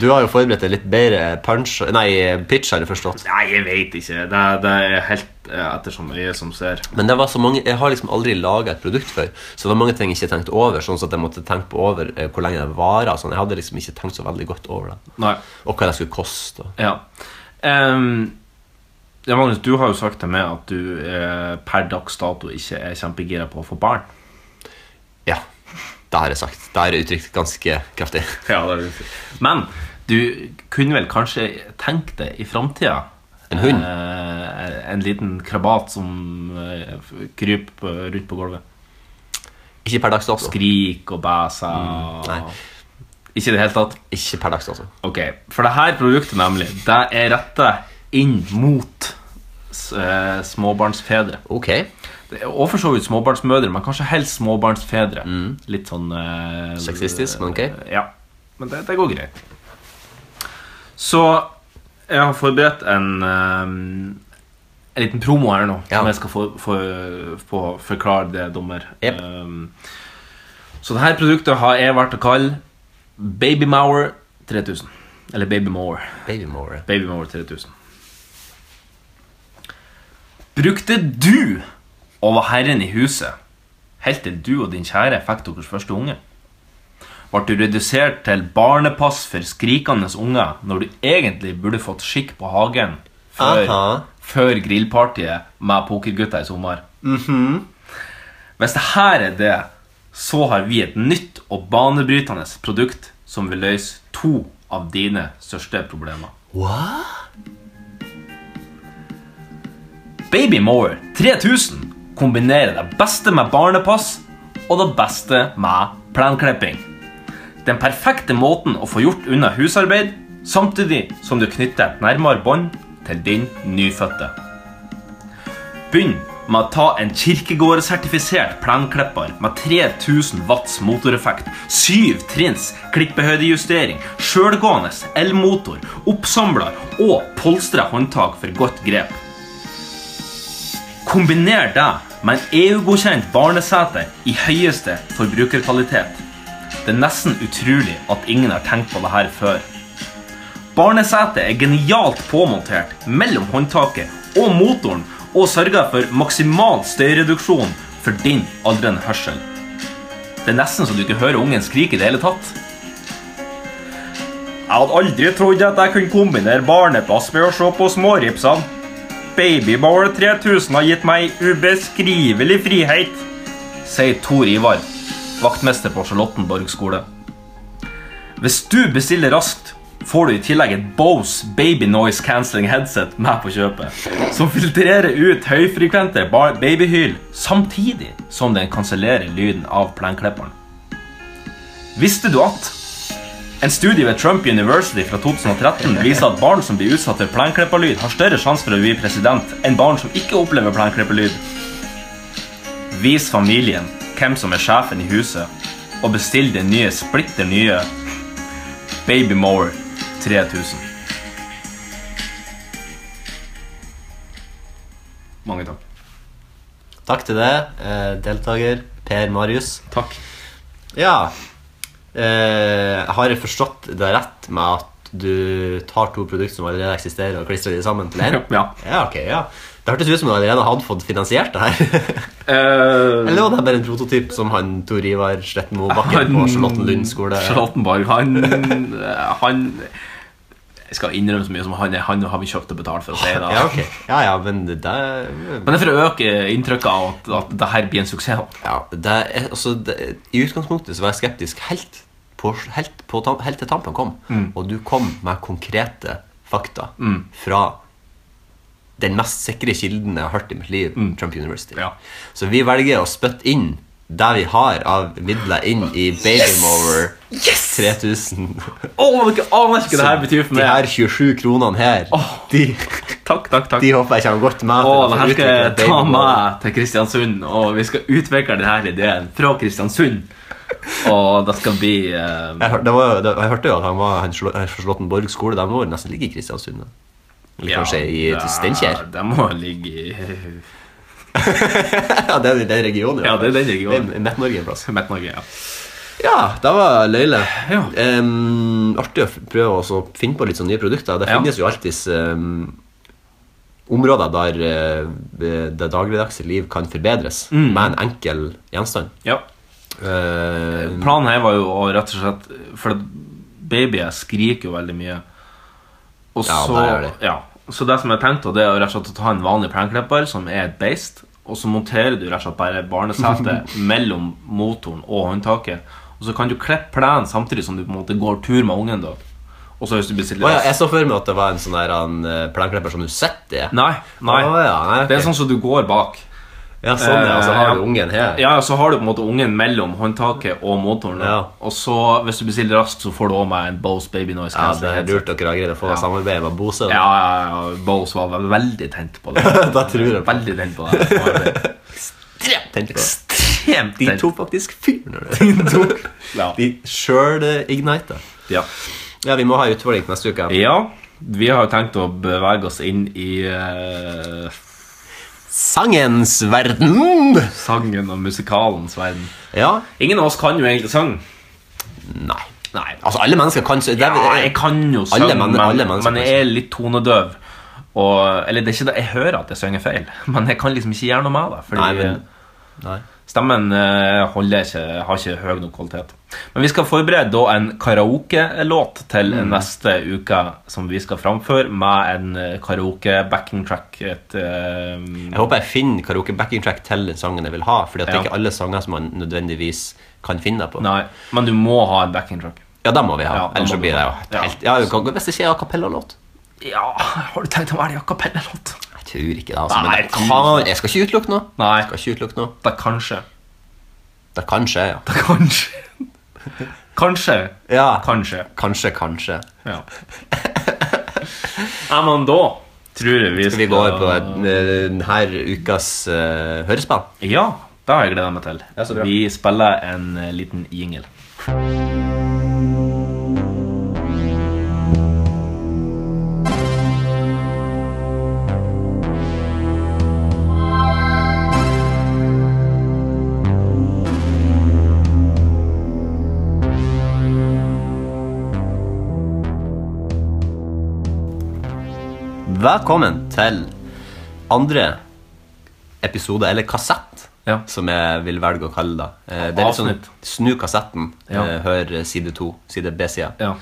Speaker 2: Du har jo forberedt en litt bedre punch Nei, pitch, har jeg forstått.
Speaker 3: Nei, jeg vet ikke. Det, det er helt eh, ettersom øyet som ser.
Speaker 2: Men det var så mange, jeg har liksom aldri laga et produkt før, så det var mange ting jeg ikke tenkte over. Sånn at jeg måtte tenke på over eh, hvor lenge det varer. og Sånn. Jeg hadde liksom ikke tenkt så veldig godt over det.
Speaker 3: Nei.
Speaker 2: Og hva det skulle koste. og-
Speaker 3: Ja. Ehm, ja, Magnus, du har jo sagt til meg at du eh, per dags dato ikke er kjempegira på å få barn.
Speaker 2: Ja. Det har jeg sagt. Det har jeg uttrykt ganske kraftig.
Speaker 3: Ja, det er det. Men du kunne vel kanskje tenke deg i framtida
Speaker 2: En hund?
Speaker 3: Eh, en liten krabat som eh, f- kryper på- rundt på gulvet.
Speaker 2: Ikke per dags dato.
Speaker 3: Skrik og bæser. og-
Speaker 2: Mm. Nei.
Speaker 3: Ikke i det hele tatt.
Speaker 2: Ikke per dags dato.
Speaker 3: Ok, For det her produktet, nemlig, det er retta inn mot s- eh, småbarnsfedre.
Speaker 2: Ok.
Speaker 3: Det er- Og for så vidt småbarnsmødre, men kanskje helst småbarnsfedre. Litt sånn eh,
Speaker 2: Mm. Sexistisk, men ok.
Speaker 3: Ja, men det, det går greit. Så jeg har forberedt en, eh, en liten promo her nå,
Speaker 2: Ja.
Speaker 3: som jeg skal få, få, få forklare det, dommer.
Speaker 2: Jep.
Speaker 3: Eh, så det her produktet har jeg valgt å kalle Babymower 3000. Eller Babymower.
Speaker 2: Babymore.
Speaker 3: Babymower 3000. Brukte du å være herren i huset helt til du og din kjære fikk deres første unge? Ble du redusert til barnepass for skrikende unger når du egentlig burde fått skikk på hagen før,
Speaker 2: Aha.
Speaker 3: før grillpartiet med pokergutta i sommer? Hvis det her er det, så har vi et nytt og banebrytende produkt som vil løse to av dine største problemer. Babymower 3000 kombinerer det beste med barnepass og det beste med plenklipping. Den perfekte måten å få gjort unna husarbeid, samtidig som du knytter et nærmere bånd til din nyfødte. Begynn med å ta en kirkegårdesertifisert plenklipper med 3000 watts motoreffekt, 7 trinns klippehøydejustering, sjølgående elmotor, oppsamler og polstra håndtak for godt grep. Kombiner det med en EU-godkjent barnesete i høyeste forbrukerkvalitet. Det er nesten utrolig at ingen har tenkt på det her før. Barnesetet er genialt påmontert mellom håndtaket og motoren og sørger for maksimal støyreduksjon for din aldrende hørsel. Det er nesten så du ikke hører ungen skrike i det hele tatt. Jeg hadde aldri trodd at jeg kunne kombinere barnepass med å se på småripsene. Babybower 3000 har gitt meg ubeskrivelig frihet, sier Tor Ivar, vaktmester på Charlottenborg skole. Hvis du bestiller raskt, får du i tillegg et Bose Baby Noise Cancelling Headset med på kjøpet, som filtrerer ut høyfrekvente ba- babyhyl samtidig som den kansellerer lyden av plenklipperen. Visste du at en studie ved Trump University fra 2013 viser at barn som blir utsatt for plenklipperlyd, har større sjanse for å bli president enn barn som ikke opplever plenklipperlyd. Vis familien hvem som er sjefen i huset, og bestill den nye, splitter nye Babymower 3000. Mange takk.
Speaker 2: Takk til deg, eh, deltaker Per Marius.
Speaker 3: Takk.
Speaker 2: Ja. Eh, har jeg forstått det rett med at du tar to produkter som allerede eksisterer, og klistrer de sammen til én?
Speaker 3: Ja.
Speaker 2: ja, ok, ja. Det hørtes ut som du allerede hadde fått finansiert det her. Eller var det bare en prototyp som han Tor Ivar Slettenmo Bakken på Charlottenlund skole
Speaker 3: Charlottenborg, han, eh, han Jeg skal innrømme så mye som han er. Han har vi kjøpt og betalt for å si det.
Speaker 2: Ja, ok. Ja, ja, men det det-
Speaker 3: Men det er for å øke inntrykket av at, at det her blir en suksess.
Speaker 2: ja, det er, altså, det, I utgangspunktet så var jeg
Speaker 3: Mm.
Speaker 2: skeptisk helt, på, helt, på, tam- helt til tampen kom. Og du kom med konkrete fakta fra den mest sikre kilden jeg har hørt i mitt liv,
Speaker 3: Mm.
Speaker 2: Trump University. Så vi velger å spytte inn det vi har av midler inn i Babymower 3000.
Speaker 3: Åh, dere aner ikke hva det her betyr for
Speaker 2: De
Speaker 3: meg.
Speaker 2: her 27 kronene her, de,
Speaker 3: Takk, takk, takk.
Speaker 2: de håper jeg kommer godt med.
Speaker 3: Åh,
Speaker 2: til å få
Speaker 3: det her skal jeg
Speaker 2: utvikle
Speaker 3: ta
Speaker 2: Baby Mower.
Speaker 3: med til Kristiansund, og vi skal utvikle denne ideen fra Kristiansund. Og det skal bli eh,
Speaker 2: Jeg, hør- det var, jo- det, jeg hørte jo at han var han slå, han fra Slåttenborg skole. De må jo nesten ligge i Kristiansund. da. Eller kanskje i
Speaker 3: ja,
Speaker 2: Steinkjer?
Speaker 3: Det må ligge i
Speaker 2: Ja, det er den regionen.
Speaker 3: Ja, det er den regionen.
Speaker 2: Det er Midt-Norge en plass.
Speaker 3: Midt-Norge. ja.
Speaker 2: Ja, det var løyle.
Speaker 3: Ja.
Speaker 2: Em, artig å f- prøve å så finne på litt sånne nye produkter. Det
Speaker 3: Ja.
Speaker 2: finnes jo alltids em, områder der eh, det dagligdagse liv kan forbedres
Speaker 3: Mm.
Speaker 2: med en enkel gjenstand.
Speaker 3: ja.
Speaker 2: Eh,
Speaker 3: Planen her var jo å rett og slett For babyer skriker jo veldig mye. Og
Speaker 2: Ja,
Speaker 3: så,
Speaker 2: det gjør de.
Speaker 3: ja. så det som jeg tenkte, det er jo rett og slett å ta en vanlig plenklipper, som er et beist, og så monterer du rett og slett bare barnesetet mellom motoren og håndtaket. Og så kan du klippe plenen samtidig som du på en måte går tur med ungen. da Og så hvis du blir
Speaker 2: å ja, jeg så for meg at det var en sånn der en, eh, plenklipper som du sitter i.
Speaker 3: Nei, nei.
Speaker 2: Å ja, nei, ok.
Speaker 3: Det er sånn som du går bak.
Speaker 2: Ja, sånn, ja. Så har
Speaker 3: Eh,
Speaker 2: du ungen her.
Speaker 3: Ja, så har du på en måte ungen mellom håndtaket og motoren. da.
Speaker 2: Ja.
Speaker 3: Og så, hvis du bestiller raskt, så får du også med en Bose Baby Noise
Speaker 2: Ja,
Speaker 3: Cancelling
Speaker 2: det er
Speaker 3: headset.
Speaker 2: lurt dere har greid å få
Speaker 3: Ja.
Speaker 2: samarbeid med Bose. da.
Speaker 3: Ja, ja, ja. Bose var ve- veldig tent på det.
Speaker 2: Da tror jeg på det.
Speaker 3: Veldig tent på det. Var
Speaker 2: Tenk på det.
Speaker 3: Ekstremt
Speaker 2: De
Speaker 3: tent.
Speaker 2: tok faktisk fyr når de tok
Speaker 3: Ja.
Speaker 2: De sjøl ignita.
Speaker 3: Ja.
Speaker 2: Ja, vi må ha utfordring til neste uke.
Speaker 3: ja, vi har jo tenkt å bevege oss inn i eh,
Speaker 2: Sangens verden!
Speaker 3: sangen og musikalens verden.
Speaker 2: Ja.
Speaker 3: Ingen av oss kan jo egentlig sang.
Speaker 2: Nei.
Speaker 3: Nei,
Speaker 2: Altså, alle mennesker kan så- det er-
Speaker 3: Ja, jeg kan jo synge,
Speaker 2: men-
Speaker 3: men,
Speaker 2: alle mennesker kan
Speaker 3: men jeg er litt tonedøv. Og, eller det er ikke det, jeg hører at jeg synger feil, men jeg kan liksom ikke gjøre noe med det. Fordi
Speaker 2: Nei, men- Nei.
Speaker 3: stemmen eh, holder ikke, har ikke høy nok kvalitet. Men vi skal forberede da en karaoke-låt til neste uke, som vi skal framføre med en eh, karaoke-backing track. Et, eh,
Speaker 2: Jeg håper jeg finner karaoke backing track til den sangen jeg vil ha. Fordi at det er
Speaker 3: Ja.
Speaker 2: ikke alle sanger som man nødvendigvis kan finne på.
Speaker 3: nei, men du må ha en backing track.
Speaker 2: Ja, da må vi ha.
Speaker 3: Ja, da
Speaker 2: Ellers
Speaker 3: må
Speaker 2: så
Speaker 3: vi
Speaker 2: blir det jo
Speaker 3: ha.
Speaker 2: helt ja. vi kan gå- Hvis det ikke er a cappella-låt.
Speaker 3: Ja, har du tenkt å være i akapellelåt?
Speaker 2: Jeg tror ikke det. altså
Speaker 3: Nei,
Speaker 2: Men
Speaker 3: jeg
Speaker 2: det
Speaker 3: tror
Speaker 2: kan, jeg skal ikke utelukke noe.
Speaker 3: Nei.
Speaker 2: Jeg Skal ikke utelukke noe.
Speaker 3: Da kanskje.
Speaker 2: Det kan skje, ja.
Speaker 3: Da kanskje. Kanskje.
Speaker 2: Ja.
Speaker 3: Kanskje.
Speaker 2: Kanskje, kanskje.
Speaker 3: Ja. Nei, men da tror jeg vi skal
Speaker 2: Skal vi gå over på eh, denne ukas eh, hørespill?
Speaker 3: Ja, det har jeg gleda meg til.
Speaker 2: Ja, så bra.
Speaker 3: vi spiller en eh, liten jingle.
Speaker 2: Velkommen til andre episode, eller kassett,
Speaker 3: Ja.
Speaker 2: som jeg vil velge å kalle det. Eh, Det er litt sånn
Speaker 3: Avsnitt.
Speaker 2: Snu kassetten,
Speaker 3: Ja.
Speaker 2: eh, hør side to, side B-sida,
Speaker 3: Ja.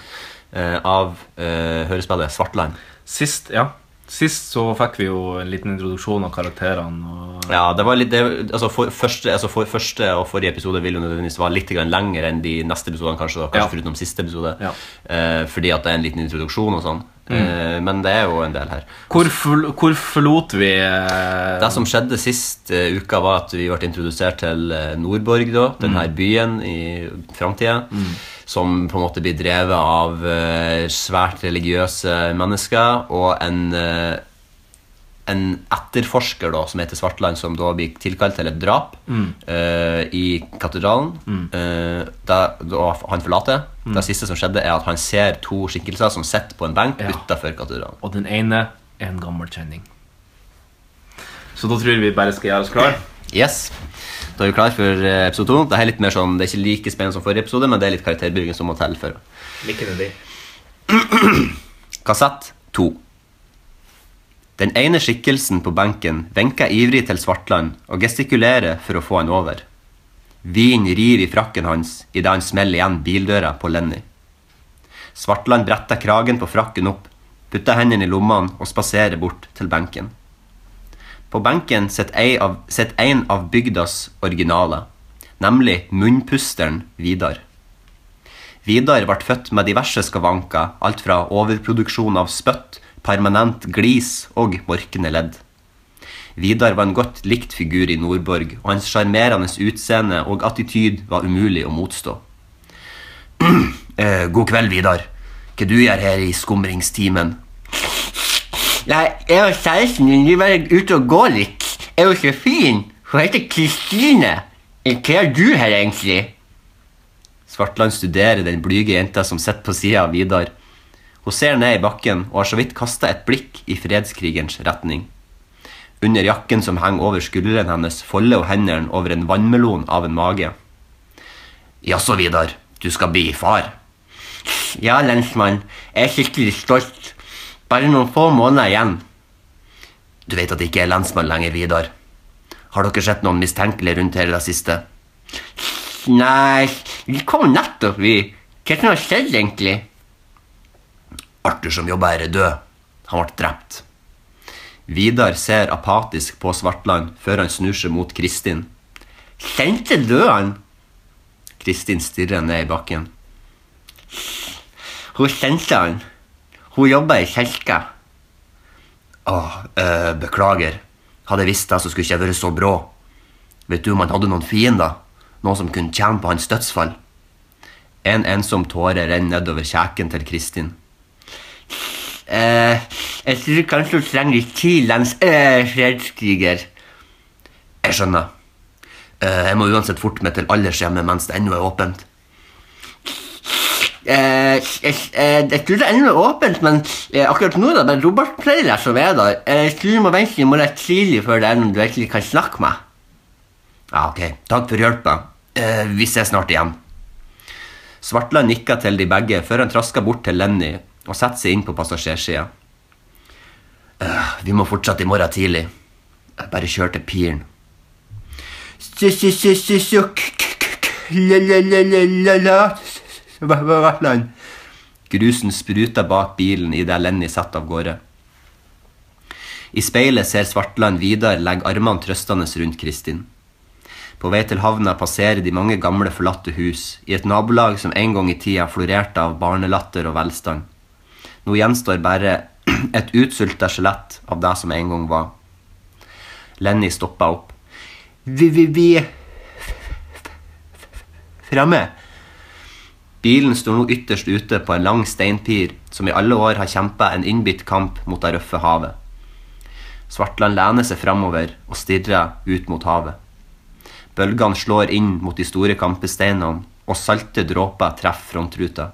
Speaker 2: eh, av eh, hørespillet Svartland.
Speaker 3: Sist, ja. Sist så fikk vi jo en liten introduksjon av karakterene. Og...
Speaker 2: Ja, det var litt det, altså for, første, altså for, første og forrige episode vil jo nødvendigvis være litt grann lenger enn de neste episodene, kanskje, da, kanskje
Speaker 3: Ja.
Speaker 2: foruten siste episode.
Speaker 3: Ja. Mm.
Speaker 2: Eh, fordi at det er en liten introduksjon og sånn. Eh, men det er jo en del her.
Speaker 3: Hvor, forl- hvor forlot vi eh,
Speaker 2: Det som skjedde sist eh, uka, var at vi ble introdusert til eh, Nordborg, da, den her
Speaker 3: Mm.
Speaker 2: byen i framtida. Som på en måte blir drevet av eh, svært religiøse mennesker og en eh, en etterforsker da, som heter Svartland, som da blir tilkalt til et drap
Speaker 3: Mm.
Speaker 2: eh, i katedralen. Eh, da, da han forlater.
Speaker 3: Mm.
Speaker 2: Det siste som skjedde, er at han ser to skikkelser som sitter på en benk
Speaker 3: Ja.
Speaker 2: utenfor katedralen.
Speaker 3: Og den ene er en gammel kjenning. Så da tror jeg vi bare skal gjøre oss klar.
Speaker 2: Yes. Da er vi klar for eh, episode to. Det, er litt mer sånn, det er ikke like spennende som forrige episode, men det er litt karakterbygging som må til for Kassett 2. Den ene skikkelsen på benken venker ivrig til Svartland og gestikulerer for å få han over. Vin river i frakken hans idet han smeller igjen bildøra på Lenny. Svartland bretter kragen på frakken opp, putter hendene i lommene og spaserer bort til benken. På benken sitter ei av- sitter en av bygdas originaler, nemlig munnpusteren Vidar. Vidar ble født med diverse skavanker, alt fra overproduksjon av spytt, permanent glis og morkende ledd. Vidar var en godt likt figur i Nordborg, og hans sjarmerende utseende og attityd var umulig å motstå. eh, god kveld, Vidar. Hva du gjør her i skumringstimen?
Speaker 12: Nei, jeg og kjæresten min vi var ute og går litt. Jeg og Josefin. Hun heter Kristine. Hva er du her, egentlig?
Speaker 2: Svartland studerer den blyge jenta som sitter på sida av Vidar. Hun ser ned i bakken og har så vidt kasta et blikk i fredskrigens retning. Under jakken som henger over skuldrene hennes, folder hun hendene over en vannmelon av en mage. Jaså, Vidar, du skal bli far?
Speaker 12: Ja, lensmann. Jeg er skikkelig stolt. Bare noen få måneder igjen.
Speaker 2: Du vet at det ikke er lensmann lenger, Vidar. Har dere sett noen mistenkelige rundt her i det siste?
Speaker 12: Nei, vi kom nettopp, vi. Hva er det som har skjedd, egentlig?
Speaker 2: Arthur som jobber her, er død. Han ble drept. Vidar ser apatisk på Svartland før han snur seg mot Kristin.
Speaker 12: Kjente døde han?
Speaker 2: Kristin stirrer ned i bakken.
Speaker 12: Hun kjente han. Hun jobber i kirka.
Speaker 2: Åh, eh, beklager. Hadde jeg visst det, så skulle jeg ikke vært så brå. Vet du om han hadde noen fiender? Noen som kunne tjene på hans dødsfall? En ensom tåre renner nedover kjeken til Kristin.
Speaker 12: Eh, jeg tror kanskje hun trenger litt tid, lens eh, fredskriger.
Speaker 2: Jeg skjønner. Eh, jeg må uansett forte meg til aldershjemmet mens det ennå er åpent.
Speaker 12: Eh, jeg, eh, jeg tror det ennå er åpent, men eh, akkurat nå er det bare robotpleiere som er der. Eh, jeg tror du må vente i morgen tidlig før det er noen du virkelig kan snakke med.
Speaker 2: Ja, ok. Takk for hjelpa. Eh, vi ses snart igjen. Svartland nikka til de begge før han traska bort til Lenny og setter seg inn på passasjersida. «Øh, vi må fortsette i morgen tidlig. Jeg bare kjør til piren.
Speaker 12: Svartland.
Speaker 2: Grusen spruta bak bilen idet Lenny setter av gårde. I speilet ser Svartland Vidar legge armene trøstende rundt Kristin. På vei til havna passerer de mange gamle, forlatte hus, i et nabolag som en gang i tida florerte av barnelatter og velstand. Nå gjenstår bare et utsulta skjelett av det som en gang var. Lenny stoppa opp.
Speaker 12: Vi, vi, vi er framme.
Speaker 2: Bilen står nå ytterst ute på en lang steinpir som i alle år har kjempa en innbitt kamp mot det røffe havet. Svartland lener seg framover og stirrer ut mot havet. Bølgene slår inn mot de store kampesteinene, og salte dråper treffer frontruta.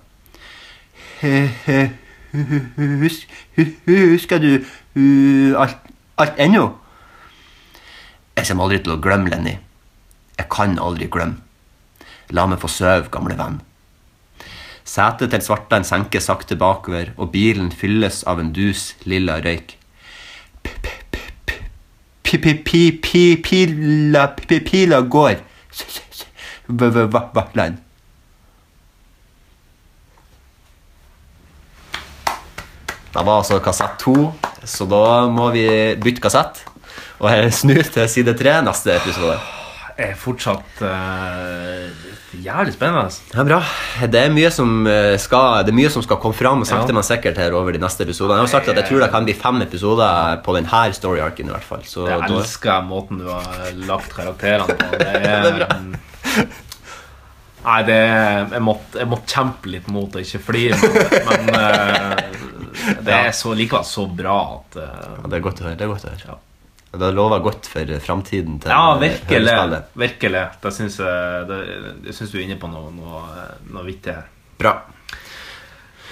Speaker 12: Husker du uh, alt, alt ennå?
Speaker 2: Jeg kommer aldri til å glemme, Lenny. Jeg kan aldri glemme. La meg få sove, gamle venn. Setet til Svartland senker sakte bakover, og bilen fylles av en dus lilla røyk.
Speaker 12: Pila går. Vatland.
Speaker 2: Det var altså kassett to, så da må vi bytte kassett. Og jeg snur til side tre neste episode.
Speaker 3: er fortsatt eh, jævlig spennende. altså.
Speaker 2: Det er bra. Det er mye som eh, skal, det er mye som skal komme fram sakte,
Speaker 3: Ja.
Speaker 2: men sikkert her over de neste episodene. Jeg har jo sagt at jeg tror det kan bli fem episoder på denne story arcen i hvert fall. Så
Speaker 3: Jeg
Speaker 2: da-
Speaker 3: elsker måten du har lagt karakterene på. Det er,
Speaker 2: Det er bra.
Speaker 3: Nei, det er, jeg, måtte, jeg måtte kjempe litt mot å ikke flire, men, men eh, det er så, likevel så bra at eh,
Speaker 2: Ja, det er godt å høre. Det er godt å høre. Det lover godt for framtiden til
Speaker 3: Ja,
Speaker 2: eh,
Speaker 3: virkelig.
Speaker 2: hørespillet.
Speaker 3: virkelig. Det syns jeg, det- jeg synes du er inne på noe, noe, noe vittig her.
Speaker 2: Bra.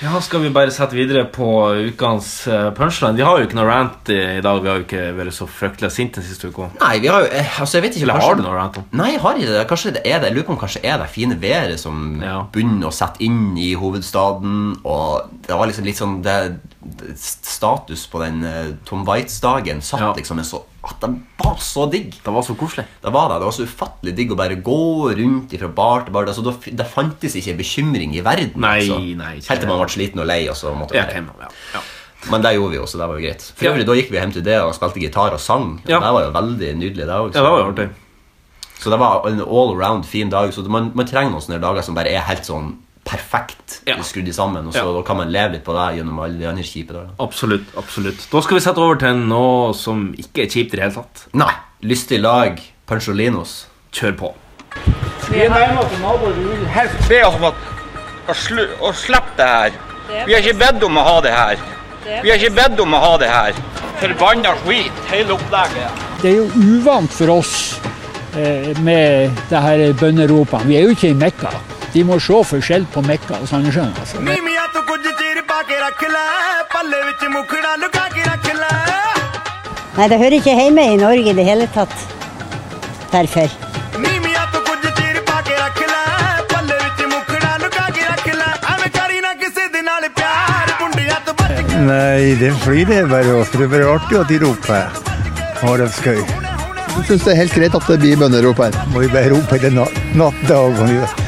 Speaker 3: Ja, skal vi bare sette videre på ukens eh, punchline? Vi har jo ikke noe rant i i dag. Vi har jo ikke vært så fryktelig sinte den siste uka.
Speaker 2: Nei, vi har jo eh, Altså, jeg vet ikke
Speaker 3: Eller
Speaker 2: kanskje-
Speaker 3: har du noe rant om?
Speaker 2: Nei, jeg har ikke det. Kanskje det er det. Jeg lurer på om kanskje er det fine været som
Speaker 3: Ja.
Speaker 2: begynner å sette inn i hovedstaden. Og det var liksom litt sånn det, det, Status på den eh, Tom Waitz-dagen satt
Speaker 3: Ja.
Speaker 2: liksom en så At den var så digg!
Speaker 3: Det var så koselig.
Speaker 2: Det var det. Det var så ufattelig digg å bare gå rundt fra bar til bar. Altså, da f- det fantes ikke bekymring i verden.
Speaker 3: Nei,
Speaker 2: altså.
Speaker 3: nei, ikke
Speaker 2: Helt til
Speaker 3: det.
Speaker 2: man ble sliten og lei. Og så måtte
Speaker 3: Ja,
Speaker 2: man-
Speaker 3: ok, ja, ja.
Speaker 2: Men det gjorde vi jo, så det var jo greit. For
Speaker 3: Ja.
Speaker 2: øvrig, da gikk vi hjem til det og spilte gitar og sang. Og
Speaker 3: Ja.
Speaker 2: Det var jo veldig nydelig. Det også.
Speaker 3: ja, det var jo artig.
Speaker 2: Så det var en all around fin dag. Så man, man trenger noen sånne dager som bare er helt sånn perfekt skrudd sammen. Og så
Speaker 3: Ja.
Speaker 2: da kan man leve litt på det gjennom alle de andre kjipe dagene.
Speaker 3: Absolutt. absolutt Da skal vi sette over til noe som ikke er kjipt i det hele tatt.
Speaker 2: Nei. Lystig lag, Pansjolinos.
Speaker 3: Kjør på.
Speaker 13: Vi nærmer oss naboer. Vi vil helst be oss om at å, slu, å slippe det her. Vi har ikke bedt om å ha det her. Vi har ikke bedt om å ha det her. Forbanna skit, hele opplegget.
Speaker 14: Det er jo uvant for oss eh, med det her bønneropene. Vi er jo ikke i Mekka. De må se forskjell på Mekka og Sandnessjøen. Altså.
Speaker 6: ਨੀ ਮੀਆਂ ਤੂੰ ਕੁਝ ਚੀਰ ਪਾ ਕੇ ਰੱਖ ਲੈ ਪੱਲੇ ਵਿੱਚ ਮੁਖੜਾ ਲੁਕਾ ਕੇ ਰੱਖ ਲੈ
Speaker 15: Nei, det hører ikke hjemme i Norge i det hele tatt. Derfor.
Speaker 6: ਨੀ ਮੀਆਂ ਤੂੰ ਕੁਝ ਚੀਰ ਪਾ ਕੇ ਰੱਖ ਲੈ ਪੱਲੇ ਵਿੱਚ ਮੁਖੜਾ ਲੁਕਾ ਕੇ ਰੱਖ ਲੈ ਐਵੇਂ ਕਰੀ ਨਾ ਕਿਸੇ ਦੇ ਨਾਲ ਪਿਆਰ ਮੁੰਡਿਆਂ ਤੋਂ ਬਚ ਕੇ
Speaker 11: Nei, det blir det bare oss. Det blir artig at de roper Haraldskøy. Jeg syns det er helt greit at det blir bønnerop her. Må vi bare rope det natt, natt dag og natt.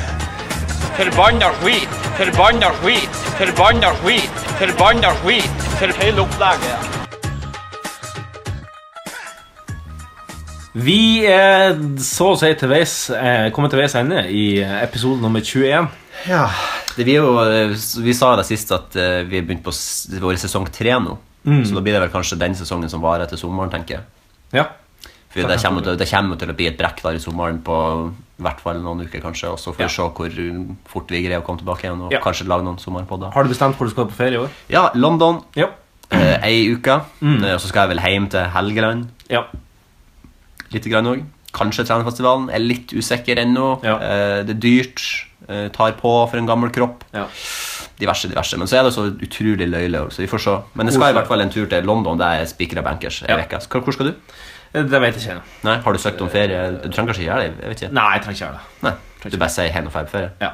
Speaker 13: Forbanna skit, forbanna skit, forbanna skit, forbanna skit, for hele opplegget.
Speaker 3: Vi er så å si til veis eh, kommet til veis ende i episode nummer 21.
Speaker 2: Ja, det blir jo, eh, s- vi sa det sist at eh, vi har begynt på s- vår sesong tre nå.
Speaker 3: Mm.
Speaker 2: Så da blir det vel kanskje den sesongen som varer til sommeren, tenker jeg.
Speaker 3: Ja.
Speaker 2: For det kommer, til, det kommer til å bli et brekk der i sommeren på i hvert fall noen uker, kanskje. Og så får vi se hvor um, fort vi greier å komme tilbake igjen og
Speaker 3: Ja.
Speaker 2: kanskje lage noen sommerpodder.
Speaker 3: Har du bestemt hvor du skal på ferie i år?
Speaker 2: Ja, London.
Speaker 3: Ja. Mm.
Speaker 2: Eh, ei uke. Eh, og så skal jeg vel hjem til Helgeland.
Speaker 3: Ja.
Speaker 2: Litt grann òg. Kanskje Trenerfestivalen. Er litt usikker ennå. Eh, det er dyrt. Eh, tar på for en gammel kropp. Diverse, diverse. Men så er det så utrolig løyelig òg, så vi får se. Men det skal i hvert fall en tur til London, der er spikra bankers. Ja. Hvor hvor skal du?
Speaker 3: Det vet jeg ikke ennå.
Speaker 2: Nei, Har du søkt om ferie? Du trenger kanskje gjøre det? jeg vet ikke
Speaker 3: Nei, jeg trenger ikke gjøre det.
Speaker 2: Nei, Du bare sier 'hen og feil på ferie'?
Speaker 3: Ja.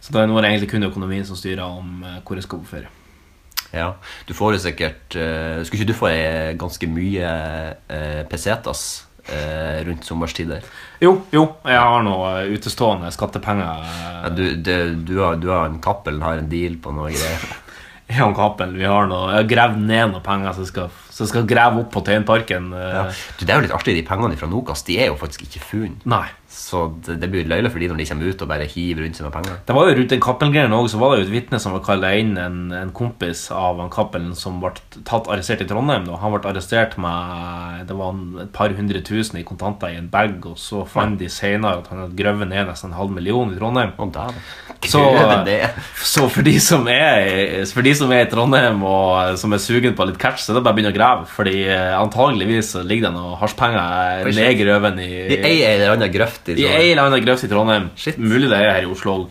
Speaker 3: Så da er det nå egentlig kun økonomien som styrer om eh, hvor jeg skal på ferie.
Speaker 2: Ja, Du får jo sikkert eh, Skulle ikke du få eh, ganske mye eh, pesetas eh, rundt sommerstider?
Speaker 3: Jo, jo, jeg har noe eh, utestående skattepenger. eh,
Speaker 2: Ja, du, det, du, har, du har en Cappelen har en deal på noe greier.
Speaker 3: Jeg og Kappel, vi har noe, jeg har gravd ned noen penger som skal, som skal grave opp på Tøyenparken. eh.
Speaker 2: Ja. Du, Det er jo litt artig, de pengene fra Nokas de er jo faktisk ikke funnet.
Speaker 3: Nei.
Speaker 2: Så det, det blir løyelig for de når de kommer ut og bare hiver rundt seg med penger.
Speaker 3: Det var jo rundt den Cappelen-greien òg, så var det jo et vitne som var kalla inn, en, en kompis av han Cappelen som ble tatt arrestert i Trondheim. Da. Han ble arrestert med det var en, et par hundre tusen i kontanter i en bag, og så fant de senere at han hadde grøvet ned nesten en halv million i Trondheim. Så,
Speaker 2: Grøvet ned.
Speaker 3: så for, de som er, for de som er i Trondheim og eh, som er sugen på litt catch, så er det bare å begynne å grave. Fordi eh, antageligvis så ligger det noen hasjpenger
Speaker 2: Ikke-
Speaker 3: nedgrøven i
Speaker 2: I ei eller annen grøft.
Speaker 3: i ei eller annen grøft i Trondheim. Mulig det er her i Oslo òg.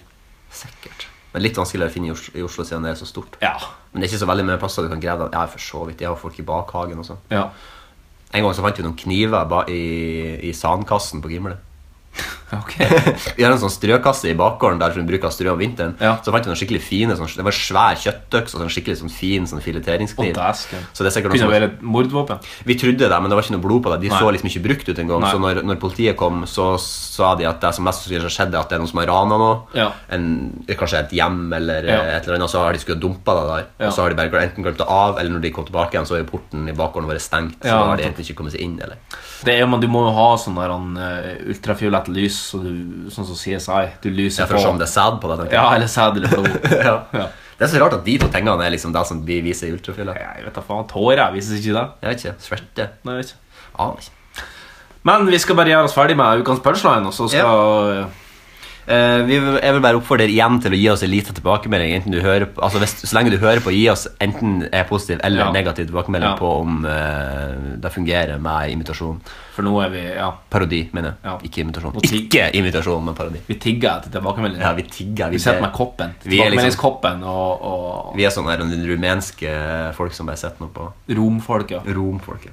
Speaker 2: Men litt vanskeligere å finne i Oslo, i Oslo siden det er så stort. Men det er ikke så veldig mye plasser du kan grave den. Ja, for så vidt. De har jo folk i bakhagen og sånn.
Speaker 3: Ja.
Speaker 2: En gang så fant vi noen kniver ba i, i sandkassen på Gimle. vi har en sånn strøkasse i bakgården der som vi bruker å strø om vinteren. Så fant vi noen skikkelig fine sånn, Det var en svær kjøttøks og sånn skikkelig sånn fin sånn fileteringskniv.
Speaker 3: Å, dæsken.
Speaker 2: Så det er sikkert
Speaker 3: Kunne
Speaker 2: noen
Speaker 3: være
Speaker 2: som-
Speaker 3: et mordvåpen.
Speaker 2: Vi trodde det, men det var ikke noe blod på det. De
Speaker 3: Nei.
Speaker 2: så liksom ikke brukt ut engang.
Speaker 3: Nei.
Speaker 2: Så når, når politiet kom, så sa de at det som mest sannsynlig har skjedd, er at det er noen som har rana noe.
Speaker 3: Ja.
Speaker 2: En, kanskje et hjem eller
Speaker 3: Ja.
Speaker 2: eh, et eller annet, så har de skulle dumpa det der.
Speaker 3: Ja.
Speaker 2: Og så har de bare gle- enten glemt det av, eller når de kom tilbake igjen, så er jo porten i bakgården vår stengt. Så
Speaker 3: Ja,
Speaker 2: da har de
Speaker 3: nettopp.
Speaker 2: egentlig ikke kommet seg inn, eller
Speaker 3: Det er, men du må jo ha sånn der han, eh, ultrafiolett lys, så du, sånn som CSI. Du lyser
Speaker 2: Ja, for å se om det er sæd på det. tenker jeg.
Speaker 3: Ja, eller sæd eller blod.
Speaker 2: ja. Det er så rart at de to tingene er liksom det som vi viser i ultrafylla.
Speaker 3: Jeg vet da faen. Tårer vises ikke det.
Speaker 2: Jeg vet ikke. Svette.
Speaker 3: Nei, jeg vet ikke.
Speaker 2: Aner ikke.
Speaker 3: Men vi skal bare gjøre oss ferdig med ukens punchline, og så skal
Speaker 2: Eh, vi, vil- jeg vil bare oppfordre igjen til å gi oss en liten tilbakemelding. Enten du hører på, altså hvis, så lenge du hører på, gi oss enten er positiv eller
Speaker 3: Ja.
Speaker 2: negativ tilbakemelding
Speaker 3: Ja.
Speaker 2: på om eh, det fungerer med imitasjon.
Speaker 3: For nå er vi ja.
Speaker 2: Parodi, mener jeg. Ikke imitasjon. Ikke imitasjon, men parodi.
Speaker 3: Vi tigger etter tilbakemeldinger.
Speaker 2: Ja, vi tigger.
Speaker 3: Vi setter med koppen.
Speaker 2: Vi er liksom
Speaker 3: Tilbakemeldingskoppen og, og
Speaker 2: vi er sånne her rumenske folk som bare setter noe på.
Speaker 3: romfolket.
Speaker 2: Mm. Romfolket.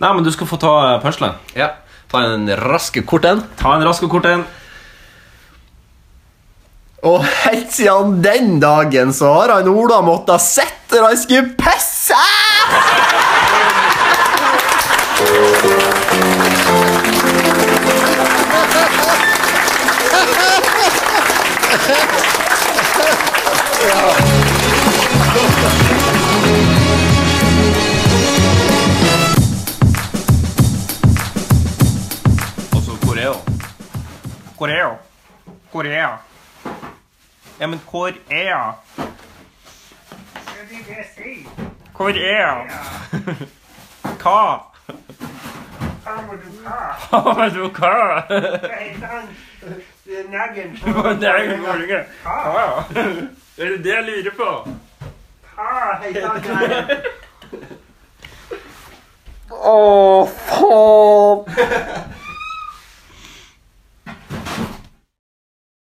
Speaker 3: Nei, men du skal få ta eh, punchline.
Speaker 2: Ja. Ta en rask kort en.
Speaker 3: Ta en rask kort en.
Speaker 2: Og helt siden den dagen så har han Ola måttet sette når han skulle pisse!
Speaker 3: Altså Korea. Korea. Korea. Ja, men hvor er jeg? Hvor er jeg? Hva? Hva var du hva? Hva er det jeg går ikke? Hva? Er det det jeg lurer på? Å, faen!